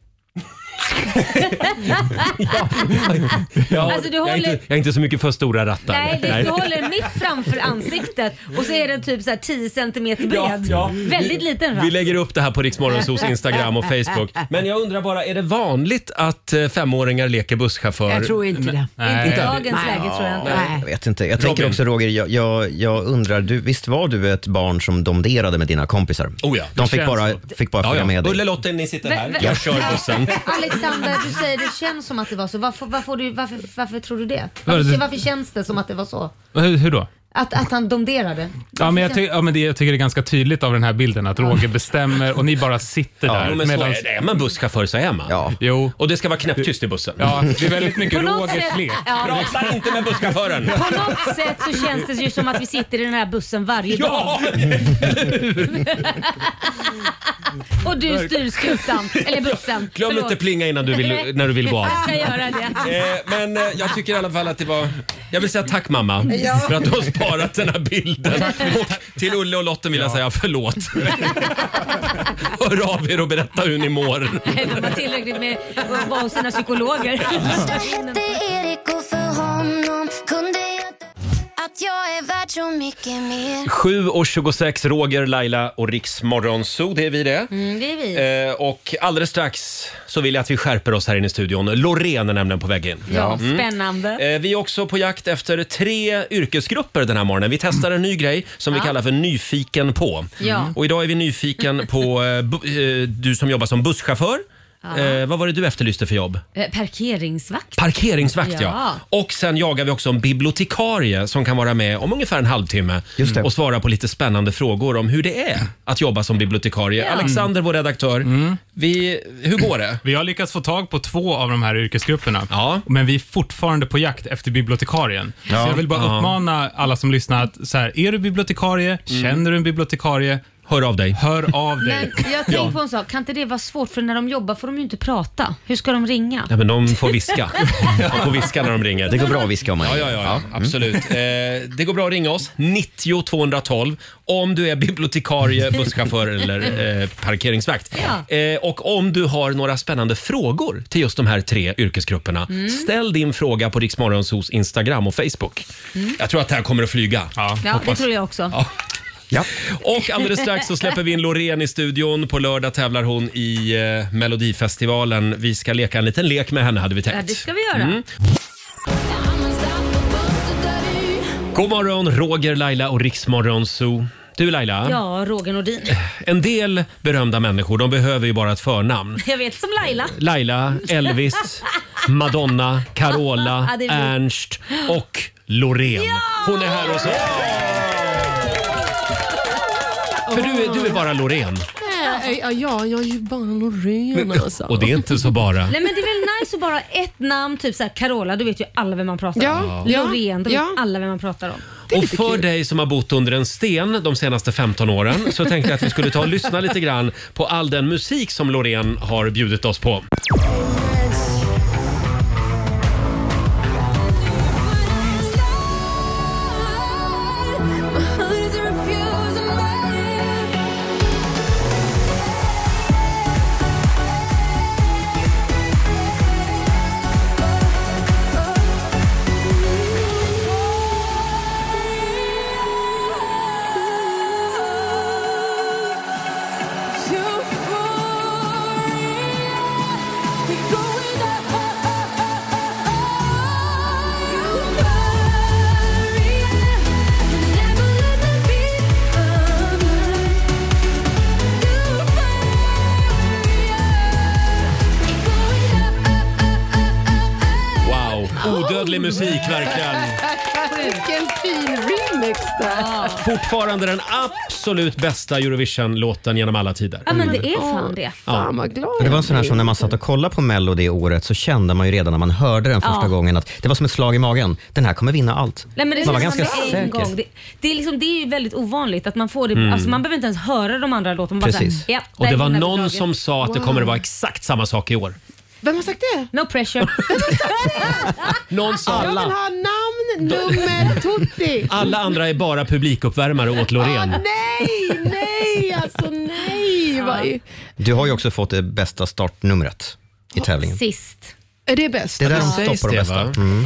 [SPEAKER 1] Ja,
[SPEAKER 2] Alltså, du
[SPEAKER 1] jag, är
[SPEAKER 2] håller-
[SPEAKER 1] inte, jag är inte så mycket för stora rattar.
[SPEAKER 2] Nej, det, du håller mitt framför ansiktet och så är den typ så här 10 centimeter
[SPEAKER 1] Ja,
[SPEAKER 2] bred.
[SPEAKER 1] ja.
[SPEAKER 2] Väldigt liten ratt.
[SPEAKER 1] Vi lägger upp det här på Riksmorgonsos Instagram och Facebook. Men jag undrar bara, är det vanligt att eh, femåringar leker busschaufför?
[SPEAKER 6] Jag tror inte det.
[SPEAKER 2] Inte i
[SPEAKER 1] Nej.
[SPEAKER 2] dagens läge tror jag inte.
[SPEAKER 6] Oh, Nej.
[SPEAKER 3] Jag vet inte. Jag tänker
[SPEAKER 1] Robin.
[SPEAKER 3] också Roger, jag, jag, jag undrar, du, visst var du ett barn som domderade med dina kompisar?
[SPEAKER 1] Oh ja,
[SPEAKER 3] De
[SPEAKER 1] det
[SPEAKER 3] fick
[SPEAKER 9] känns
[SPEAKER 3] bara,
[SPEAKER 9] så.
[SPEAKER 3] fick bara
[SPEAKER 1] Ja,
[SPEAKER 3] följa
[SPEAKER 1] ja.
[SPEAKER 3] med
[SPEAKER 1] Ulle
[SPEAKER 3] dig.
[SPEAKER 1] Lotte, ni sitter
[SPEAKER 2] Vä-
[SPEAKER 1] här.
[SPEAKER 2] vä-
[SPEAKER 1] Jag kör bussen.
[SPEAKER 2] [LAUGHS] Alexander, du säger det känns som att det var så. Varför, varför, du, varför, varför tror du det? Varför,
[SPEAKER 9] Varför-
[SPEAKER 2] varför känns det som att det var så?
[SPEAKER 9] Hur, hur då?
[SPEAKER 2] Att, att han domderade?
[SPEAKER 9] Ja, men jag, ty- ja, men det, jag tycker det är ganska tydligt av den här bilden att Roger bestämmer och ni bara sitter där.
[SPEAKER 1] Ja, men så
[SPEAKER 9] medans-
[SPEAKER 1] är, det. är man busschaufför så är man.
[SPEAKER 3] Ja.
[SPEAKER 9] Jo.
[SPEAKER 1] Och det ska vara knäpptyst i bussen.
[SPEAKER 9] Ja, det är väldigt mycket
[SPEAKER 2] På något
[SPEAKER 9] Rogers
[SPEAKER 2] sätt-
[SPEAKER 9] lek.
[SPEAKER 2] ja,
[SPEAKER 1] Prata inte med busschauffören!
[SPEAKER 2] på något sätt så känns det ju som att vi sitter i den här bussen varje dag
[SPEAKER 1] Ja!
[SPEAKER 2] och du styr skutan, eller bussen.
[SPEAKER 1] Glöm inte plinga innan du vill, när du vill gå av.
[SPEAKER 2] [LAUGHS] Jag ska göra det.
[SPEAKER 1] Eh, men eh, jag tycker i alla fall att det var... Jag vill säga tack mamma för att du har sparat den här bilden. Och till Ulle och Lotten vill jag säga [LAUGHS] förlåt. Hör av er och berätta hur ni mår.
[SPEAKER 2] De har tillräckligt med att vara hos sina psykologer.
[SPEAKER 7] hette Erik och för honom kunde jag att jag är värd så mycket mer
[SPEAKER 1] 7.26, Roger, Laila och Riksmorgonzoo, det är vi det.
[SPEAKER 2] Mm, det är vi.
[SPEAKER 1] Eh, och alldeles strax så vill jag att vi skärper oss här inne i studion. Loreen är nämligen på väg in.
[SPEAKER 2] Ja, spännande.
[SPEAKER 1] Eh, Vi är också på jakt efter tre yrkesgrupper den här morgonen. Vi testar en ny grej som vi
[SPEAKER 2] Ja.
[SPEAKER 1] kallar för nyfiken på.
[SPEAKER 2] Ja.
[SPEAKER 1] Och idag är vi nyfiken på eh, bu- eh, du som jobbar som busschaufför
[SPEAKER 2] Ja.
[SPEAKER 1] Eh, vad var det du efterlyste för jobb?
[SPEAKER 2] Eh, Parkeringsvakt.
[SPEAKER 1] Parkeringsvakt ja.
[SPEAKER 2] Ja.
[SPEAKER 1] Och sen jagar vi också en bibliotekarie som kan vara med om ungefär en halvtimme och svara på lite spännande frågor om hur det är att jobba som bibliotekarie.
[SPEAKER 9] Ja.
[SPEAKER 1] Alexander, vår redaktör, vi, hur går det?
[SPEAKER 9] Mm. Vi har lyckats få tag på två av de här yrkesgrupperna, men vi är fortfarande på jakt efter bibliotekarien.
[SPEAKER 1] Ja.
[SPEAKER 9] Så jag vill bara
[SPEAKER 1] Ja.
[SPEAKER 9] uppmana alla som lyssnar att så här, är du bibliotekarie, känner du en bibliotekarie,
[SPEAKER 1] Mm. hör av dig.
[SPEAKER 9] Hör av
[SPEAKER 2] Men
[SPEAKER 9] dig.
[SPEAKER 2] jag tänkte på en sak, kan inte det vara svårt för när de jobbar får de ju inte prata. Hur ska de ringa?
[SPEAKER 1] Ja, men de får
[SPEAKER 2] [LAUGHS]
[SPEAKER 1] viska. De får viska när de ringer. Det går bra att viska om man Ja, ja, ja, ja.
[SPEAKER 2] Mm.
[SPEAKER 1] absolut. Eh, det går bra att ringa oss, 90 212, om du är
[SPEAKER 2] [LAUGHS]
[SPEAKER 1] bibliotekarie, busschaufför eller eh, parkeringsvakt. Eh, och om du har några spännande frågor till just de här tre yrkesgrupperna,
[SPEAKER 2] Mm.
[SPEAKER 1] ställ din fråga på Riksmorgonsos Instagram och Facebook.
[SPEAKER 2] Mm.
[SPEAKER 1] Jag tror att det här kommer att flyga.
[SPEAKER 2] Ja, det
[SPEAKER 1] Hoppas.
[SPEAKER 2] tror jag också.
[SPEAKER 1] Ja. Och alldeles strax så släpper vi in Loreen i studion. På lördag tävlar hon i eh, Melodifestivalen. Vi ska leka en liten lek med henne hade vi tänkt.
[SPEAKER 2] Ja, det ska vi göra.
[SPEAKER 1] Mm. God morgon, Roger, Laila och Riksmorgon Zoo. Du Laila,
[SPEAKER 2] Ja, Roger Nordin. [LAUGHS]
[SPEAKER 1] en del berömda människor de behöver ju bara ett förnamn.
[SPEAKER 2] Jag vet som Laila.
[SPEAKER 1] Laila,
[SPEAKER 2] [LAUGHS]
[SPEAKER 1] Elvis, Madonna, Carola,
[SPEAKER 2] Ja, det är vi.
[SPEAKER 1] Ernst och Loreen. Hon är här hos oss. För du, är- du är bara Loreen.
[SPEAKER 12] Nej, ja, ja, jag är ju bara Loreen alltså.
[SPEAKER 1] Och det är inte så bara.
[SPEAKER 2] Nej men det är väl nice att bara ha ett namn, typ såhär Carola, då vet ju alla vem man pratar
[SPEAKER 1] Ja,
[SPEAKER 2] om.
[SPEAKER 1] ja,
[SPEAKER 2] Loreen, då vet
[SPEAKER 12] ja.
[SPEAKER 2] alla vem man pratar om.
[SPEAKER 1] Och för dig som har bott under en sten de senaste 15 åren så tänkte jag att vi skulle ta och lyssna lite grann på all den musik som Loreen har bjudit oss på. Wow, odödlig musik verkligen.
[SPEAKER 12] Vilken fin remix där.
[SPEAKER 1] Fortfarande den absolut bästa Eurovision-låten genom alla tider.
[SPEAKER 2] Ja men det är fan det.
[SPEAKER 12] Fan vad glad
[SPEAKER 3] Det var en sån här som när man satt och kollade på Mello det året så kände man ju redan när man hörde den första
[SPEAKER 2] Ja.
[SPEAKER 3] gången att det var som ett slag i magen. Den här kommer vinna allt.
[SPEAKER 2] Nej, men det
[SPEAKER 3] man var
[SPEAKER 2] känns
[SPEAKER 3] ganska
[SPEAKER 2] som det är en
[SPEAKER 3] säker.
[SPEAKER 2] gång. Det, det, är liksom, det är ju väldigt ovanligt att man får det.
[SPEAKER 1] Mm.
[SPEAKER 2] Alltså, man behöver inte ens höra de andra låtarna. man bara
[SPEAKER 1] Precis.
[SPEAKER 2] såhär, ja,
[SPEAKER 1] Och
[SPEAKER 2] där
[SPEAKER 1] det
[SPEAKER 2] är
[SPEAKER 1] var
[SPEAKER 2] den här
[SPEAKER 1] någon
[SPEAKER 2] bidragen.
[SPEAKER 1] som sa att det kommer att vara exakt samma sak i
[SPEAKER 2] [LAUGHS]
[SPEAKER 1] år.
[SPEAKER 12] Vem har sagt det?
[SPEAKER 2] No
[SPEAKER 12] [LAUGHS]
[SPEAKER 2] pressure.
[SPEAKER 1] Någon sa
[SPEAKER 12] Jag vill
[SPEAKER 1] alla.
[SPEAKER 12] ha namn, nummer, tutti.
[SPEAKER 1] Alla andra är bara publikuppvärmare åt Loreen.
[SPEAKER 12] Nej, nej, alltså nej. Vad-
[SPEAKER 3] Du har ju också fått det bästa startnumret i tävlingen.
[SPEAKER 2] Sist.
[SPEAKER 12] Är det bäst?
[SPEAKER 3] Det är där
[SPEAKER 12] Ja.
[SPEAKER 3] de stoppar de bästa. Mm.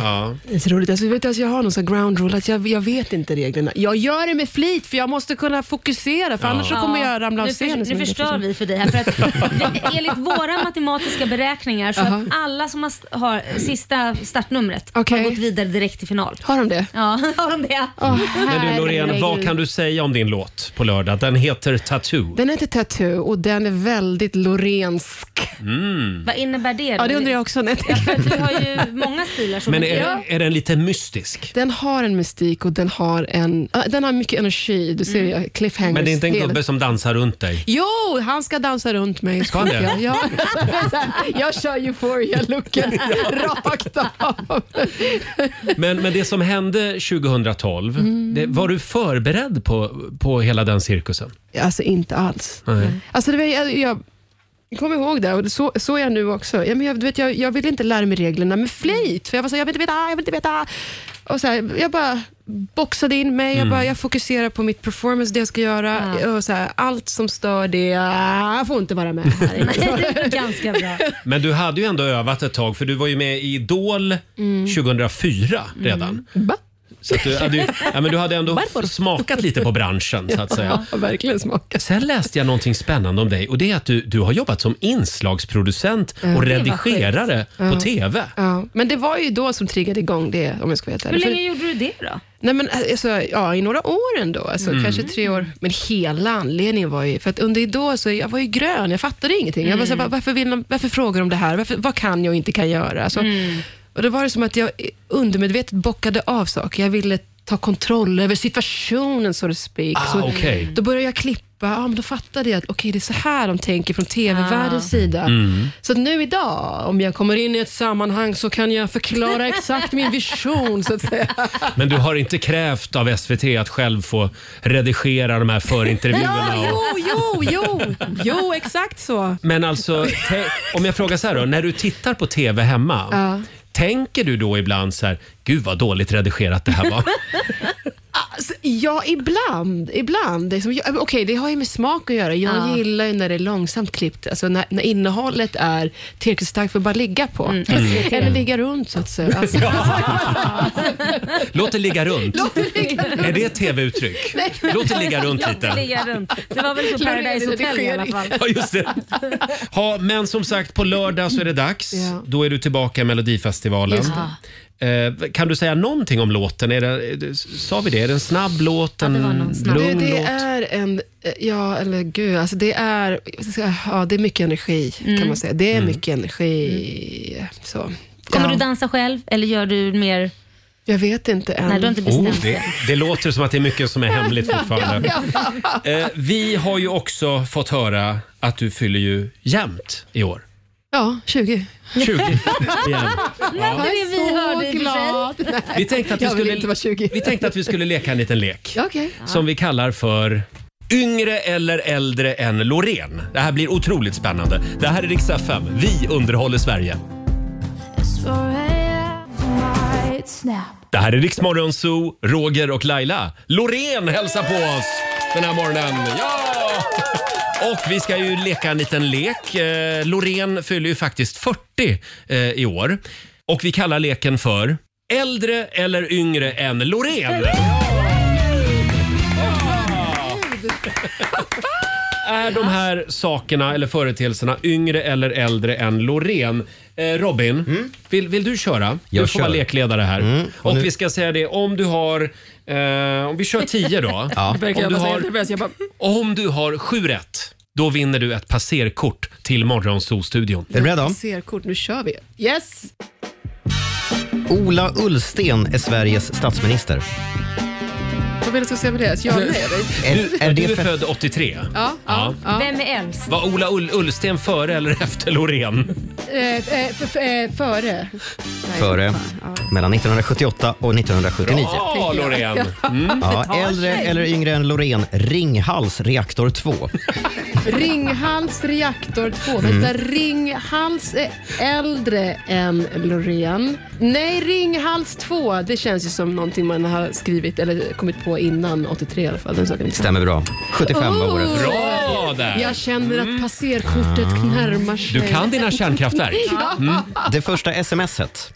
[SPEAKER 12] Det är så roligt. Alltså, vet du, alltså, jag har någon sån ground rule att jag, jag vet inte reglerna. Jag gör det med flit för jag måste kunna fokusera för annars så kommer jag ramla av
[SPEAKER 2] nu,
[SPEAKER 12] scenen.
[SPEAKER 2] förs- nu förstör vi för dig här. För
[SPEAKER 12] [LAUGHS]
[SPEAKER 2] att, det- enligt våra matematiska beräkningar så har alla som har, s- har sista startnumret har gått vidare direkt till final.
[SPEAKER 12] Har de det?
[SPEAKER 2] Ja, [LAUGHS] har de det?
[SPEAKER 1] Men du Loreen, vad kan du säga om din låt på lördag? Den heter Tattoo.
[SPEAKER 12] Den heter Tattoo och den är väldigt Lorensk.
[SPEAKER 1] Mm.
[SPEAKER 2] Vad innebär det?
[SPEAKER 12] Ja, det undrar jag också. När jag tänker
[SPEAKER 2] Du har ju många stilar som
[SPEAKER 1] Men
[SPEAKER 12] Ja.
[SPEAKER 1] är, är den lite mystisk?
[SPEAKER 12] Den har en mystik och den har, en, ah, den har mycket energi. Du ser
[SPEAKER 2] Mm.
[SPEAKER 12] ju cliffhangers.
[SPEAKER 1] Men det är inte en
[SPEAKER 12] hela-
[SPEAKER 1] gubbe som dansar runt dig?
[SPEAKER 12] Jo, han ska dansa runt mig.
[SPEAKER 1] Ska han det?
[SPEAKER 12] Jag, jag, [LAUGHS] jag
[SPEAKER 1] [LAUGHS]
[SPEAKER 12] kör euphoria-looken rakt av.
[SPEAKER 1] Men, men det som hände 2012, det,
[SPEAKER 2] Mm.
[SPEAKER 1] var du förberedd på, på hela den cirkusen?
[SPEAKER 12] Alltså inte alls.
[SPEAKER 1] Nej.
[SPEAKER 12] Alltså, det var, jag, jag kom ihåg det och så, så är jag nu också. Ja, men jag, du vet, jag, jag ville inte lära mig reglerna med flit, för jag var så här, jag vill inte veta, jag vill inte veta. Och så här, jag bara boxade in mig, jag,
[SPEAKER 1] Mm.
[SPEAKER 12] bara, jag fokuserar på mitt performance, det jag ska göra. Och så här, allt som stör det, jag får inte vara med här.
[SPEAKER 2] [LAUGHS] Ganska bra.
[SPEAKER 1] Men du hade ju ändå övat ett tag för du var ju med i Idol
[SPEAKER 12] Mm.
[SPEAKER 1] 2004 redan.
[SPEAKER 12] Va?
[SPEAKER 1] Så att du, hade, ju- ja, men du hade ändå smakat lite på branschen så att säga.
[SPEAKER 12] [LAUGHS] Ja, verkligen smaka.
[SPEAKER 1] Sen läste jag någonting spännande om dig och det är att du, du har jobbat som inslagsproducent
[SPEAKER 12] Ja. Det
[SPEAKER 1] och
[SPEAKER 12] var
[SPEAKER 1] redigerare
[SPEAKER 12] sjukt.
[SPEAKER 1] på
[SPEAKER 12] Ja.
[SPEAKER 1] TV.
[SPEAKER 12] Ja, men det var ju då som triggade igång det om jag ska vara helt
[SPEAKER 2] Hur
[SPEAKER 12] ärlig. För-
[SPEAKER 2] länge gjorde du det då?
[SPEAKER 12] Nej, men, alltså, ja, I några år ändå, alltså,
[SPEAKER 2] Mm.
[SPEAKER 12] kanske tre år. Men hela anledningen var ju, för att under Idol så jag var ju grön, jag fattade ingenting. Jag bara,
[SPEAKER 1] Mm.
[SPEAKER 12] så, här, "Va- varför, vill de, varför frågar de det här? Varför, vad kan jag och inte kan göra? Alltså,
[SPEAKER 1] Mm.
[SPEAKER 12] och Då var det som att jag undermedvetet bockade av saker. Jag ville ta kontroll över situationen, so to speak.
[SPEAKER 1] Ah,
[SPEAKER 12] så,
[SPEAKER 1] okej.
[SPEAKER 12] Då började jag klippa, ja, men då fattade jag att okej, det är så här de tänker från TV-världens sida.
[SPEAKER 1] Mm.
[SPEAKER 12] Så att nu idag, om jag kommer in i ett sammanhang så kan
[SPEAKER 1] [LAUGHS]
[SPEAKER 12] jag förklara exakt min vision, så att säga.
[SPEAKER 1] Men du har inte krävt av SVT att själv få redigera de här förintervjuerna? och-
[SPEAKER 12] Ja, jo, jo, jo, jo, exakt så.
[SPEAKER 1] Men alltså, te- om jag frågar så här då, när du tittar på TV hemma,
[SPEAKER 12] Ja.
[SPEAKER 1] tänker du då ibland så här, gud vad dåligt redigerat det här var?
[SPEAKER 12] Alltså, ja, ibland. ibland. Det är som- ja, men Okej, det har ju med smak att göra. Jag
[SPEAKER 2] Ja.
[SPEAKER 12] gillar ju när det är långsamt klippt. Alltså när, när innehållet är tillräckligt starkt för att bara ligga på. Alltså,
[SPEAKER 1] Mm.
[SPEAKER 12] Eller ligga runt, så
[SPEAKER 1] [LAUGHS]
[SPEAKER 12] att säga. Alltså,
[SPEAKER 1] Låt det ligga runt.
[SPEAKER 12] [LAUGHS] Låt det ligga runt.
[SPEAKER 1] Är det
[SPEAKER 7] [LAUGHS]
[SPEAKER 1] ett TV-uttryck?
[SPEAKER 12] Nej.
[SPEAKER 1] Låt det ligga runt
[SPEAKER 2] Låt det
[SPEAKER 1] lite.
[SPEAKER 2] ligga runt. Det var väl så
[SPEAKER 12] Klart det är
[SPEAKER 2] Paradise Hotel i alla fall.
[SPEAKER 1] Ja, just det. Ja, men som sagt, på lördag så är det dags.
[SPEAKER 2] Ja.
[SPEAKER 1] Då är du tillbaka i Melodifestivalen.
[SPEAKER 2] Just
[SPEAKER 1] Eh, kan du säga någonting om låten? Är det, är det- sa vi det? Är det en snabb låt? En
[SPEAKER 12] Du,
[SPEAKER 1] lugn
[SPEAKER 12] det
[SPEAKER 1] låt?
[SPEAKER 12] är en... Ja, eller gud. Alltså det, är, ja, det är mycket energi, kan man säga.
[SPEAKER 1] Mm.
[SPEAKER 12] Det är mycket energi. Så.
[SPEAKER 2] Kommer
[SPEAKER 12] Ja.
[SPEAKER 2] du dansa själv eller gör du mer?
[SPEAKER 12] Jag vet inte än.
[SPEAKER 2] Nej, du har inte
[SPEAKER 1] Oh,
[SPEAKER 2] bestämt
[SPEAKER 1] det, det låter som att det är mycket som är hemligt fortfarande. Eh, vi har ju också fått höra att du fyller ju jämnt i år.
[SPEAKER 12] Ja, 20. [LAUGHS]
[SPEAKER 1] 20 igen.
[SPEAKER 2] Nej, det är det vi hörde i och för sig.
[SPEAKER 1] Vi tänkte att vi
[SPEAKER 12] Jag vill
[SPEAKER 1] skulle,
[SPEAKER 12] inte vara 20.
[SPEAKER 1] vi tänkte att vi skulle leka en liten lek
[SPEAKER 12] Okej.
[SPEAKER 1] som vi kallar för Yngre eller äldre än Loreen. Det här blir otroligt spännande. Det här är Rix FM. Vi underhåller Sverige. Det här är Rix Morgon Zoo, Roger och Laila. Loreen hälsar på oss den här morgonen. Ja! Och vi ska ju leka en liten lek. Eh, Loreen fyller ju faktiskt 40 eh, i år. Och vi kallar leken för Äldre eller yngre än Loreen. [LAUGHS] Är de här sakerna eller företeelserna yngre eller äldre än Loreen? Eh, Robin, vill, vill du köra? du
[SPEAKER 3] Mm. Jag
[SPEAKER 1] får vara
[SPEAKER 3] kör.
[SPEAKER 1] lekledare här. Och,
[SPEAKER 3] Mm. nu-
[SPEAKER 1] vi ska säga det, om du har... Eh, om vi kör tio då.
[SPEAKER 3] [LAUGHS] Ja.
[SPEAKER 1] om, du har,
[SPEAKER 12] jag bara...
[SPEAKER 1] om du har sju rätt, då vinner du ett passerkort till Morgonzoo-studion.
[SPEAKER 3] Är du beredd då?
[SPEAKER 12] Passerkort, nu kör vi. Yes!
[SPEAKER 3] Ola Ullsten är Sveriges statsminister.
[SPEAKER 12] Vad vill du att jag ska säga med det? Ska
[SPEAKER 1] [LAUGHS]
[SPEAKER 12] Jag med dig?
[SPEAKER 1] Du,
[SPEAKER 3] är
[SPEAKER 1] du
[SPEAKER 3] det
[SPEAKER 1] är
[SPEAKER 3] för-
[SPEAKER 1] född 83.
[SPEAKER 12] Ja, ja, ja.
[SPEAKER 2] Vem är äldst?
[SPEAKER 1] Var Ola Ull Ullsten före eller efter Loreen?
[SPEAKER 12] Eh, eh, f- f- eh, före.
[SPEAKER 3] Före mellan 1978 och 1979.
[SPEAKER 1] Bra Loreen! Mm.
[SPEAKER 3] Ja, äldre eller yngre än Loreen, Ringhals reaktor 2.
[SPEAKER 12] Ringhals reaktor 2.
[SPEAKER 3] Mm.
[SPEAKER 12] Vänta, Ringhals är äldre än Loreen. Nej, Ringhals 2. Det känns ju som någonting man har skrivit eller kommit på innan 83 i alla fall. Den saken är klar.
[SPEAKER 3] Stämmer bra. 75 var året.
[SPEAKER 1] Bra där! Mm.
[SPEAKER 12] Jag känner att passerkortet närmar sig.
[SPEAKER 1] Du kan dina kärnkraftverk.
[SPEAKER 12] [LAUGHS]
[SPEAKER 1] Mm.
[SPEAKER 12] Ja.
[SPEAKER 3] Det första smset.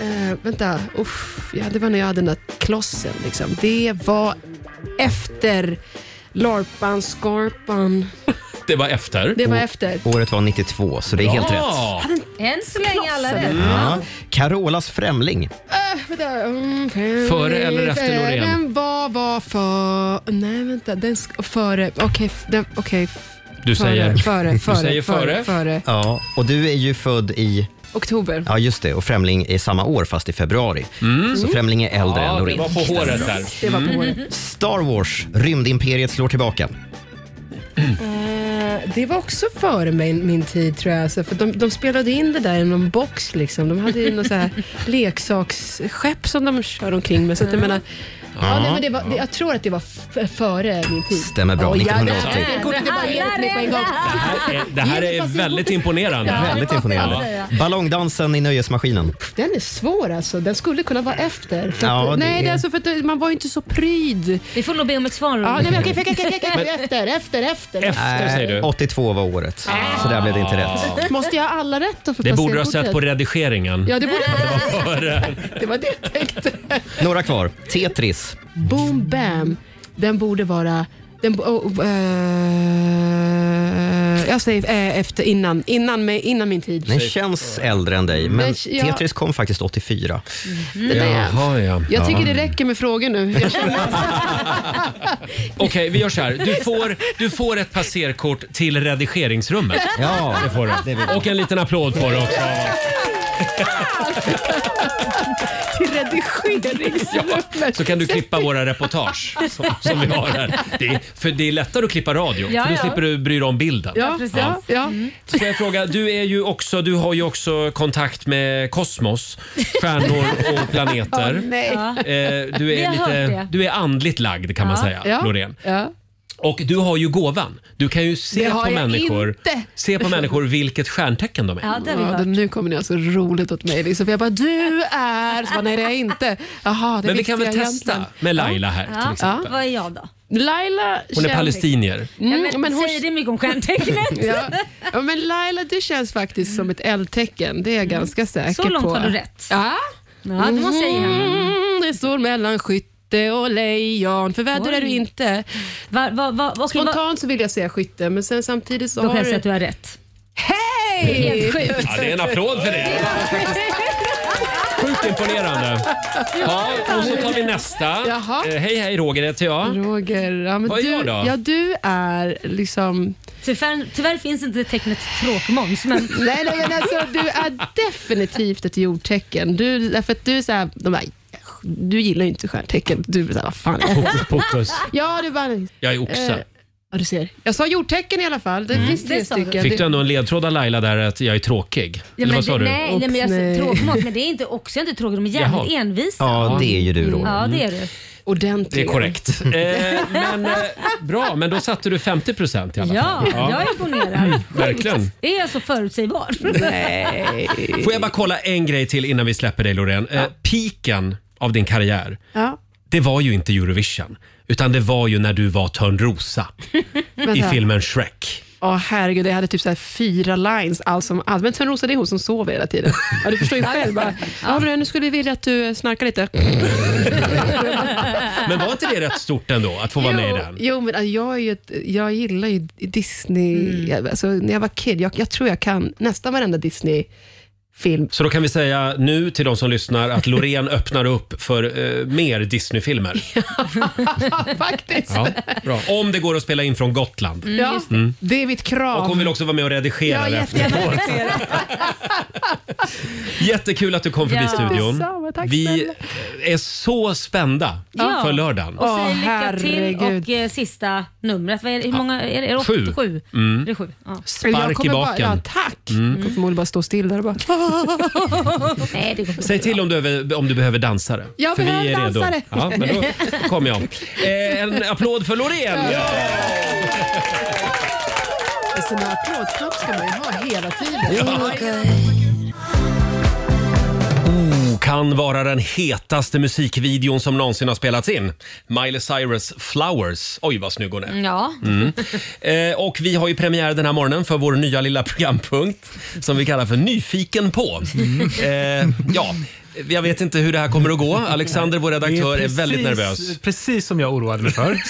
[SPEAKER 12] Eh, vänta, Uff, ja, det var när jag hade den där klossen. Liksom. Det var efter Larpan, Skorpan.
[SPEAKER 1] Det var efter.
[SPEAKER 12] Det var efter.
[SPEAKER 3] Året var 92, så det är helt rätt.
[SPEAKER 1] Ja.
[SPEAKER 2] Än så länge alla
[SPEAKER 12] Klossen.
[SPEAKER 2] rätt.
[SPEAKER 3] Ja. Carolas främling.
[SPEAKER 12] Vänta, mm, fem-
[SPEAKER 1] Före eller efter
[SPEAKER 12] eh,
[SPEAKER 1] Loreen?
[SPEAKER 12] Den var, var för... Nej, vänta. Den sk- före. Okej, f- den- okej. f-
[SPEAKER 1] Du
[SPEAKER 12] före,
[SPEAKER 1] säger-
[SPEAKER 12] Före, före,
[SPEAKER 1] säger före.
[SPEAKER 12] före, före.
[SPEAKER 3] Ja, och du är ju född i...
[SPEAKER 12] Oktober.
[SPEAKER 3] Ja, just det. Och Främling är samma år, fast i februari. Så Främling är äldre än
[SPEAKER 1] Mm. Ja, det
[SPEAKER 3] Loreen.
[SPEAKER 1] var på håret där. Mm.
[SPEAKER 12] Det var på håret.
[SPEAKER 3] Star Wars, rymdimperiet slår tillbaka.
[SPEAKER 12] Eh, Det var också före min, min tid tror jag. Så för de, de spelade in det där i
[SPEAKER 2] [LAUGHS]
[SPEAKER 12] någon box. Liksom. De hade ju något så här leksaksskepp som de kör omkring med. Så att jag menar, Ja, nej, men det var, det, jag tror att det var f- före min tid.
[SPEAKER 3] Stämmer bra,
[SPEAKER 12] Oj,
[SPEAKER 3] 1980.
[SPEAKER 12] jävlar. Det går inte bara enligt mig på en gång.
[SPEAKER 1] Det här är
[SPEAKER 12] Genomfascination.
[SPEAKER 1] väldigt imponerande.
[SPEAKER 12] Ja, det
[SPEAKER 3] Väldigt
[SPEAKER 12] måste jag
[SPEAKER 3] imponerande.
[SPEAKER 12] säga.
[SPEAKER 3] Ballongdansen i nöjesmaskinen.
[SPEAKER 12] Den är svår alltså. Den skulle kunna vara efter. För
[SPEAKER 3] Ja,
[SPEAKER 12] att,
[SPEAKER 3] det
[SPEAKER 12] nej, det
[SPEAKER 3] är-
[SPEAKER 12] är alltså för att det- man var ju inte så pryd.
[SPEAKER 2] Vi får nog be om ett svar.
[SPEAKER 12] Ja, nej, men okej, okej, okej, okej,
[SPEAKER 3] Men-
[SPEAKER 12] okej, efter, efter, efter.
[SPEAKER 3] Nej, 82 Eh, var året, så där blev det inte rätt.
[SPEAKER 12] Måste jag ha alla rätt då för
[SPEAKER 1] Det borde du ha
[SPEAKER 12] passerkortet?
[SPEAKER 1] sett på redigeringen. [LAUGHS]
[SPEAKER 12] Ja, det borde
[SPEAKER 1] Före.
[SPEAKER 12] Det var det jag tänkte.
[SPEAKER 3] Några kvar. Tetris.
[SPEAKER 12] Boom, bam. Den borde vara... Den, bo- oh, eh, jag säger eh, efter, innan, innan, mig, innan min tid.
[SPEAKER 3] Den känns äldre än dig, men
[SPEAKER 12] Den k- ja.
[SPEAKER 3] Tetris kom faktiskt 84.
[SPEAKER 12] Det där.
[SPEAKER 1] ja.
[SPEAKER 12] Jag tycker det räcker med frågor nu. Jag känner
[SPEAKER 1] [LAUGHS] Okej, vi gör så här. Du får, du får ett passerkort till redigeringsrummet.
[SPEAKER 3] Ja,
[SPEAKER 1] det får
[SPEAKER 3] det vill
[SPEAKER 1] du. Och en liten applåd får du också.
[SPEAKER 12] till redigeringsrummet.
[SPEAKER 1] Så kan du klippa våra reportage som, [LAUGHS] som vi har här. Det är, för det är lättare att klippa radio,
[SPEAKER 12] Ja,
[SPEAKER 1] för då
[SPEAKER 12] ja.
[SPEAKER 1] slipper du bry dig om bilden.
[SPEAKER 12] Ja, precis. Ja.
[SPEAKER 2] Mm.
[SPEAKER 1] Ska jag fråga, du, är ju också, du har ju också kontakt med kosmos, stjärnor
[SPEAKER 12] [LAUGHS]
[SPEAKER 1] och planeter.
[SPEAKER 12] Åh, nej.
[SPEAKER 1] Eh, du,
[SPEAKER 12] Vi
[SPEAKER 1] är
[SPEAKER 12] har hört
[SPEAKER 1] lite,
[SPEAKER 12] det.
[SPEAKER 1] du är andligt lagd kan man säga, Loreen.
[SPEAKER 12] Ja.
[SPEAKER 1] Och du har ju gåvan. Du kan ju se
[SPEAKER 12] Det har
[SPEAKER 1] på,
[SPEAKER 12] jag
[SPEAKER 1] människor,
[SPEAKER 12] inte.
[SPEAKER 1] se på människor vilket stjärntecken de är. Mm.
[SPEAKER 12] Ja, nu kommer ni ha så roligt åt mig. Liksom. För jag bara, du är... Så bara, nej, det är jag inte. Jaha, det
[SPEAKER 1] Men vi
[SPEAKER 12] visste
[SPEAKER 1] kan väl
[SPEAKER 12] jag
[SPEAKER 1] testa
[SPEAKER 12] egentligen.
[SPEAKER 1] med Laila här till
[SPEAKER 12] Ja.
[SPEAKER 1] exempel.
[SPEAKER 2] Vad är jag då?
[SPEAKER 12] Laila
[SPEAKER 1] Hon är
[SPEAKER 12] känner-
[SPEAKER 1] palestinier.
[SPEAKER 12] Mm,
[SPEAKER 2] Ja, men säger det mycket om stjärntecknet?
[SPEAKER 12] [LAUGHS] ja. ja, men Laila, du känns faktiskt som ett eldtecken. Det är jag ganska säker på.
[SPEAKER 2] Mm. Så långt har du rätt.
[SPEAKER 12] Ja,
[SPEAKER 2] Ja, det måste jag ge henne.
[SPEAKER 12] Mm, Det står mellan skytte och lejon. För väder
[SPEAKER 2] Oj.
[SPEAKER 12] är du inte. Spontant så vill jag säga skytte, men sen samtidigt så
[SPEAKER 2] Då
[SPEAKER 12] har
[SPEAKER 2] kan jag säga att du har rätt.
[SPEAKER 12] Hej!
[SPEAKER 2] Det är helt sjukt.
[SPEAKER 1] Ja, det är en applåd för
[SPEAKER 12] [LAUGHS]
[SPEAKER 1] det. Sjukt imponerande. Ja, och så tar vi nästa.
[SPEAKER 12] Jaha.
[SPEAKER 1] Eh, hej, hej, Roger heter jag.
[SPEAKER 12] Roger, ja, men
[SPEAKER 1] Vad är
[SPEAKER 12] du,
[SPEAKER 1] jag då?
[SPEAKER 12] Ja, du är liksom...
[SPEAKER 2] Tyvärr, tyvärr finns inte tecknet tråkmåns. Men...
[SPEAKER 12] [LAUGHS] Nej, nej, men alltså, du är definitivt ett jordtecken. Du, därför att du är så här, de där, du gillar ju inte stjärntecken. Du är så här, vad fan är det?
[SPEAKER 1] Hokus pokus.
[SPEAKER 12] Ja, du bara...
[SPEAKER 1] Jag är oxe. Mm.
[SPEAKER 12] Eh, ja, du ser. Jag sa jordtecken i alla fall. Det finns tre stycken.
[SPEAKER 1] Fick du ändå en ledtråd av Laila där att jag är tråkig?
[SPEAKER 2] Ja,
[SPEAKER 1] Eller
[SPEAKER 2] men
[SPEAKER 1] vad sa
[SPEAKER 2] det,
[SPEAKER 1] du?
[SPEAKER 2] Nej, nej, men jag
[SPEAKER 12] nej.
[SPEAKER 2] säger tråkmåns, men det är inte också inte tråkigt. De är jävligt
[SPEAKER 1] Jaha.
[SPEAKER 2] envisa. Mm.
[SPEAKER 1] Ja, det är ju du, Roger.
[SPEAKER 2] Ja, det är du.
[SPEAKER 12] Mm. Ordentligt.
[SPEAKER 1] Det är
[SPEAKER 2] [LAUGHS]
[SPEAKER 1] korrekt. Eh, men, eh, bra, men då satte du 50 procent i alla
[SPEAKER 2] Ja,
[SPEAKER 1] fall.
[SPEAKER 2] jag är
[SPEAKER 1] Mm.
[SPEAKER 2] imponerad.
[SPEAKER 1] Verkligen.
[SPEAKER 2] Det är alltså förutsägbart.
[SPEAKER 12] Nej.
[SPEAKER 1] Får jag bara kolla en grej till innan vi släpper dig Loreen. Eh, piken av din karriär,
[SPEAKER 12] Ja.
[SPEAKER 1] det var ju inte Eurovision. Utan det var ju när du var
[SPEAKER 2] [LAUGHS]
[SPEAKER 1] Törnrosa i
[SPEAKER 12] Vänta.
[SPEAKER 1] filmen Shrek.
[SPEAKER 12] Ja, herregud. Jag hade typ så här fyra lines allt som allt. Men Törnrosa, det är hon som sover hela tiden. Ja, du förstår ju själv. Bara, ja, nu skulle jag vilja att du snarkar lite.
[SPEAKER 1] Men var inte det rätt stort ändå att få vara med i den?
[SPEAKER 12] Jo, men alltså, jag, är ju ett, jag gillar ju Disney.
[SPEAKER 1] Mm.
[SPEAKER 12] Jag, alltså, när jag var kid, jag, jag tror jag kan nästan
[SPEAKER 1] [LAUGHS]
[SPEAKER 12] varenda Disney-film.
[SPEAKER 1] Så då kan vi säga nu till de som lyssnar att
[SPEAKER 12] [LAUGHS]
[SPEAKER 1] Loreen öppnar upp för eh, mer Disney-filmer.
[SPEAKER 12] Faktiskt.
[SPEAKER 1] Ja, bra.
[SPEAKER 12] Mm.
[SPEAKER 1] Om det går att spela in från Gotland.
[SPEAKER 12] Ja,
[SPEAKER 1] Mm.
[SPEAKER 12] Det är mitt krav.
[SPEAKER 1] Och hon vill också vara med och redigera
[SPEAKER 12] Ja,
[SPEAKER 1] det efteråt.
[SPEAKER 12] jättegärna. [LAUGHS]
[SPEAKER 1] Jättekul att du kom förbi
[SPEAKER 12] Ja.
[SPEAKER 1] studion.
[SPEAKER 12] Detsamma, tack
[SPEAKER 1] Vi
[SPEAKER 12] snälla.
[SPEAKER 1] är så spända
[SPEAKER 2] Ja.
[SPEAKER 1] för lördagen.
[SPEAKER 2] Och säg lycka till
[SPEAKER 12] herregud.
[SPEAKER 2] och eh, sista numret. Vad är, det- hur många är det? Är det åt-
[SPEAKER 1] Sju.
[SPEAKER 2] Sju.
[SPEAKER 1] Mm.
[SPEAKER 2] Är det sju? Ja.
[SPEAKER 12] Jag
[SPEAKER 1] Spark i
[SPEAKER 12] kommer Bara, ja,
[SPEAKER 1] baken.
[SPEAKER 12] tack.
[SPEAKER 1] Mm.
[SPEAKER 12] Jag kommer förmodligen bara stå still där och bara...
[SPEAKER 2] [LAUGHS] Nej, det går inte.
[SPEAKER 1] Säg till om du, över- om du behöver dansare.
[SPEAKER 12] Jag
[SPEAKER 1] För vi
[SPEAKER 12] behöver
[SPEAKER 1] är redo.
[SPEAKER 12] dansare.
[SPEAKER 1] Ja, men då kommer
[SPEAKER 12] [LAUGHS]
[SPEAKER 1] jag. [LAUGHS] Eh, en applåd för Loreen!
[SPEAKER 12] En sån här applådknapp Alltså, ska man ju ha hela tiden.
[SPEAKER 1] Oh, kan vara den hetaste musikvideon som någonsin har spelats in. Miley Cyrus Flowers. Oj, vad snygg hon är.
[SPEAKER 2] Ja.
[SPEAKER 1] Mm. Eh, och vi har ju premiär den här morgonen för vår nya lilla programpunkt som vi kallar för Nyfiken på.
[SPEAKER 9] Mm.
[SPEAKER 1] Eh, ja, jag vet inte hur det här kommer att gå. Alexander, vår redaktör, är,
[SPEAKER 9] Det
[SPEAKER 1] väldigt
[SPEAKER 9] precis-
[SPEAKER 1] nervös.
[SPEAKER 9] Precis som jag oroade mig
[SPEAKER 1] [LAUGHS]
[SPEAKER 9] för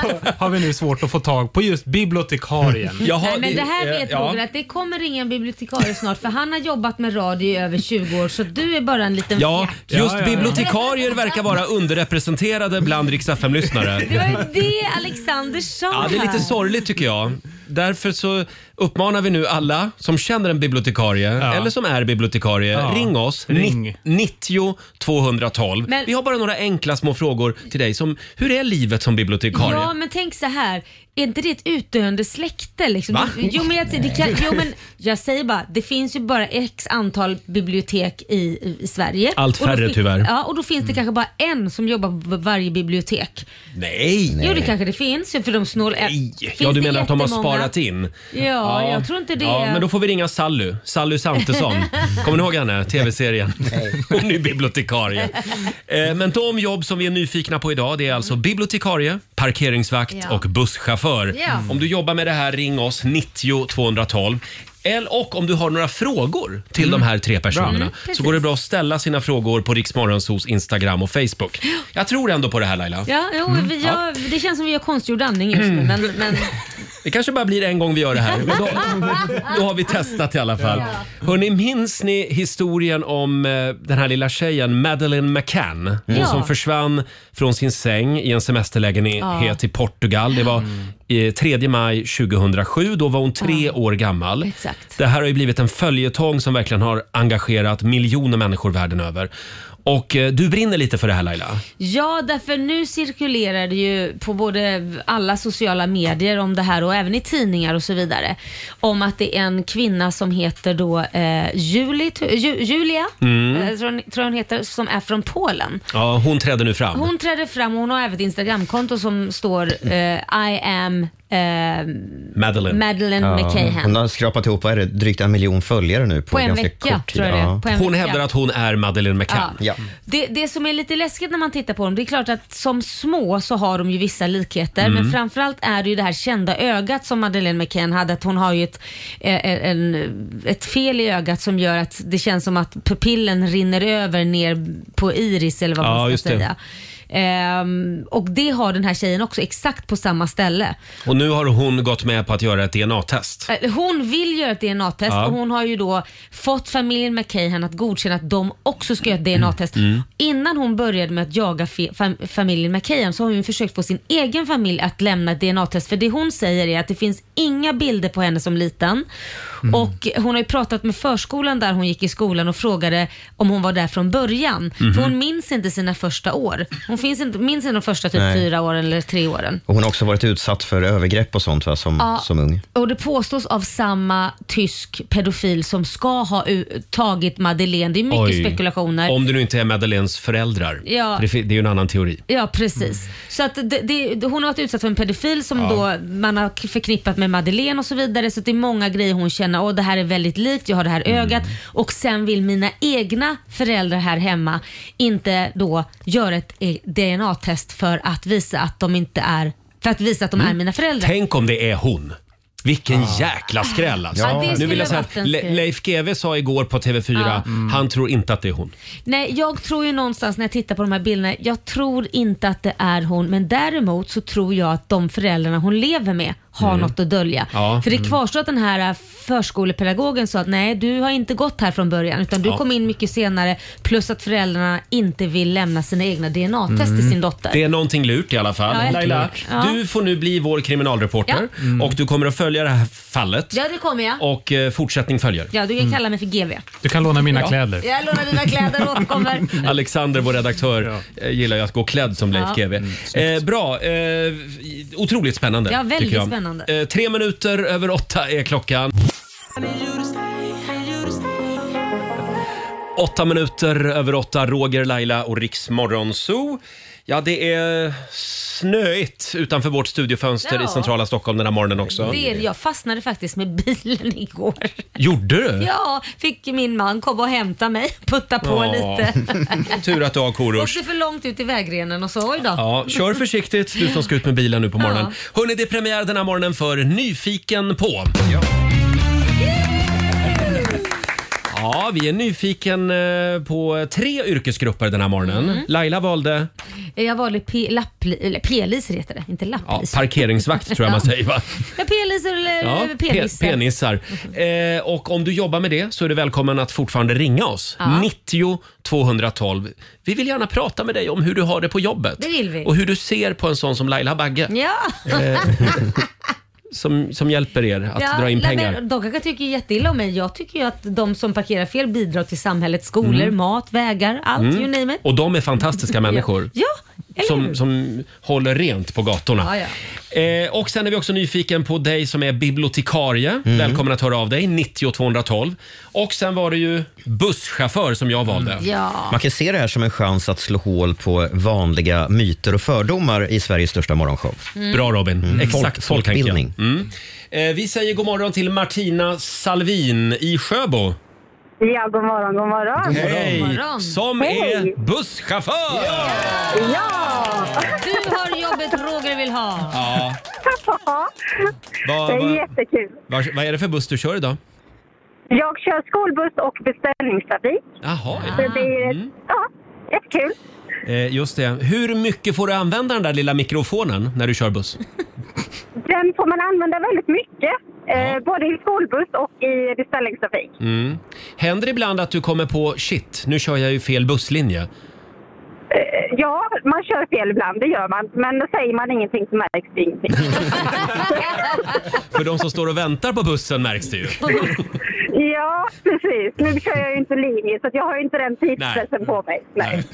[SPEAKER 9] så har vi nu svårt att få tag på just bibliotekarien.
[SPEAKER 2] Nej, men det här
[SPEAKER 1] eh,
[SPEAKER 2] vet Roger att det kommer ringa en bibliotekarie snart för han har jobbat med radio i över 20 år så du är bara en liten
[SPEAKER 1] Ja,
[SPEAKER 2] fjärt.
[SPEAKER 1] just bibliotekarier verkar vara underrepresenterade bland Rix lyssnare
[SPEAKER 2] Det var ju det Alexander sa.
[SPEAKER 1] Ja, det är lite sorgligt tycker jag. Därför så uppmanar vi nu alla som känner en bibliotekarie eller som är bibliotekarie,
[SPEAKER 9] Ja.
[SPEAKER 1] ring oss.
[SPEAKER 9] Ring.
[SPEAKER 1] Ni- 90 212.
[SPEAKER 2] Men-
[SPEAKER 1] Vi har bara några enkla små frågor till dig. Som, hur är livet som bibliotekarie?
[SPEAKER 2] Ja, men tänk så här. är inte det ett utdöende släkte? Liksom?
[SPEAKER 1] Va?
[SPEAKER 2] Du- Jo, men jag, det kan, jo, men jag säger bara, det finns ju bara x antal bibliotek i, i Sverige.
[SPEAKER 1] Allt
[SPEAKER 2] Och då
[SPEAKER 1] färre,
[SPEAKER 2] fin-
[SPEAKER 1] tyvärr. Mm.
[SPEAKER 2] Ja, och då finns det kanske bara en som jobbar på varje bibliotek.
[SPEAKER 1] Nej!
[SPEAKER 2] Jo, det kanske det finns, för de snål... Nej.
[SPEAKER 1] Ja, du menar att de har sparat in?
[SPEAKER 2] Ja, jag tror inte det.
[SPEAKER 1] Ja, men då får vi ringa Sally. Sally
[SPEAKER 2] [LAUGHS]
[SPEAKER 1] Santesson. Kommer ni ihåg henne? Tv-serien. [LAUGHS] Hon är bibliotekarie. Eh, Men de jobb som vi är nyfikna på idag det är
[SPEAKER 2] Mm.
[SPEAKER 1] alltså bibliotekarie, parkeringsvakt
[SPEAKER 13] Ja.
[SPEAKER 1] och busschaufför.
[SPEAKER 13] Ja.
[SPEAKER 1] Om du jobbar med det här, ring oss 90 212. Eller, och om du har några frågor till de här tre personerna
[SPEAKER 13] Mm,
[SPEAKER 1] så
[SPEAKER 13] precis.
[SPEAKER 1] går det bra att ställa sina frågor på Riksmorgonsos Instagram och Facebook. Jag tror ändå på det här Laila.
[SPEAKER 2] Ja, jo,
[SPEAKER 1] Mm.
[SPEAKER 2] vi
[SPEAKER 1] Ja.
[SPEAKER 2] gör, det känns som vi gör konstgjord andning just nu. Men,
[SPEAKER 1] [LAUGHS]
[SPEAKER 2] men,
[SPEAKER 1] Det kanske bara blir en gång vi gör det här.
[SPEAKER 2] [LAUGHS]
[SPEAKER 1] Men då, då har vi testat i alla fall. Hörrni, minns ni historien om eh, den här lilla tjejen Madeleine McCann? Hon
[SPEAKER 13] Ja.
[SPEAKER 1] som försvann från sin säng i en semesterlägenhet
[SPEAKER 13] Ja.
[SPEAKER 1] i Portugal. Det var eh, 3 maj 2007. Då var hon tre år gammal.
[SPEAKER 13] Exakt.
[SPEAKER 1] Det här har ju blivit en följetong som verkligen har engagerat miljoner människor världen över. Och eh, du brinner lite för det här Laila.
[SPEAKER 2] ja, därför nu cirkulerar det ju på både alla sociala medier om det här och även i tidningar och så vidare. Om att det är en kvinna som heter då eh, Juli, Ju, Julia,
[SPEAKER 1] Mm.
[SPEAKER 2] eh, tror, hon, tror jag hon heter, som är från Polen.
[SPEAKER 1] Ja, hon trädde nu fram.
[SPEAKER 2] Hon trädde fram och hon har även ett Instagramkonto som står eh, I am eh,
[SPEAKER 1] Madeleine.
[SPEAKER 2] Madeleine McCahan.
[SPEAKER 3] Hon har skrapat ihop, vad är det, drygt en miljon följare nu på,
[SPEAKER 2] På en
[SPEAKER 3] ganska
[SPEAKER 2] vecka,
[SPEAKER 3] kort tid.
[SPEAKER 2] tror jag det är. På en
[SPEAKER 1] Hon
[SPEAKER 2] vecka.
[SPEAKER 1] hävdar att hon är Madeleine McCann.
[SPEAKER 2] Ja. Det, det som är lite läskigt när man tittar på dem, det är klart att som små så har de ju vissa likheter,
[SPEAKER 1] Mm.
[SPEAKER 2] men framförallt är det ju det här kända ögat som Madeleine McCann hade, att hon har ju ett, eh, en, ett fel i ögat som gör att det känns som att pupillen rinner över ner på iris eller vad
[SPEAKER 1] Ja,
[SPEAKER 2] man
[SPEAKER 1] just
[SPEAKER 2] ska
[SPEAKER 1] det.
[SPEAKER 2] säga. Ehm, och det har den här tjejen också, exakt på samma ställe.
[SPEAKER 1] Och nu har hon gått med på att göra ett DNA-test.
[SPEAKER 2] Eh, Hon vill göra ett DNA-test
[SPEAKER 1] Ja.
[SPEAKER 2] och hon har ju då fått familjen McCahan att godkänna att de också ska göra ett DNA-test.
[SPEAKER 1] Mm.
[SPEAKER 2] Innan hon började med att jaga fe- fam- familjen McCahan så har hon ju försökt få sin egen familj att lämna ett DNA-test. För det hon säger är att det finns inga bilder på henne som liten.
[SPEAKER 13] Mm.
[SPEAKER 2] Och hon har ju pratat med förskolan där hon gick i skolan och frågade om hon var där från början.
[SPEAKER 3] Mhm.
[SPEAKER 2] För hon minns inte sina första år. Hon finns inte, minns inte de första typ
[SPEAKER 3] Nej.
[SPEAKER 2] fyra åren eller tre åren.
[SPEAKER 3] Och hon har också varit utsatt för övergrepp och sånt va, som,
[SPEAKER 2] Ja.
[SPEAKER 3] som ung.
[SPEAKER 2] Och det påstås av samma tysk pedofil som ska ha u- tagit Madeleine. Det är mycket
[SPEAKER 1] Oj.
[SPEAKER 2] spekulationer.
[SPEAKER 1] Om det nu inte är Madeleines föräldrar.
[SPEAKER 2] Ja.
[SPEAKER 1] För Det, fi- det är ju en annan teori.
[SPEAKER 2] Ja, precis. Så att det, det, hon har varit utsatt för en pedofil som
[SPEAKER 1] Ja.
[SPEAKER 2] då man har k- förknippat med Madeleine och så vidare. Så att det är många grejer hon känner, åh det här är väldigt likt, jag har det här ögat. Och sen vill mina egna föräldrar här hemma inte då göra ett eh, DNA-test för att visa att de inte är, för att visa att
[SPEAKER 1] Mm.
[SPEAKER 2] de är mina föräldrar.
[SPEAKER 1] Tänk om det är hon. Vilken jäkla skräll alltså.
[SPEAKER 2] Ja, det
[SPEAKER 1] nu
[SPEAKER 2] skulle
[SPEAKER 1] vill jag säga
[SPEAKER 2] varit
[SPEAKER 1] att
[SPEAKER 2] en
[SPEAKER 1] Le-
[SPEAKER 2] skräll.
[SPEAKER 1] Leif GW sa igår på TV4,
[SPEAKER 2] Ja.
[SPEAKER 1] Mm. han tror inte att det är hon.
[SPEAKER 2] Nej, jag tror ju någonstans när jag tittar på de här bilderna, jag tror inte att det är hon, men däremot så tror jag att de föräldrarna hon lever med har
[SPEAKER 13] Mm.
[SPEAKER 2] något att dölja.
[SPEAKER 13] Ja.
[SPEAKER 2] För det
[SPEAKER 13] Mm.
[SPEAKER 2] kvarstår att den här äh, förskolepedagogen sa att nej, du har inte gått här från början utan du
[SPEAKER 1] Ja.
[SPEAKER 2] kom in mycket senare plus att föräldrarna inte vill lämna sina egna DNA-test till
[SPEAKER 1] Mm.
[SPEAKER 2] sin dotter.
[SPEAKER 1] Det är någonting lurt i alla fall.
[SPEAKER 2] Ja, jag
[SPEAKER 1] Laila,
[SPEAKER 2] tror det. Ja.
[SPEAKER 1] du får nu bli vår kriminalreporter
[SPEAKER 2] Ja. Mm.
[SPEAKER 1] och du kommer att följa det här fallet.
[SPEAKER 2] Ja, det kommer jag.
[SPEAKER 1] Och Mm. eh, fortsättning följer.
[SPEAKER 2] Ja, du kan kalla mig för GV.
[SPEAKER 1] Du kan låna mina
[SPEAKER 2] Jag lånar dina kläder och återkommer.
[SPEAKER 1] [LAUGHS] Alexander, vår redaktör, eh, gillar ju att gå klädd som Leif
[SPEAKER 2] Ja.
[SPEAKER 1] GW. eh, bra. Eh, otroligt spännande.
[SPEAKER 2] Ja, väldigt
[SPEAKER 1] tycker jag.
[SPEAKER 2] spännande.
[SPEAKER 1] Eh, tre minuter över åtta är klockan. Åtta minuter över åtta, Roger, Laila och Riks Morgonzoo. Ja, det är snöigt utanför vårt studiofönster
[SPEAKER 2] Ja.
[SPEAKER 1] i centrala Stockholm den här morgonen också.
[SPEAKER 2] Det är, jag fastnade faktiskt med bilen [LAUGHS] igår.
[SPEAKER 1] Gjorde du?
[SPEAKER 2] Ja, fick min man komma och hämta mig, [LAUGHS] putta på
[SPEAKER 1] Ja. [LAUGHS]
[SPEAKER 2] lite.
[SPEAKER 1] Tur att du har korush.
[SPEAKER 2] Åkte för långt ut i vägrenen och så, oj då.
[SPEAKER 1] Ja, kör försiktigt du som ska ut med bilen nu på morgonen.
[SPEAKER 2] Ja.
[SPEAKER 1] Hörni, det är premiär den här morgonen för Nyfiken på. Ja. vi är nyfiken eh, på tre yrkesgrupper den här morgonen.
[SPEAKER 2] Mm.
[SPEAKER 1] Laila valde
[SPEAKER 2] Eh, Jag valde P- lappli- eller P-liser heter det, inte
[SPEAKER 1] ja,
[SPEAKER 2] lapplis.
[SPEAKER 1] parkeringsvakt tror jag man
[SPEAKER 2] [LAUGHS] Ja.
[SPEAKER 1] säger va?
[SPEAKER 2] Ja, P-liser eller eh,
[SPEAKER 1] Ja,
[SPEAKER 2] eller
[SPEAKER 1] pe-
[SPEAKER 2] penisar.
[SPEAKER 1] penisar. Eh, och om du jobbar med det så är du välkommen att fortfarande ringa oss.
[SPEAKER 2] Ja.
[SPEAKER 1] 90 212. Vi vill gärna prata med dig om hur du har det på jobbet.
[SPEAKER 2] Det vill vi.
[SPEAKER 1] Och hur du ser på en sån som Laila Bagge.
[SPEAKER 2] Ja.
[SPEAKER 1] Eh, [LAUGHS] som, som hjälper er att
[SPEAKER 2] Ja,
[SPEAKER 1] dra in
[SPEAKER 2] nej,
[SPEAKER 1] pengar.
[SPEAKER 2] men De kanske tycker jätteilla om mig. Jag tycker ju att de som parkerar fel bidrar till samhället, skolor,
[SPEAKER 1] Mm.
[SPEAKER 2] mat, vägar, allt.
[SPEAKER 1] Mm.
[SPEAKER 2] You name it.
[SPEAKER 1] Och de är fantastiska människor.
[SPEAKER 2] Ja,
[SPEAKER 1] som, som håller rent på gatorna.
[SPEAKER 2] Ja, ja.
[SPEAKER 1] Eh, och sen är vi också nyfiken på dig som är bibliotekarie. Välkommen att höra av dig, 90 212. Och sen var det ju busschaufför som jag valde.
[SPEAKER 2] Ja.
[SPEAKER 3] Man kan se det här som en chans att slå hål på vanliga myter och fördomar i Sveriges största morgonshow.
[SPEAKER 1] Mm. Bra, Robin. Exakt så tänker jag.
[SPEAKER 3] folkbildning.
[SPEAKER 1] Mm. Eh, vi säger god morgon till Martina Salvin i Sjöbo.
[SPEAKER 4] Ja, god morgon, god morgon.
[SPEAKER 1] Hej! Som
[SPEAKER 4] Hej.
[SPEAKER 1] är busschaufför!
[SPEAKER 4] Ja!
[SPEAKER 2] Du har jobbet Roger vill ha.
[SPEAKER 1] Ja.
[SPEAKER 4] Det
[SPEAKER 1] Vad,
[SPEAKER 4] är
[SPEAKER 1] vad,
[SPEAKER 4] jättekul.
[SPEAKER 1] vad, vad är det för buss du kör idag?
[SPEAKER 4] Jag kör skolbuss och beställningstrafik.
[SPEAKER 1] Jaha, Mm.
[SPEAKER 4] Så det är ja, jättekul.
[SPEAKER 1] eh, just det. Hur mycket får du använda den där lilla mikrofonen när du kör buss?
[SPEAKER 4] Den får man använda väldigt mycket, eh, både i skolbuss och i beställningstrafik.
[SPEAKER 1] Mm. Händer det ibland att du kommer på shit, nu kör jag ju fel busslinje?
[SPEAKER 4] Eh, ja, man kör fel ibland, det gör man. Men säger man ingenting så märks
[SPEAKER 1] [LAUGHS]
[SPEAKER 4] det ingenting.
[SPEAKER 1] För de som står och väntar på bussen märks det ju.
[SPEAKER 4] ja, precis. Nu kör jag ju inte linje, så att jag har ju inte den tidspressen på mig. Nej.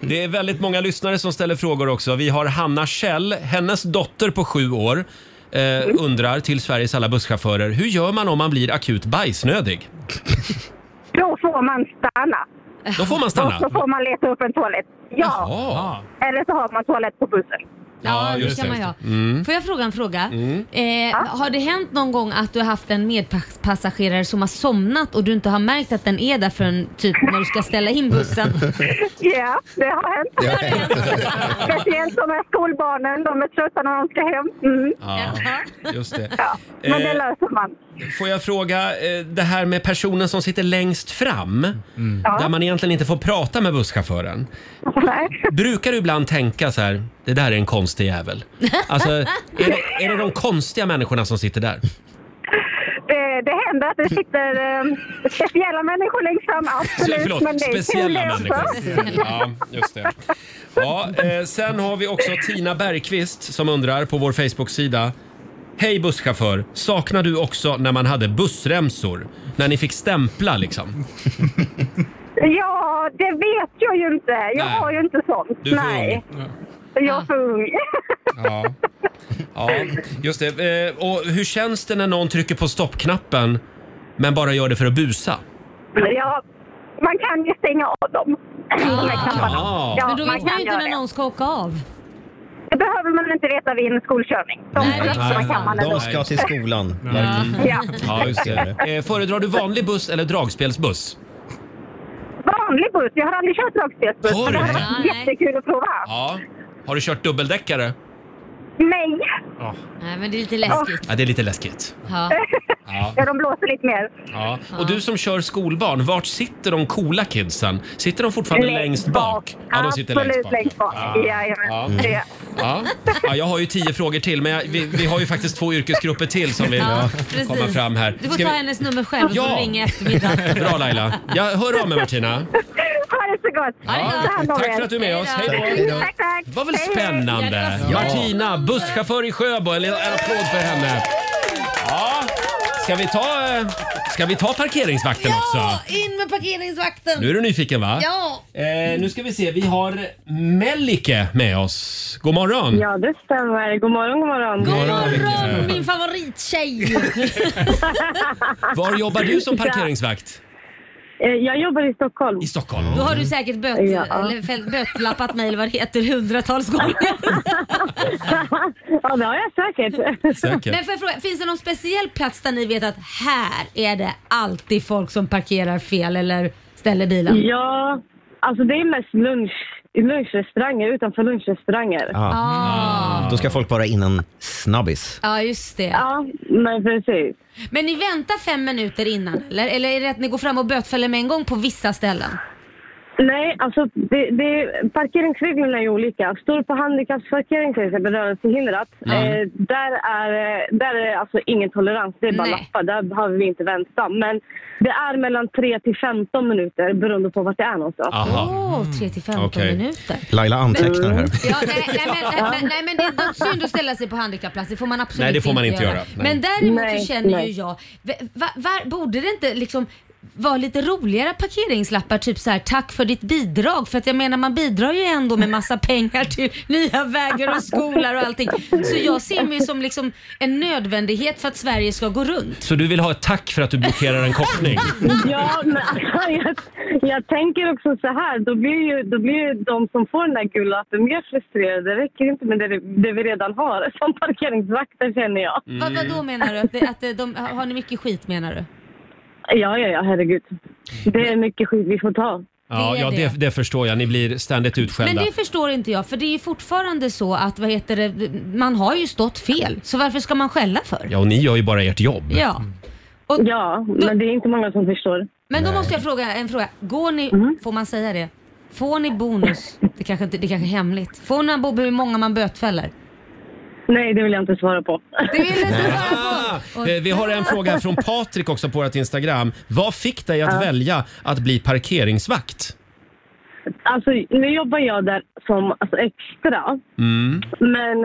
[SPEAKER 1] Det är väldigt många lyssnare som ställer frågor också. Vi har Hanna Kjell, hennes dotter på sju år, eh, undrar till Sveriges alla busschaufförer. Hur gör man om man blir akut bajsnödig?
[SPEAKER 4] Då får man stanna.
[SPEAKER 1] Då får man stanna?
[SPEAKER 4] Och så får man leta upp en toalett. Ja.
[SPEAKER 1] Jaha.
[SPEAKER 4] Eller så har man toalett på bussen.
[SPEAKER 2] Ja, det kan man ju ha.
[SPEAKER 1] Mm.
[SPEAKER 2] Får jag fråga en fråga?
[SPEAKER 1] Mm.
[SPEAKER 2] Eh, Har det hänt någon gång att du har haft en medpassagerare som har somnat och du inte har märkt att den är där förrän typ när du ska ställa in bussen?
[SPEAKER 4] [LAUGHS] Ja, det har hänt.
[SPEAKER 2] Det
[SPEAKER 1] har
[SPEAKER 4] [LAUGHS] Speciellt de här skolbarnen, de är trötta när de ska hem. Mm.
[SPEAKER 1] [LAUGHS] Ja, just det.
[SPEAKER 4] Men det
[SPEAKER 1] Eh,
[SPEAKER 4] löser man.
[SPEAKER 1] Får jag fråga, eh, det här med personen som sitter längst fram, där man egentligen inte får prata med busschauffören. Brukar du ibland tänka så här, det där är en konstig jävel? Alltså, är det, är det de konstiga människorna som sitter där?
[SPEAKER 4] Det, det händer att det sitter eh, speciella människor längst fram,
[SPEAKER 1] [LAUGHS]
[SPEAKER 4] absolut.
[SPEAKER 1] Så, förlåt,
[SPEAKER 4] men det är kul
[SPEAKER 1] speciella
[SPEAKER 4] det också.
[SPEAKER 1] människor. Ja, just det. Ja, eh, sen har vi också Tina Bergqvist som undrar på vår Facebook-sida. Hej busschaufför, saknar du också när man hade bussremsor? När ni fick stämpla liksom?
[SPEAKER 4] Ja, det vet jag ju inte. Jag
[SPEAKER 1] Nej.
[SPEAKER 4] har ju inte sånt.
[SPEAKER 1] Du är för
[SPEAKER 4] Nej. Jag är för ung. [LAUGHS]
[SPEAKER 1] Ja. ja, just det. Eh, Och hur känns det när någon trycker på stoppknappen men bara gör det för att busa?
[SPEAKER 4] ja, man kan ju stänga av dem. De här knapparna.
[SPEAKER 1] Ja.
[SPEAKER 4] Ja,
[SPEAKER 2] Men då
[SPEAKER 4] man
[SPEAKER 2] vet man
[SPEAKER 4] kan
[SPEAKER 2] ju inte
[SPEAKER 4] göra
[SPEAKER 2] när
[SPEAKER 4] det.
[SPEAKER 2] någon ska åka av.
[SPEAKER 4] Det behöver man inte veta vid en skolkörning. De, de kan man ändå.
[SPEAKER 3] De ska till skolan.
[SPEAKER 4] Ja.
[SPEAKER 1] Ja, just det. Eh, Föredrar du vanlig buss eller dragspelsbuss?
[SPEAKER 4] Vanlig buss. Jag har aldrig kört dragspelsbuss.
[SPEAKER 1] Har
[SPEAKER 4] men
[SPEAKER 1] du
[SPEAKER 4] Det hade
[SPEAKER 1] inte?
[SPEAKER 4] varit jättekul att prova.
[SPEAKER 1] Ja. Har du kört dubbeldäckare?
[SPEAKER 4] Nej.
[SPEAKER 1] Ja.
[SPEAKER 2] Nej, men det är lite läskigt.
[SPEAKER 1] Ja, det är lite läskigt.
[SPEAKER 2] Ja.
[SPEAKER 1] Ja.
[SPEAKER 4] [LAUGHS] Ja, de blåser lite mer.
[SPEAKER 1] Ja. Och du som kör skolbarn, vart sitter de coola kidsen? Sitter de fortfarande längst,
[SPEAKER 4] Längst
[SPEAKER 1] bak? Ja, de sitter
[SPEAKER 4] Absolut
[SPEAKER 1] längst bak.
[SPEAKER 4] längst bak.
[SPEAKER 1] Ja.
[SPEAKER 4] Jajamän.
[SPEAKER 1] Ja.
[SPEAKER 4] Det.
[SPEAKER 1] Ja. Ja, jag har ju tio frågor till, men jag, vi, vi har ju faktiskt två yrkesgrupper till som vill
[SPEAKER 2] Ja,
[SPEAKER 1] eh, komma
[SPEAKER 2] precis.
[SPEAKER 1] fram här.
[SPEAKER 2] Du får
[SPEAKER 1] Ska
[SPEAKER 2] ta
[SPEAKER 1] vi-
[SPEAKER 2] hennes nummer själv och
[SPEAKER 1] Ja.
[SPEAKER 2] så ringa i
[SPEAKER 1] [LAUGHS]
[SPEAKER 2] eftermiddag.
[SPEAKER 1] Bra Laila. Jag hör av mig Martina.
[SPEAKER 4] Ha det så gott.
[SPEAKER 1] Ja,
[SPEAKER 4] Ta hand om
[SPEAKER 1] tack
[SPEAKER 4] er.
[SPEAKER 1] för att du är med oss. Hej då.
[SPEAKER 4] Tack, Tack, tack.
[SPEAKER 1] Det var väl spännande? Martina, busschaufför i Sjöbo. En liten applåd för henne. Ja. Ska vi ta, eh, ska vi ta parkeringsvakten också?
[SPEAKER 2] In med parkeringsvakten!
[SPEAKER 1] Nu är du nyfiken va?
[SPEAKER 2] Ja!
[SPEAKER 1] Eh, nu ska vi se, vi har Melike med oss. God morgon!
[SPEAKER 13] Ja, det stämmer. God morgon, god morgon.
[SPEAKER 1] God morgon, Melike.
[SPEAKER 2] Min favorittjej!
[SPEAKER 1] [LAUGHS] Var jobbar du som parkeringsvakt?
[SPEAKER 13] Eh, Jag jobbar i Stockholm.
[SPEAKER 1] I Stockholm?
[SPEAKER 2] Då har du säkert böt,
[SPEAKER 13] Mm. Ja.
[SPEAKER 2] eller fäll- bötflappat mig eller vad det heter hundratals
[SPEAKER 13] [LAUGHS]
[SPEAKER 2] gånger.
[SPEAKER 13] [LAUGHS] ja, det har jag säkert.
[SPEAKER 1] Säkert.
[SPEAKER 2] Men får jag fråga, finns det någon speciell plats där ni vet att här är det alltid folk som parkerar fel eller ställer bilen?
[SPEAKER 13] Ja, alltså det är mest lunch, lunchrestauranger, utanför lunchrestauranger.
[SPEAKER 3] Ja.
[SPEAKER 2] Ah.
[SPEAKER 3] Då ska folk bara in en snabbis.
[SPEAKER 2] Ja, just det.
[SPEAKER 13] Ja, men precis.
[SPEAKER 2] Men ni väntar fem minuter innan eller? Eller är det att ni går fram och bötfäller med en gång på vissa ställen?
[SPEAKER 13] Nej, alltså det, det, parkeringsreglerna är ju olika. Står på handikappsparkering till exempel, rörelsehindrat,
[SPEAKER 4] Mm.
[SPEAKER 13] eh, där, är, eh, där är det alltså ingen tolerans. Det är bara
[SPEAKER 4] Nej.
[SPEAKER 13] lappar, där behöver vi inte vänta. Men det är mellan 3 till 15 minuter beroende på vart det är någonstans. Mm.
[SPEAKER 2] Åh, 3 till 15
[SPEAKER 3] Okej.
[SPEAKER 2] minuter. Mm.
[SPEAKER 3] Laila antecknar här.
[SPEAKER 2] Ja, nej, nej, men, nej, men- nej men det är dock synd att ställa sig på handikappplats. Det får man absolut
[SPEAKER 3] Nej, det får man inte göra. Nej.
[SPEAKER 2] Men däremot
[SPEAKER 13] Nej,
[SPEAKER 2] så känner ju
[SPEAKER 13] nej.
[SPEAKER 2] jag, va, va, var- borde det inte liksom vara lite roligare parkeringslappar, typ så här tack för ditt bidrag. För att jag menar man bidrar ju ändå med massa pengar till [LAUGHS] nya vägar och skolor och allting. Så jag ser mig som liksom en nödvändighet för att Sverige ska gå runt.
[SPEAKER 1] Så du vill ha ett tack för att du blockerar
[SPEAKER 2] [LAUGHS]
[SPEAKER 1] en korsning?
[SPEAKER 13] Ja, men alltså, jag, jag tänker också så här. Då blir ju, då blir ju de som får den där gula lappen mer frustrerade. Det räcker inte med det, det vi redan har som parkeringsvakter känner jag.
[SPEAKER 2] Vad, vad då menar du? Att, det- att det- de, har ni mycket skit menar du?
[SPEAKER 13] Ja, ja, ja, herregud. Det är mycket skit vi får ta.
[SPEAKER 1] Ja,
[SPEAKER 2] Det är
[SPEAKER 1] ja det,
[SPEAKER 2] det.
[SPEAKER 1] det förstår jag. Ni blir ständigt utskällda.
[SPEAKER 2] Men det förstår inte jag för det är ju fortfarande så att vad heter det, man har ju stått fel. Så varför ska man skälla för?
[SPEAKER 1] Ja, och ni gör ju bara ert jobb.
[SPEAKER 2] Ja.
[SPEAKER 13] ja, men det är inte många som förstår.
[SPEAKER 2] Men då måste jag fråga en fråga. Går ni, får man säga det? Får ni bonus? Det kanske, inte, det kanske är hemligt. Får ni en bonus hur många man bötfäller?
[SPEAKER 13] Nej, det vill jag inte svara på.
[SPEAKER 1] Ah, eh, vi har en fråga här från Patrik också på vårt Instagram. Vad fick dig att
[SPEAKER 13] Ja.
[SPEAKER 1] välja att bli parkeringsvakt?
[SPEAKER 13] [LAUGHS] Alltså, nu jobbar jag där som alltså, extra.
[SPEAKER 1] Mm.
[SPEAKER 13] Men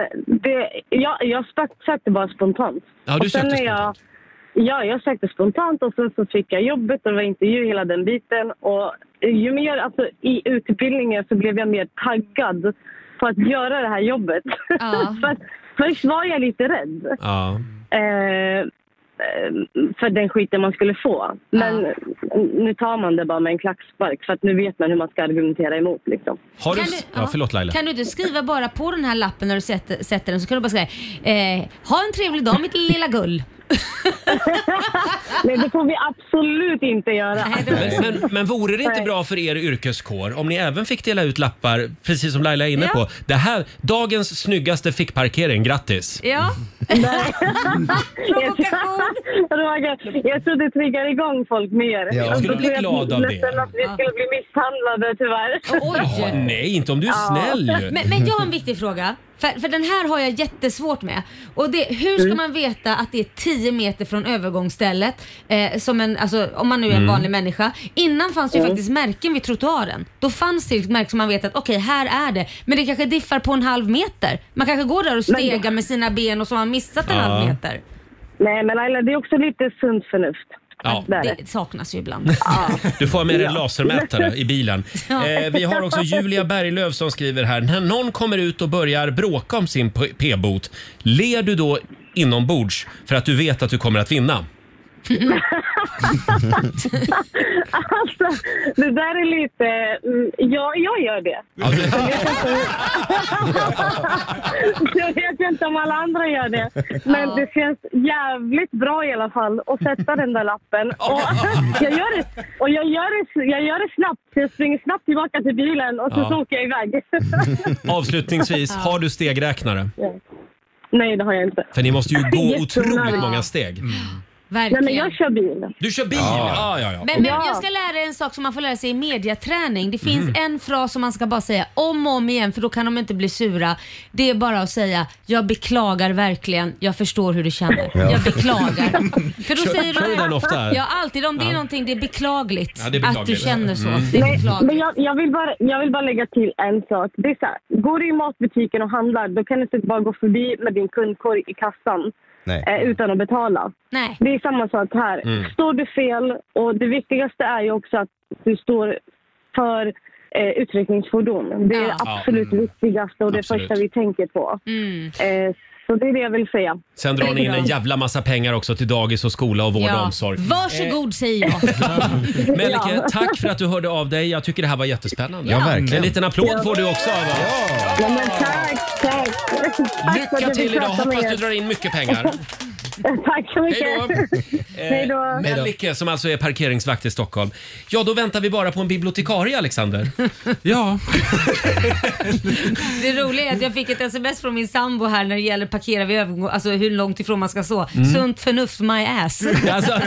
[SPEAKER 13] det, jag, jag spak- sökte bara spontant.
[SPEAKER 1] Ja, du
[SPEAKER 13] Och sen
[SPEAKER 1] sökte
[SPEAKER 13] när Jag, ja, jag sökte spontant och sen så fick jag jobbet och det var intervju hela den biten. Och ju mer alltså, i utbildningen så blev jag mer taggad på att göra det här jobbet. [LAUGHS] För att först var jag lite rädd.
[SPEAKER 1] Ja.
[SPEAKER 13] Eh, eh, för den skiten man skulle få. Men nu tar man det bara med en klackspark för att nu vet man hur man ska argumentera emot. Liksom.
[SPEAKER 1] Har du...
[SPEAKER 2] Kan du-
[SPEAKER 1] Ja, förlåt Laila.
[SPEAKER 2] Kan du inte skriva bara på den här lappen när du sätter, sätter den så kan du bara säga eh, Ha en trevlig dag mitt lilla gull.
[SPEAKER 13] Nej, det får vi absolut inte göra.
[SPEAKER 1] Men, men, men vore det inte bra för er yrkeskår om ni även fick dela ut lappar, precis som Laila är inne
[SPEAKER 13] Ja.
[SPEAKER 1] på? Det här, dagens snyggaste fickparkering, grattis!
[SPEAKER 2] Ja.
[SPEAKER 13] Nej. Roger, jag tror det triggar igång folk mer.
[SPEAKER 1] Ja. Jag skulle
[SPEAKER 13] Och så
[SPEAKER 1] bli
[SPEAKER 13] tror jag
[SPEAKER 1] glad av det.
[SPEAKER 13] Nästan att vi skulle bli misshandlade tyvärr.
[SPEAKER 1] Ja, nej, inte om du är snäll ju.
[SPEAKER 2] [LAUGHS] Men, men jag har en viktig fråga. För, för den här har jag jättesvårt med. Och det, hur ska
[SPEAKER 13] Mm.
[SPEAKER 2] man veta att det är 10 meter från övergångsstället? Eh, som en, alltså, om man nu är en
[SPEAKER 13] Mm.
[SPEAKER 2] vanlig människa. Innan fanns det ju
[SPEAKER 13] Mm.
[SPEAKER 2] faktiskt märken vid trottoaren. Då fanns det ett märke som man vet att okej, här är det. Men det kanske diffar på en halv meter. Man kanske går där och
[SPEAKER 13] Men-
[SPEAKER 2] stegar med sina ben och så har man missat en
[SPEAKER 13] Ja.
[SPEAKER 2] halv meter.
[SPEAKER 13] [LAUGHS] Nej, men Laila, det är också lite sunt förnuft.
[SPEAKER 1] Ja.
[SPEAKER 2] Det saknas ju ibland.
[SPEAKER 1] Du får ha med dig en lasermätare i bilen.
[SPEAKER 2] Ja.
[SPEAKER 1] Eh, vi har också Julia Berglöf som skriver här. När någon kommer ut och börjar bråka om sin p- p-bot, ler du då inombords för att du vet att du kommer att vinna?
[SPEAKER 13] Alltså, det där är lite... mm, Ja, jag gör det. Jag vet inte om- Jag vet inte om alla andra gör det. Men det känns jävligt bra i alla fall att sätta den där lappen. Och [LAUGHS] jag gör det, och jag gör det, jag gör det snabbt. Så Jag springer snabbt tillbaka till bilen och så,
[SPEAKER 1] Ja.
[SPEAKER 13] så åker jag iväg. [LAUGHS]
[SPEAKER 1] Avslutningsvis, har du stegräknare?
[SPEAKER 13] Nej, det har jag inte.
[SPEAKER 1] För ni måste ju gå
[SPEAKER 13] Jättenära.
[SPEAKER 1] otroligt många steg.
[SPEAKER 2] Mm. Verkligen.
[SPEAKER 13] Nej, men jag kör bil.
[SPEAKER 1] Du kör bil?
[SPEAKER 13] Ja.
[SPEAKER 1] Ja, ja, ja.
[SPEAKER 2] Men, men jag ska lära er en sak som man får lära sig i mediaträning. Det finns
[SPEAKER 1] Mhm.
[SPEAKER 2] en fras som man ska bara säga om och om igen för då kan de inte bli sura. Det är bara att säga jag beklagar verkligen, jag förstår hur du känner.
[SPEAKER 1] Ja.
[SPEAKER 2] Jag beklagar. för då
[SPEAKER 1] Kör-
[SPEAKER 2] säger
[SPEAKER 1] kör du
[SPEAKER 2] du
[SPEAKER 1] den ofta?
[SPEAKER 2] Ja, alltid. Om det är
[SPEAKER 1] Ja.
[SPEAKER 2] någonting, det är beklagligt,
[SPEAKER 1] Ja, det är beklagligt.
[SPEAKER 2] att du känner så.
[SPEAKER 1] Mm.
[SPEAKER 2] Det är
[SPEAKER 13] Nej,
[SPEAKER 2] beklagligt.
[SPEAKER 13] men jag, jag, vill bara, jag vill bara lägga till en sak. Det är så här, går du i matbutiken och handlar, då kan du inte bara gå förbi med din kundkorg i kassan
[SPEAKER 7] Nej.
[SPEAKER 13] eh, utan att betala. Det är samma sak här.
[SPEAKER 7] Mm.
[SPEAKER 13] Står du fel, och det viktigaste är ju också att du står för eh, utryckningsfordon. Det är
[SPEAKER 7] Ja.
[SPEAKER 13] det absolut viktigaste och det
[SPEAKER 1] Mm. Absolut.
[SPEAKER 13] första vi tänker på. Eh, så det är det jag vill säga.
[SPEAKER 1] Sen drar ni in en jävla massa pengar också till dagis och skola och vård och omsorg.
[SPEAKER 2] Varsågod säger jag.
[SPEAKER 1] Eh, Melike, tack för att du hörde av dig. Jag tycker det här var jättespännande.
[SPEAKER 2] Ja, verkligen.
[SPEAKER 1] En liten applåd får du också av oss.
[SPEAKER 13] Ja, men tack, tack. Tack för att
[SPEAKER 1] Lycka
[SPEAKER 13] jag fick
[SPEAKER 1] till idag.
[SPEAKER 13] prata med
[SPEAKER 1] Hoppas du
[SPEAKER 13] er.
[SPEAKER 1] drar in mycket pengar.
[SPEAKER 13] Tack så mycket. Hej
[SPEAKER 4] [LAUGHS]
[SPEAKER 13] då.
[SPEAKER 1] Melike som alltså är parkeringsvakt i Stockholm. Ja, då väntar vi bara på en bibliotekarie, Alexander. ja.
[SPEAKER 2] Det roliga är att jag fick ett sms från min sambo här när det gäller parkera vid övergång, alltså hur långt ifrån man ska stå.
[SPEAKER 1] Mm.
[SPEAKER 2] Sunt förnuft my ass.
[SPEAKER 1] Alltså.
[SPEAKER 2] [LAUGHS]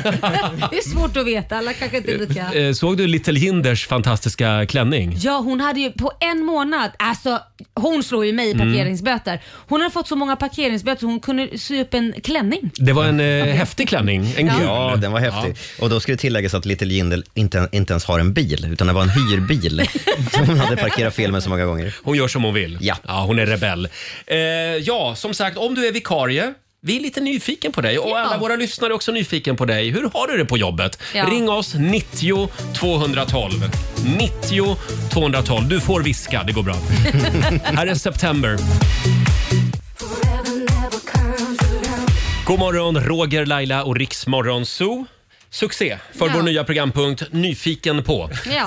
[SPEAKER 2] det är svårt att veta, alla kanske inte är lika.
[SPEAKER 1] Eh, Såg du Little Jinders fantastiska klänning?
[SPEAKER 2] Ja, hon hade ju på en månad, alltså hon slår ju mig i
[SPEAKER 1] Mm.
[SPEAKER 2] parkeringsböter. Hon hade fått så många parkeringsböter hon kunde sy upp en klänning.
[SPEAKER 1] Det var en eh, häftig klänning. En
[SPEAKER 2] Ja.
[SPEAKER 1] gul.
[SPEAKER 3] Ja, den var häftig. Och då skulle tilläggas att Little Jindel inte, inte ens har en bil, utan det var en
[SPEAKER 1] [LAUGHS]
[SPEAKER 3] hyrbil som hon hade parkerat fel med så många gånger.
[SPEAKER 1] Hon gör som hon vill. Ja. hon är rebell. Eh, ja, som sagt, om du är vikarie Vi är lite nyfiken på dig och alla våra lyssnare är också nyfiken på dig. Hur har du det på jobbet?
[SPEAKER 2] Ja.
[SPEAKER 1] Ring oss 90 212. 90 212. Du får viska, det går bra. Här är September. God morgon, Roger, Laila och Riksmorgon Zoo. Succé för
[SPEAKER 2] Ja.
[SPEAKER 1] vår nya programpunkt Nyfiken på.
[SPEAKER 2] Ja.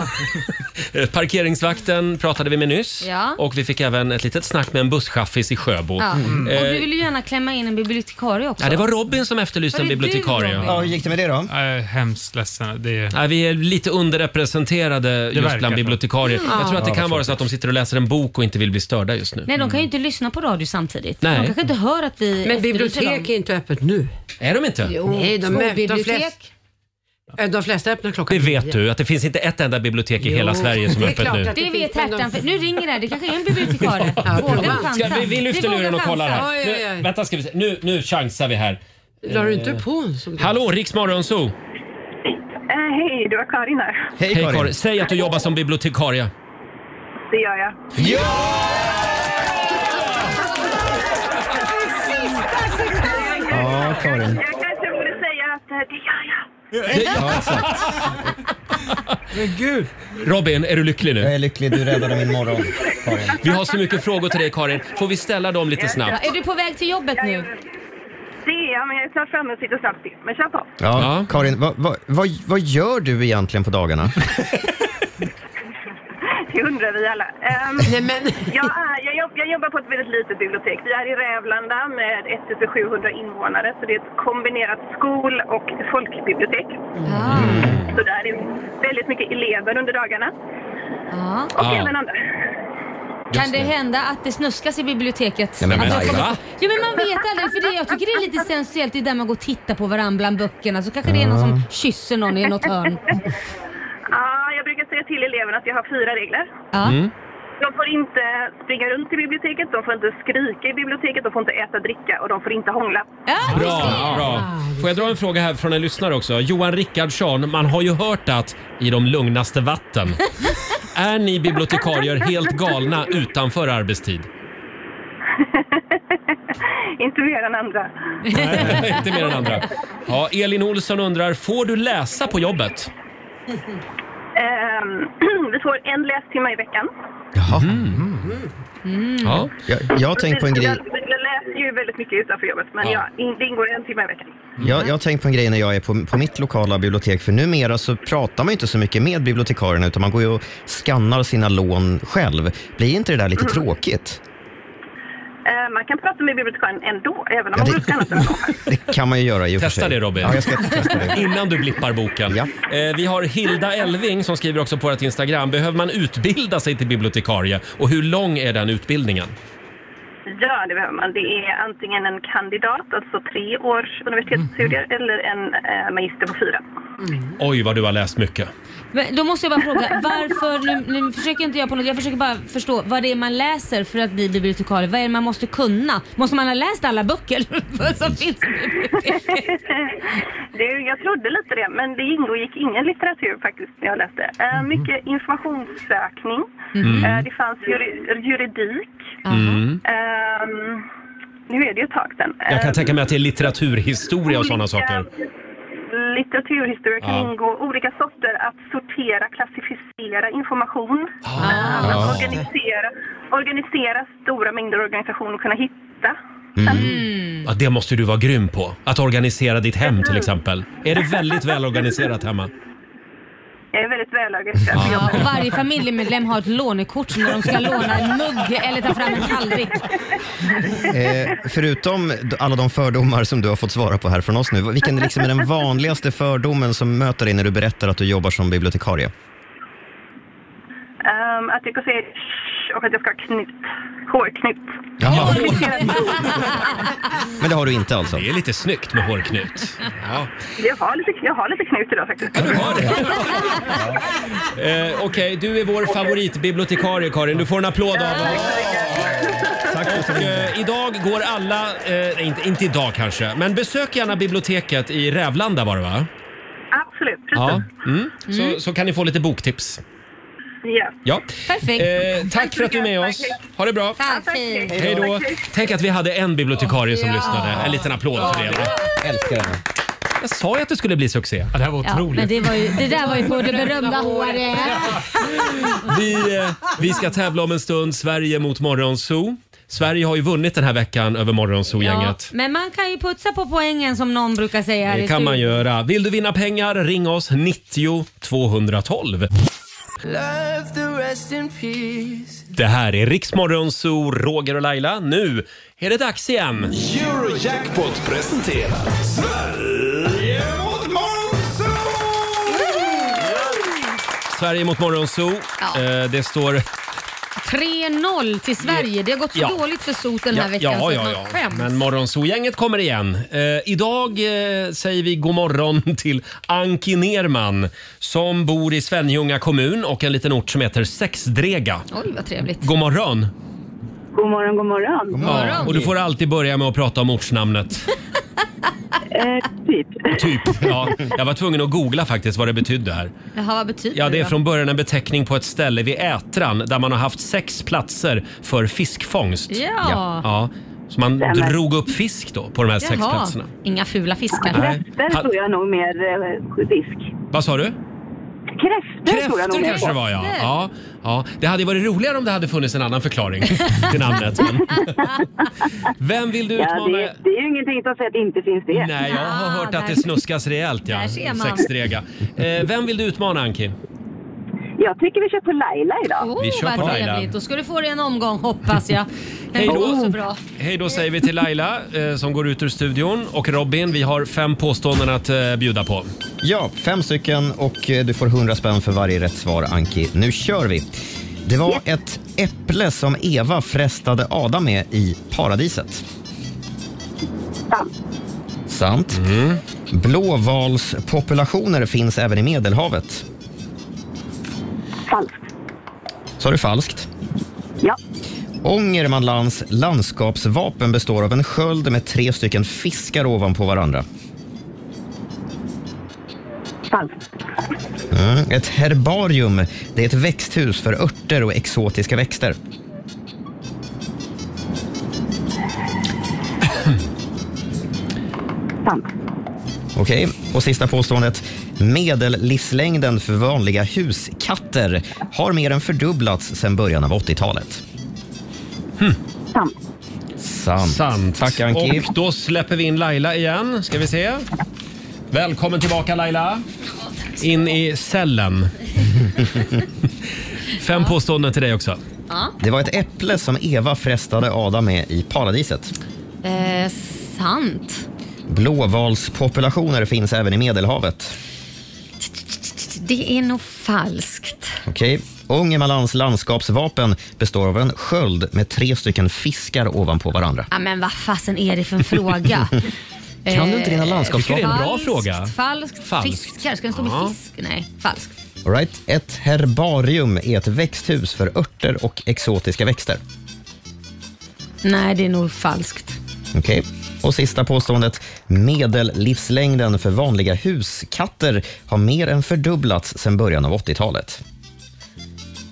[SPEAKER 1] Eh, Parkeringsvakten pratade vi med nyss
[SPEAKER 2] Ja.
[SPEAKER 1] och vi fick även ett litet snack med en busschaffis i Sjöbo.
[SPEAKER 2] Ja. Mm.
[SPEAKER 1] Eh,
[SPEAKER 2] Och du vill ju gärna klämma in en bibliotekarie också.
[SPEAKER 1] Ja, det var Robin som efterlyste
[SPEAKER 2] Var
[SPEAKER 1] en
[SPEAKER 2] det
[SPEAKER 1] bibliotekarie.
[SPEAKER 2] du, Robin? Ja, hur
[SPEAKER 3] gick det med det då?
[SPEAKER 9] hemskt ledsen. Det är...
[SPEAKER 1] Nej, vi är lite underrepresenterade just
[SPEAKER 9] verkar
[SPEAKER 1] bland
[SPEAKER 9] så.
[SPEAKER 1] bibliotekarier.
[SPEAKER 2] Mm.
[SPEAKER 1] Jag tror att det
[SPEAKER 2] Ja,
[SPEAKER 1] kan vara så att de sitter och läser en bok och inte vill bli störda just nu.
[SPEAKER 2] Nej, de kan ju inte lyssna på radio samtidigt.
[SPEAKER 1] Mm. Nej.
[SPEAKER 2] De kanske inte hör att vi
[SPEAKER 6] Men
[SPEAKER 2] efterlyser
[SPEAKER 6] bibliotek
[SPEAKER 2] dem.
[SPEAKER 6] är inte öppet nu.
[SPEAKER 1] Är de inte?
[SPEAKER 6] Nej, de, de, de,
[SPEAKER 2] Skolbibliotek.
[SPEAKER 6] flesta, eh, de flesta öppnar klockan
[SPEAKER 1] Det vet
[SPEAKER 6] nio.
[SPEAKER 1] du, att det finns inte ett enda bibliotek i hela Sverige som är öppet nu.
[SPEAKER 2] Det vet hertan. för- Nu ringer det. Det kanske är en bibliotekarie. Våga chansa.
[SPEAKER 1] Ska, vi, vi lyfter
[SPEAKER 2] vågar
[SPEAKER 1] luren och
[SPEAKER 2] chansa.
[SPEAKER 1] kollar här. Nu, vänta, ska vi se. Nu, nu chansar vi här.
[SPEAKER 6] Drar du inte
[SPEAKER 1] Eh,
[SPEAKER 6] på en sån?
[SPEAKER 1] Hallå, Rix Morgonzoo!
[SPEAKER 4] Eh, hej, det var Karin här.
[SPEAKER 1] Hej Karin. Säg att du jobbar som bibliotekarie.
[SPEAKER 4] Det gör jag.
[SPEAKER 1] Ja!
[SPEAKER 3] Ja, Karin.
[SPEAKER 4] Jag kanske borde säga att eh, det gör jag.
[SPEAKER 3] Ja, exakt.
[SPEAKER 1] Men gud! Robin, är du lycklig nu? Jag
[SPEAKER 3] är lycklig. Du räddade min morgon, Karin.
[SPEAKER 1] Vi har så mycket frågor till dig, Karin. Får vi ställa dem lite
[SPEAKER 2] Ja,
[SPEAKER 1] snabbt?
[SPEAKER 2] är du på väg till jobbet nu?
[SPEAKER 4] Det är jag, men jag är snart framme och sitter snabbt till. Men kör på.
[SPEAKER 3] Ja, Karin, vad, vad, vad, vad gör du egentligen på dagarna?
[SPEAKER 1] Mm.
[SPEAKER 4] [LAUGHS] Det undrar vi alla. Ehm, [LAUGHS] jag, är, jag, jobb, jag jobbar på ett väldigt litet bibliotek. Vi är i Rävlanda med 1700 invånare, så det är ett kombinerat skol och folkbibliotek.
[SPEAKER 1] Mm.
[SPEAKER 4] Så där är väldigt mycket elever under dagarna.
[SPEAKER 2] Ja.
[SPEAKER 4] Och
[SPEAKER 1] Ah.
[SPEAKER 4] även andra.
[SPEAKER 2] Kan det hända att det snuskas i biblioteket?
[SPEAKER 4] Nej, men
[SPEAKER 2] Att de
[SPEAKER 4] Laila.
[SPEAKER 2] kommer- Ja men man vet aldrig för det, jag tycker det är lite sensuellt, det där man går och tittar på varandra bland böckerna så kanske det är någon
[SPEAKER 4] Ah.
[SPEAKER 2] som kysser någon i något
[SPEAKER 4] [LAUGHS]
[SPEAKER 2] hörn.
[SPEAKER 4] Ja, jag brukar säga till eleverna att jag har fyra regler.
[SPEAKER 2] Ja.
[SPEAKER 1] Mm.
[SPEAKER 4] De får inte springa runt i biblioteket, de får inte skrika i biblioteket, de får inte äta, dricka och de får inte hångla.
[SPEAKER 1] Bra, bra. Får jag dra en fråga här från en lyssnare också? Johan Rickardsson, man har ju hört att i de lugnaste vatten. Är ni bibliotekarier helt galna utanför arbetstid?
[SPEAKER 4] [LAUGHS] Inte mer än andra.
[SPEAKER 1] Nej, [LAUGHS] inte mer än andra.
[SPEAKER 4] [LAUGHS]
[SPEAKER 1] Ja, Elin Olsson undrar, får du läsa på jobbet?
[SPEAKER 4] Ehm, [CLEARS THROAT] vi får en lästimme i veckan.
[SPEAKER 3] Jaha.
[SPEAKER 1] Mm. Ja.
[SPEAKER 3] Jag, jag har tänkt på en grej.
[SPEAKER 4] Jag, jag läser ju väldigt mycket utanför jobbet, men
[SPEAKER 3] Ja.
[SPEAKER 4] ja, in, det ingår en timme i veckan.
[SPEAKER 3] Jag, jag har tänkt på en grej när jag är på, på mitt lokala bibliotek, för numera så pratar man ju inte så mycket med bibliotekarierna, utan man går ju och skannar sina lån själv. Blir inte det där lite tråkigt?
[SPEAKER 4] Eh, man kan prata med bibliotekarien ändå, även om
[SPEAKER 3] Ja,
[SPEAKER 4] man
[SPEAKER 3] det-
[SPEAKER 4] går ut annat än
[SPEAKER 3] Det kan man ju göra i och för
[SPEAKER 1] Testa
[SPEAKER 3] sig.
[SPEAKER 1] det Robin.
[SPEAKER 3] Ja, jag ska testa det.
[SPEAKER 1] [LAUGHS] Innan du blippar boken. Eh, vi har Hilda Elving som skriver också på vårt Instagram. Behöver man utbilda sig till bibliotekarie och hur lång är den utbildningen?
[SPEAKER 4] Ja, det behöver man. Det är antingen en kandidat, alltså tre års universitetsstudier, eller en eh, magister på fyra.
[SPEAKER 1] Oj vad du har läst mycket.
[SPEAKER 2] Men då måste jag bara fråga, varför, nu, nu försöker inte jag på något, jag försöker bara förstå vad det är man läser för att bli bibliotekarie, vad är det man måste kunna? Måste man ha läst alla böcker [LAUGHS] som finns?
[SPEAKER 4] [LAUGHS] det, jag trodde lite det, men det ingick ingen litteratur faktiskt när jag läste. Eh,
[SPEAKER 1] Mhm.
[SPEAKER 4] mycket informationssökning.
[SPEAKER 7] Mhm.
[SPEAKER 4] Eh, det fanns juri, juridik.
[SPEAKER 1] Mm.
[SPEAKER 4] Ehm, nu är det ju ett tag sedan.
[SPEAKER 1] Jag kan
[SPEAKER 4] Ehm,
[SPEAKER 1] tänka mig att det är litteraturhistoria och sådana saker.
[SPEAKER 4] Litteraturhistoria kan
[SPEAKER 1] Ja.
[SPEAKER 4] ingå olika sorter att sortera, klassificera information.
[SPEAKER 1] Ah.
[SPEAKER 4] Eh,
[SPEAKER 1] Ja.
[SPEAKER 4] Att organisera, organisera stora mängder organisation och kunna hitta.
[SPEAKER 3] Mm.
[SPEAKER 1] Ja, det måste du vara grym på. Att organisera ditt hem till exempel. Är det väldigt välorganiserat hemma?
[SPEAKER 4] Jag är väldigt välorganiserad.
[SPEAKER 1] Ja.
[SPEAKER 4] Jag-
[SPEAKER 2] Och varje familjemedlem har ett lånekort när de ska låna en mugg eller ta fram en tallrik.
[SPEAKER 3] Eh, förutom d- alla de fördomar som du har fått svara på här från oss nu, vilken liksom är den vanligaste fördomen som möter dig när du berättar att du jobbar som bibliotekarie?
[SPEAKER 4] Ehm, att jag ska säga "Shh" och att jag ska ha knut. Hårknut.
[SPEAKER 3] Jaha. Men det har du inte alltså? Det
[SPEAKER 1] är lite snyggt med hårknut. Ja.
[SPEAKER 4] [LAUGHS] Jag har lite, jag har lite knut idag faktiskt.
[SPEAKER 1] Eh, Okej, du är vår favoritbibliotekarie Karin. Du får en applåd av oss. Och, eh, idag går alla, eh, nej, inte, inte idag kanske, men besök gärna biblioteket i Rävlanda var det va?
[SPEAKER 4] [LAUGHS] Absolut, precis.
[SPEAKER 1] Ja. Mm.
[SPEAKER 4] Mm.
[SPEAKER 1] Så, så kan ni få lite boktips.
[SPEAKER 4] Yes.
[SPEAKER 1] Ja.
[SPEAKER 2] Perfekt.
[SPEAKER 1] Eh, tack för att du är med oss. Ha det bra.
[SPEAKER 2] Tack. Hej.
[SPEAKER 1] Hej då. Tänk att vi hade en bibliotekarie som
[SPEAKER 2] Ja.
[SPEAKER 1] lyssnade. En liten applåd för det. Älskar henne. Jag sa ju att det skulle bli succé. det här var
[SPEAKER 2] Ja, men det, var ju, det där var ju på det berömda håret.
[SPEAKER 1] Vi, eh, vi ska tävla om en stund. Sverige mot Morgonzoo. Sverige har ju vunnit den här veckan över
[SPEAKER 2] Ja,
[SPEAKER 1] Morgonzoo-gänget.
[SPEAKER 2] men man kan ju putsa på poängen som någon brukar säga. här
[SPEAKER 1] Det
[SPEAKER 2] i
[SPEAKER 1] kan man
[SPEAKER 2] studion.
[SPEAKER 1] göra. Vill du vinna pengar, ring oss 90 212. Det här är Riksmorgonzoo, Roger och Laila. Nu är det dags igen.
[SPEAKER 5] Eurojackpot presenterar Sverige mot
[SPEAKER 1] Sverige mot Morgonzoo.
[SPEAKER 2] Ja.
[SPEAKER 1] Eh, Det står...
[SPEAKER 2] 3-0 till Sverige. Det har gått så
[SPEAKER 1] Ja.
[SPEAKER 2] dåligt för Sot den här veckan
[SPEAKER 1] ja,
[SPEAKER 2] så
[SPEAKER 1] ja,
[SPEAKER 2] att
[SPEAKER 1] ja.
[SPEAKER 2] man skäms.
[SPEAKER 1] Men Morgonzoo-gänget kommer igen. Eh, idag eh, säger vi god morgon [LAUGHS] till Anki Nerman som bor i Svenljunga kommun och en liten ort som heter Sexdrega.
[SPEAKER 2] Oj, vad trevligt.
[SPEAKER 1] God morgon!
[SPEAKER 14] God morgon, god morgon. God
[SPEAKER 1] Ja, och du får alltid börja med att prata om ortsnamnet.
[SPEAKER 14] eh, typ.
[SPEAKER 1] Typ. Ja, jag var tvungen att googla faktiskt vad det betydde här.
[SPEAKER 2] Jaha, vad betyder
[SPEAKER 1] Ja, det är
[SPEAKER 2] då?
[SPEAKER 1] från början en beteckning på ett ställe vid Ätran där man har haft sex platser för fiskfångst.
[SPEAKER 2] Ja.
[SPEAKER 1] ja. Så man
[SPEAKER 14] Stämmer.
[SPEAKER 1] drog upp fisk då på de här sex
[SPEAKER 2] Jaha,
[SPEAKER 1] platserna.
[SPEAKER 2] Inga fula fiskar.
[SPEAKER 1] Nej.
[SPEAKER 14] Där
[SPEAKER 1] Ha-
[SPEAKER 14] tror jag nog mer eh, fisk.
[SPEAKER 1] Vad sa du?
[SPEAKER 14] Kräftor tror jag nog
[SPEAKER 1] Kräftor
[SPEAKER 14] mer
[SPEAKER 1] kanske det
[SPEAKER 14] på.
[SPEAKER 1] var ja. ja. ja. Det hade ju varit roligare om det hade funnits en annan förklaring [LAUGHS] till namnet.
[SPEAKER 4] [LAUGHS]
[SPEAKER 1] Men... Vem vill du
[SPEAKER 14] Ja,
[SPEAKER 1] utmana?
[SPEAKER 14] det, det är ju ingenting som säger att det inte finns det.
[SPEAKER 1] Nej, jag har hört
[SPEAKER 2] Ah,
[SPEAKER 1] att det snuskas rejält ja.
[SPEAKER 14] Där ser man.
[SPEAKER 1] Sexdrega. Eh, vem vill du utmana Anki?
[SPEAKER 14] Jag tycker vi kör på Laila idag.
[SPEAKER 1] Vi kör
[SPEAKER 2] vad
[SPEAKER 1] på Laila.
[SPEAKER 2] trevligt. Då ska du få dig en omgång
[SPEAKER 3] [LAUGHS]
[SPEAKER 2] hoppas jag. Den
[SPEAKER 1] Hej då.
[SPEAKER 2] går så bra.
[SPEAKER 1] Hej då säger vi till Laila eh, som går ut ur studion. Och Robin, vi har fem påståenden att eh, bjuda på.
[SPEAKER 3] Ja, fem stycken och eh, du får 100 spänn för varje rätt svar, Anki. Nu kör vi! Det var ett äpple som Eva frestade Adam med i paradiset. Sant.
[SPEAKER 14] Mhm.
[SPEAKER 3] Blåvalspopulationer finns även i Medelhavet.
[SPEAKER 14] Falskt.
[SPEAKER 3] Sa du falskt?
[SPEAKER 14] Ja.
[SPEAKER 3] Ångermanlands landskapsvapen består av en sköld med tre stycken fiskar ovanpå varandra.
[SPEAKER 14] Falskt.
[SPEAKER 3] Mm. Ett herbarium, det är ett växthus för örter och exotiska växter. Okej, och sista påståendet. Medellivslängden för vanliga huskatter har mer än fördubblats sedan början av 80-talet.
[SPEAKER 14] Sant.
[SPEAKER 3] Sant. Mm, Tack Anki.
[SPEAKER 1] Och [LAUGHS] då släpper vi in Laila igen. Ska vi se. Välkommen tillbaka Laila. In i cellen. Fem påståenden till dig också.
[SPEAKER 2] Ja.
[SPEAKER 3] Det var ett äpple som Eva frestade Adam med i paradiset.
[SPEAKER 2] Eh, sant.
[SPEAKER 3] Blåvalspopulationer finns även i Medelhavet.
[SPEAKER 2] Det är nog falskt.
[SPEAKER 3] Okej. Ångermanlands landskapsvapen består av en sköld med tre stycken fiskar ovanpå varandra.
[SPEAKER 2] Ja, men vad fasen är det för en fråga?
[SPEAKER 3] [LAUGHS] Kan du inte dina
[SPEAKER 2] Eh,
[SPEAKER 3] landskapsvapen? Jag tycker det är en bra
[SPEAKER 2] falskt,
[SPEAKER 3] fråga.
[SPEAKER 2] Falskt.
[SPEAKER 3] Falskt.
[SPEAKER 2] Fiskar. Ska den stå
[SPEAKER 3] Ja.
[SPEAKER 2] med fisk? Nej, falskt.
[SPEAKER 3] All right. Ett herbarium är ett växthus för örter och exotiska växter.
[SPEAKER 2] Nej, det är nog falskt.
[SPEAKER 3] Okej. Och sista påståendet. Medellivslängden för vanliga huskatter har mer än fördubblats sedan början av 80-talet.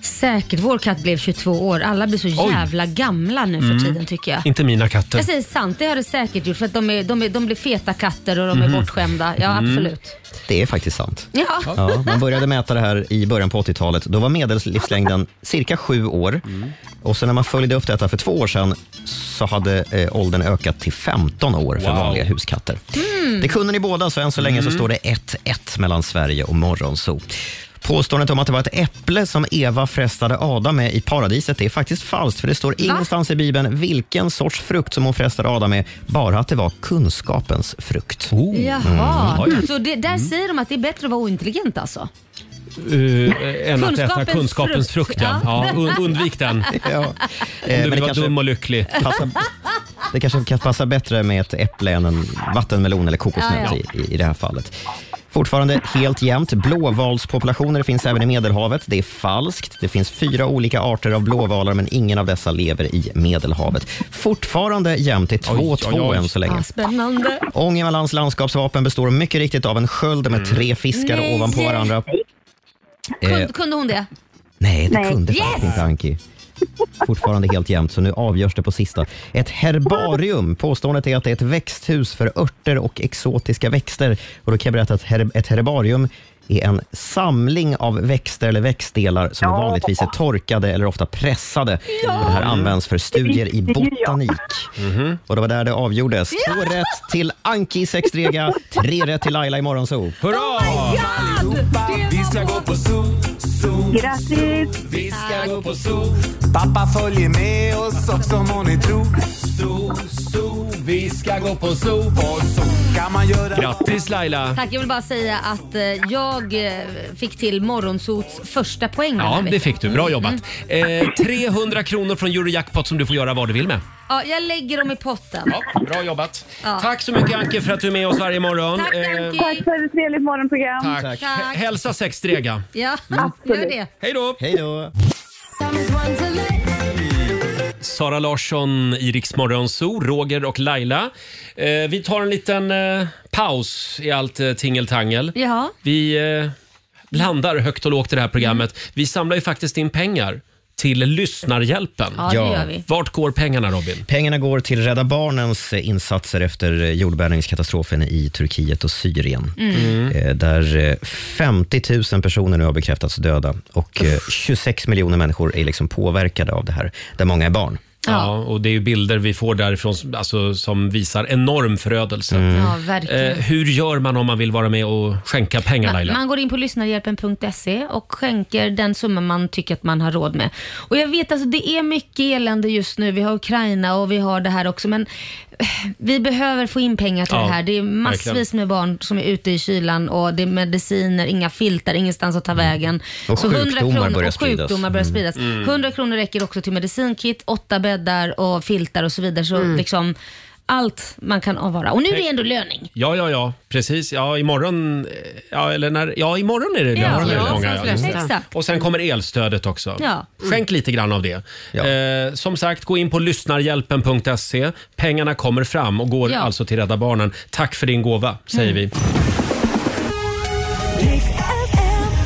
[SPEAKER 2] Säkert. Vår katt blev 22 år. Alla blir så jävla gamla nu för
[SPEAKER 1] Mm.
[SPEAKER 2] tiden tycker jag.
[SPEAKER 1] Inte mina katter.
[SPEAKER 2] Jag säger sant, det har det säkert gjort för att de, är, de, är, de blir feta katter och de är
[SPEAKER 3] Mhm.
[SPEAKER 2] bortskämda. Ja,
[SPEAKER 3] Mm.
[SPEAKER 2] absolut.
[SPEAKER 3] Det är faktiskt sant.
[SPEAKER 2] Ja.
[SPEAKER 3] Ja, man började mäta det här i början på 80-talet. Då var medellivslängden cirka sju år.
[SPEAKER 1] Mm.
[SPEAKER 3] Och sen när man följde upp detta för två år sedan så hade eh, åldern ökat till 15 år för
[SPEAKER 1] Wow.
[SPEAKER 3] vanliga huskatter.
[SPEAKER 2] Mm.
[SPEAKER 3] Det kunde ni båda, så än så länge
[SPEAKER 1] Mm.
[SPEAKER 3] så står det 1-1 mellan Sverige och Morgonzoo. Påståendet om att det var ett äpple som Eva frestade Adam med i paradiset det är faktiskt falskt, för det står ingenstans i Bibeln vilken sorts frukt som hon frestade Adam med, bara att det var kunskapens frukt.
[SPEAKER 1] Oh.
[SPEAKER 2] Jaha.
[SPEAKER 3] Mm.
[SPEAKER 2] Så det, där säger de att det är bättre att vara ointelligent alltså?
[SPEAKER 1] Uh, än att äta
[SPEAKER 2] Kunskapens
[SPEAKER 1] kunskapens
[SPEAKER 2] frukt.
[SPEAKER 1] frukt. ja.
[SPEAKER 2] Ja.
[SPEAKER 1] Ja. un-
[SPEAKER 3] [LAUGHS]
[SPEAKER 1] undvik den.
[SPEAKER 3] Ja. Eh,
[SPEAKER 1] Om
[SPEAKER 3] men
[SPEAKER 1] du
[SPEAKER 3] det
[SPEAKER 1] vill vara
[SPEAKER 3] kanske-
[SPEAKER 1] dum och lycklig.
[SPEAKER 3] Passa- Det kanske kan passa bättre med ett äpple än en vattenmelon eller kokosnöt
[SPEAKER 1] Ja,
[SPEAKER 3] I, i det här fallet. Fortfarande helt jämnt. Blåvalspopulationer finns även i Medelhavet. Det är falskt. Det finns fyra olika arter av blåvalar, men ingen av dessa lever i Medelhavet. Fortfarande jämnt. Det är 2-2 än så länge. Eh.
[SPEAKER 2] Ja, spännande.
[SPEAKER 3] Ångermanlands landskapsvapen består mycket riktigt av en sköld med tre fiskar
[SPEAKER 2] Nej.
[SPEAKER 3] ovanpå varandra. Eh,
[SPEAKER 2] Kunde hon det?
[SPEAKER 3] Nej, det
[SPEAKER 7] Nej.
[SPEAKER 3] kunde
[SPEAKER 7] Yes!
[SPEAKER 3] faktiskt inte Anki. Fortfarande helt jämnt, så nu avgörs det på sista. Ett herbarium. Påståendet är att det är ett växthus för örter och exotiska växter. Och då kan jag berätta att her- ett herbarium är en samling av växter eller växtdelar som
[SPEAKER 7] Ja.
[SPEAKER 3] vanligtvis är torkade eller ofta pressade. Och det här används för studier i botanik.
[SPEAKER 1] Mhm.
[SPEAKER 3] Och det var där det avgjordes. Två rätt till Anki Sextrega, tre rätt till Laila i Morgonzoo.
[SPEAKER 7] Oh
[SPEAKER 1] Hurra!
[SPEAKER 7] Vi ska gå på zoo, zoo, Grattis! Vi ska gå på zoo. Pappa följer med oss också om hon är tro. Zoo, zoo, vi ska gå på zoo. På zoo kan man göra...
[SPEAKER 1] Grattis Laila!
[SPEAKER 2] Tack, jag vill bara säga att eh, jag eh, fick till Morgonsots första poäng. den här
[SPEAKER 1] Ja, det
[SPEAKER 2] veckan.
[SPEAKER 1] fick du. Bra jobbat.
[SPEAKER 3] Mm.
[SPEAKER 1] Eh, 300 kronor från Eurojackpot som du får göra vad du vill med.
[SPEAKER 2] Ja, jag lägger dem i potten.
[SPEAKER 1] Bra jobbat.
[SPEAKER 2] Ja.
[SPEAKER 1] Tack så mycket Anke för att du är med oss varje morgon.
[SPEAKER 2] Tack,
[SPEAKER 1] Eh,
[SPEAKER 2] Anki.
[SPEAKER 14] Tack för ett trevligt morgonprogram.
[SPEAKER 1] Tack. H- Hälsa sexdrega.
[SPEAKER 2] Ja, gör det.
[SPEAKER 1] Hej då!
[SPEAKER 3] Hej då!
[SPEAKER 1] Sara Larsson, Iriks morgonzoo, Roger och Laila. Eh, vi tar en liten eh, paus i allt eh, tingeltangel.
[SPEAKER 2] Jaha.
[SPEAKER 1] Vi eh, landar högt och lågt i det här programmet. Vi samlar ju faktiskt in pengar till Lyssnarhjälpen.
[SPEAKER 2] Ja, det Ja. gör vi.
[SPEAKER 1] Vart går pengarna Robin?
[SPEAKER 3] Pengarna går till Rädda Barnens eh, insatser efter eh, jordbävningskatastrofen i Turkiet och Syrien.
[SPEAKER 7] Mm.
[SPEAKER 3] Eh, Där eh, 50 000 personer nu har bekräftats döda och eh, 26 miljoner människor är liksom påverkade av det här, där många är barn.
[SPEAKER 1] Ja. och det är ju bilder vi får därifrån som- alltså, som visar enorm förödelse.
[SPEAKER 2] Ja, verkligen.
[SPEAKER 1] Eh, hur gör man om man vill vara med och skänka pengar Laila?
[SPEAKER 2] Man går in på lyssnarhjälpen.se och skänker den summa man tycker att man har råd med. Och jag vet alltså det är mycket elände just nu. Vi har Ukraina och vi har det här också men eh, vi behöver få in pengar till
[SPEAKER 7] Ja,
[SPEAKER 2] det här. Det är massvis
[SPEAKER 7] verkligen.
[SPEAKER 2] med barn som är ute i kylan och det är mediciner, inga filtar, ingenstans att ta vägen.
[SPEAKER 7] Mm. Och sjukdomar
[SPEAKER 2] kronor,
[SPEAKER 7] börjar
[SPEAKER 2] och sjukdomar
[SPEAKER 7] spridas.
[SPEAKER 2] börjar spridas.
[SPEAKER 7] Mm. Mm.
[SPEAKER 2] 100 kronor räcker också till medicinkit, åtta bäddar och filtar och så vidare. Så liksom allt man kan avvara. Och nu är det ändå löning.
[SPEAKER 1] Ja, ja, ja, precis. Ja, imorgon, eh, ja, eller när, ja, imorgon är det
[SPEAKER 2] Ja,
[SPEAKER 1] ganska
[SPEAKER 2] ja,
[SPEAKER 1] många.
[SPEAKER 2] för de
[SPEAKER 1] ja.
[SPEAKER 2] flesta.
[SPEAKER 1] Mm.
[SPEAKER 2] Exakt.
[SPEAKER 1] Och sen kommer elstödet också.
[SPEAKER 2] Ja.
[SPEAKER 1] Skänk lite grann av det. Eh, som sagt, gå in på lyssnarhjälpen.se. Pengarna kommer fram och går
[SPEAKER 2] Ja.
[SPEAKER 1] alltså till Rädda Barnen. Tack för din gåva, säger vi.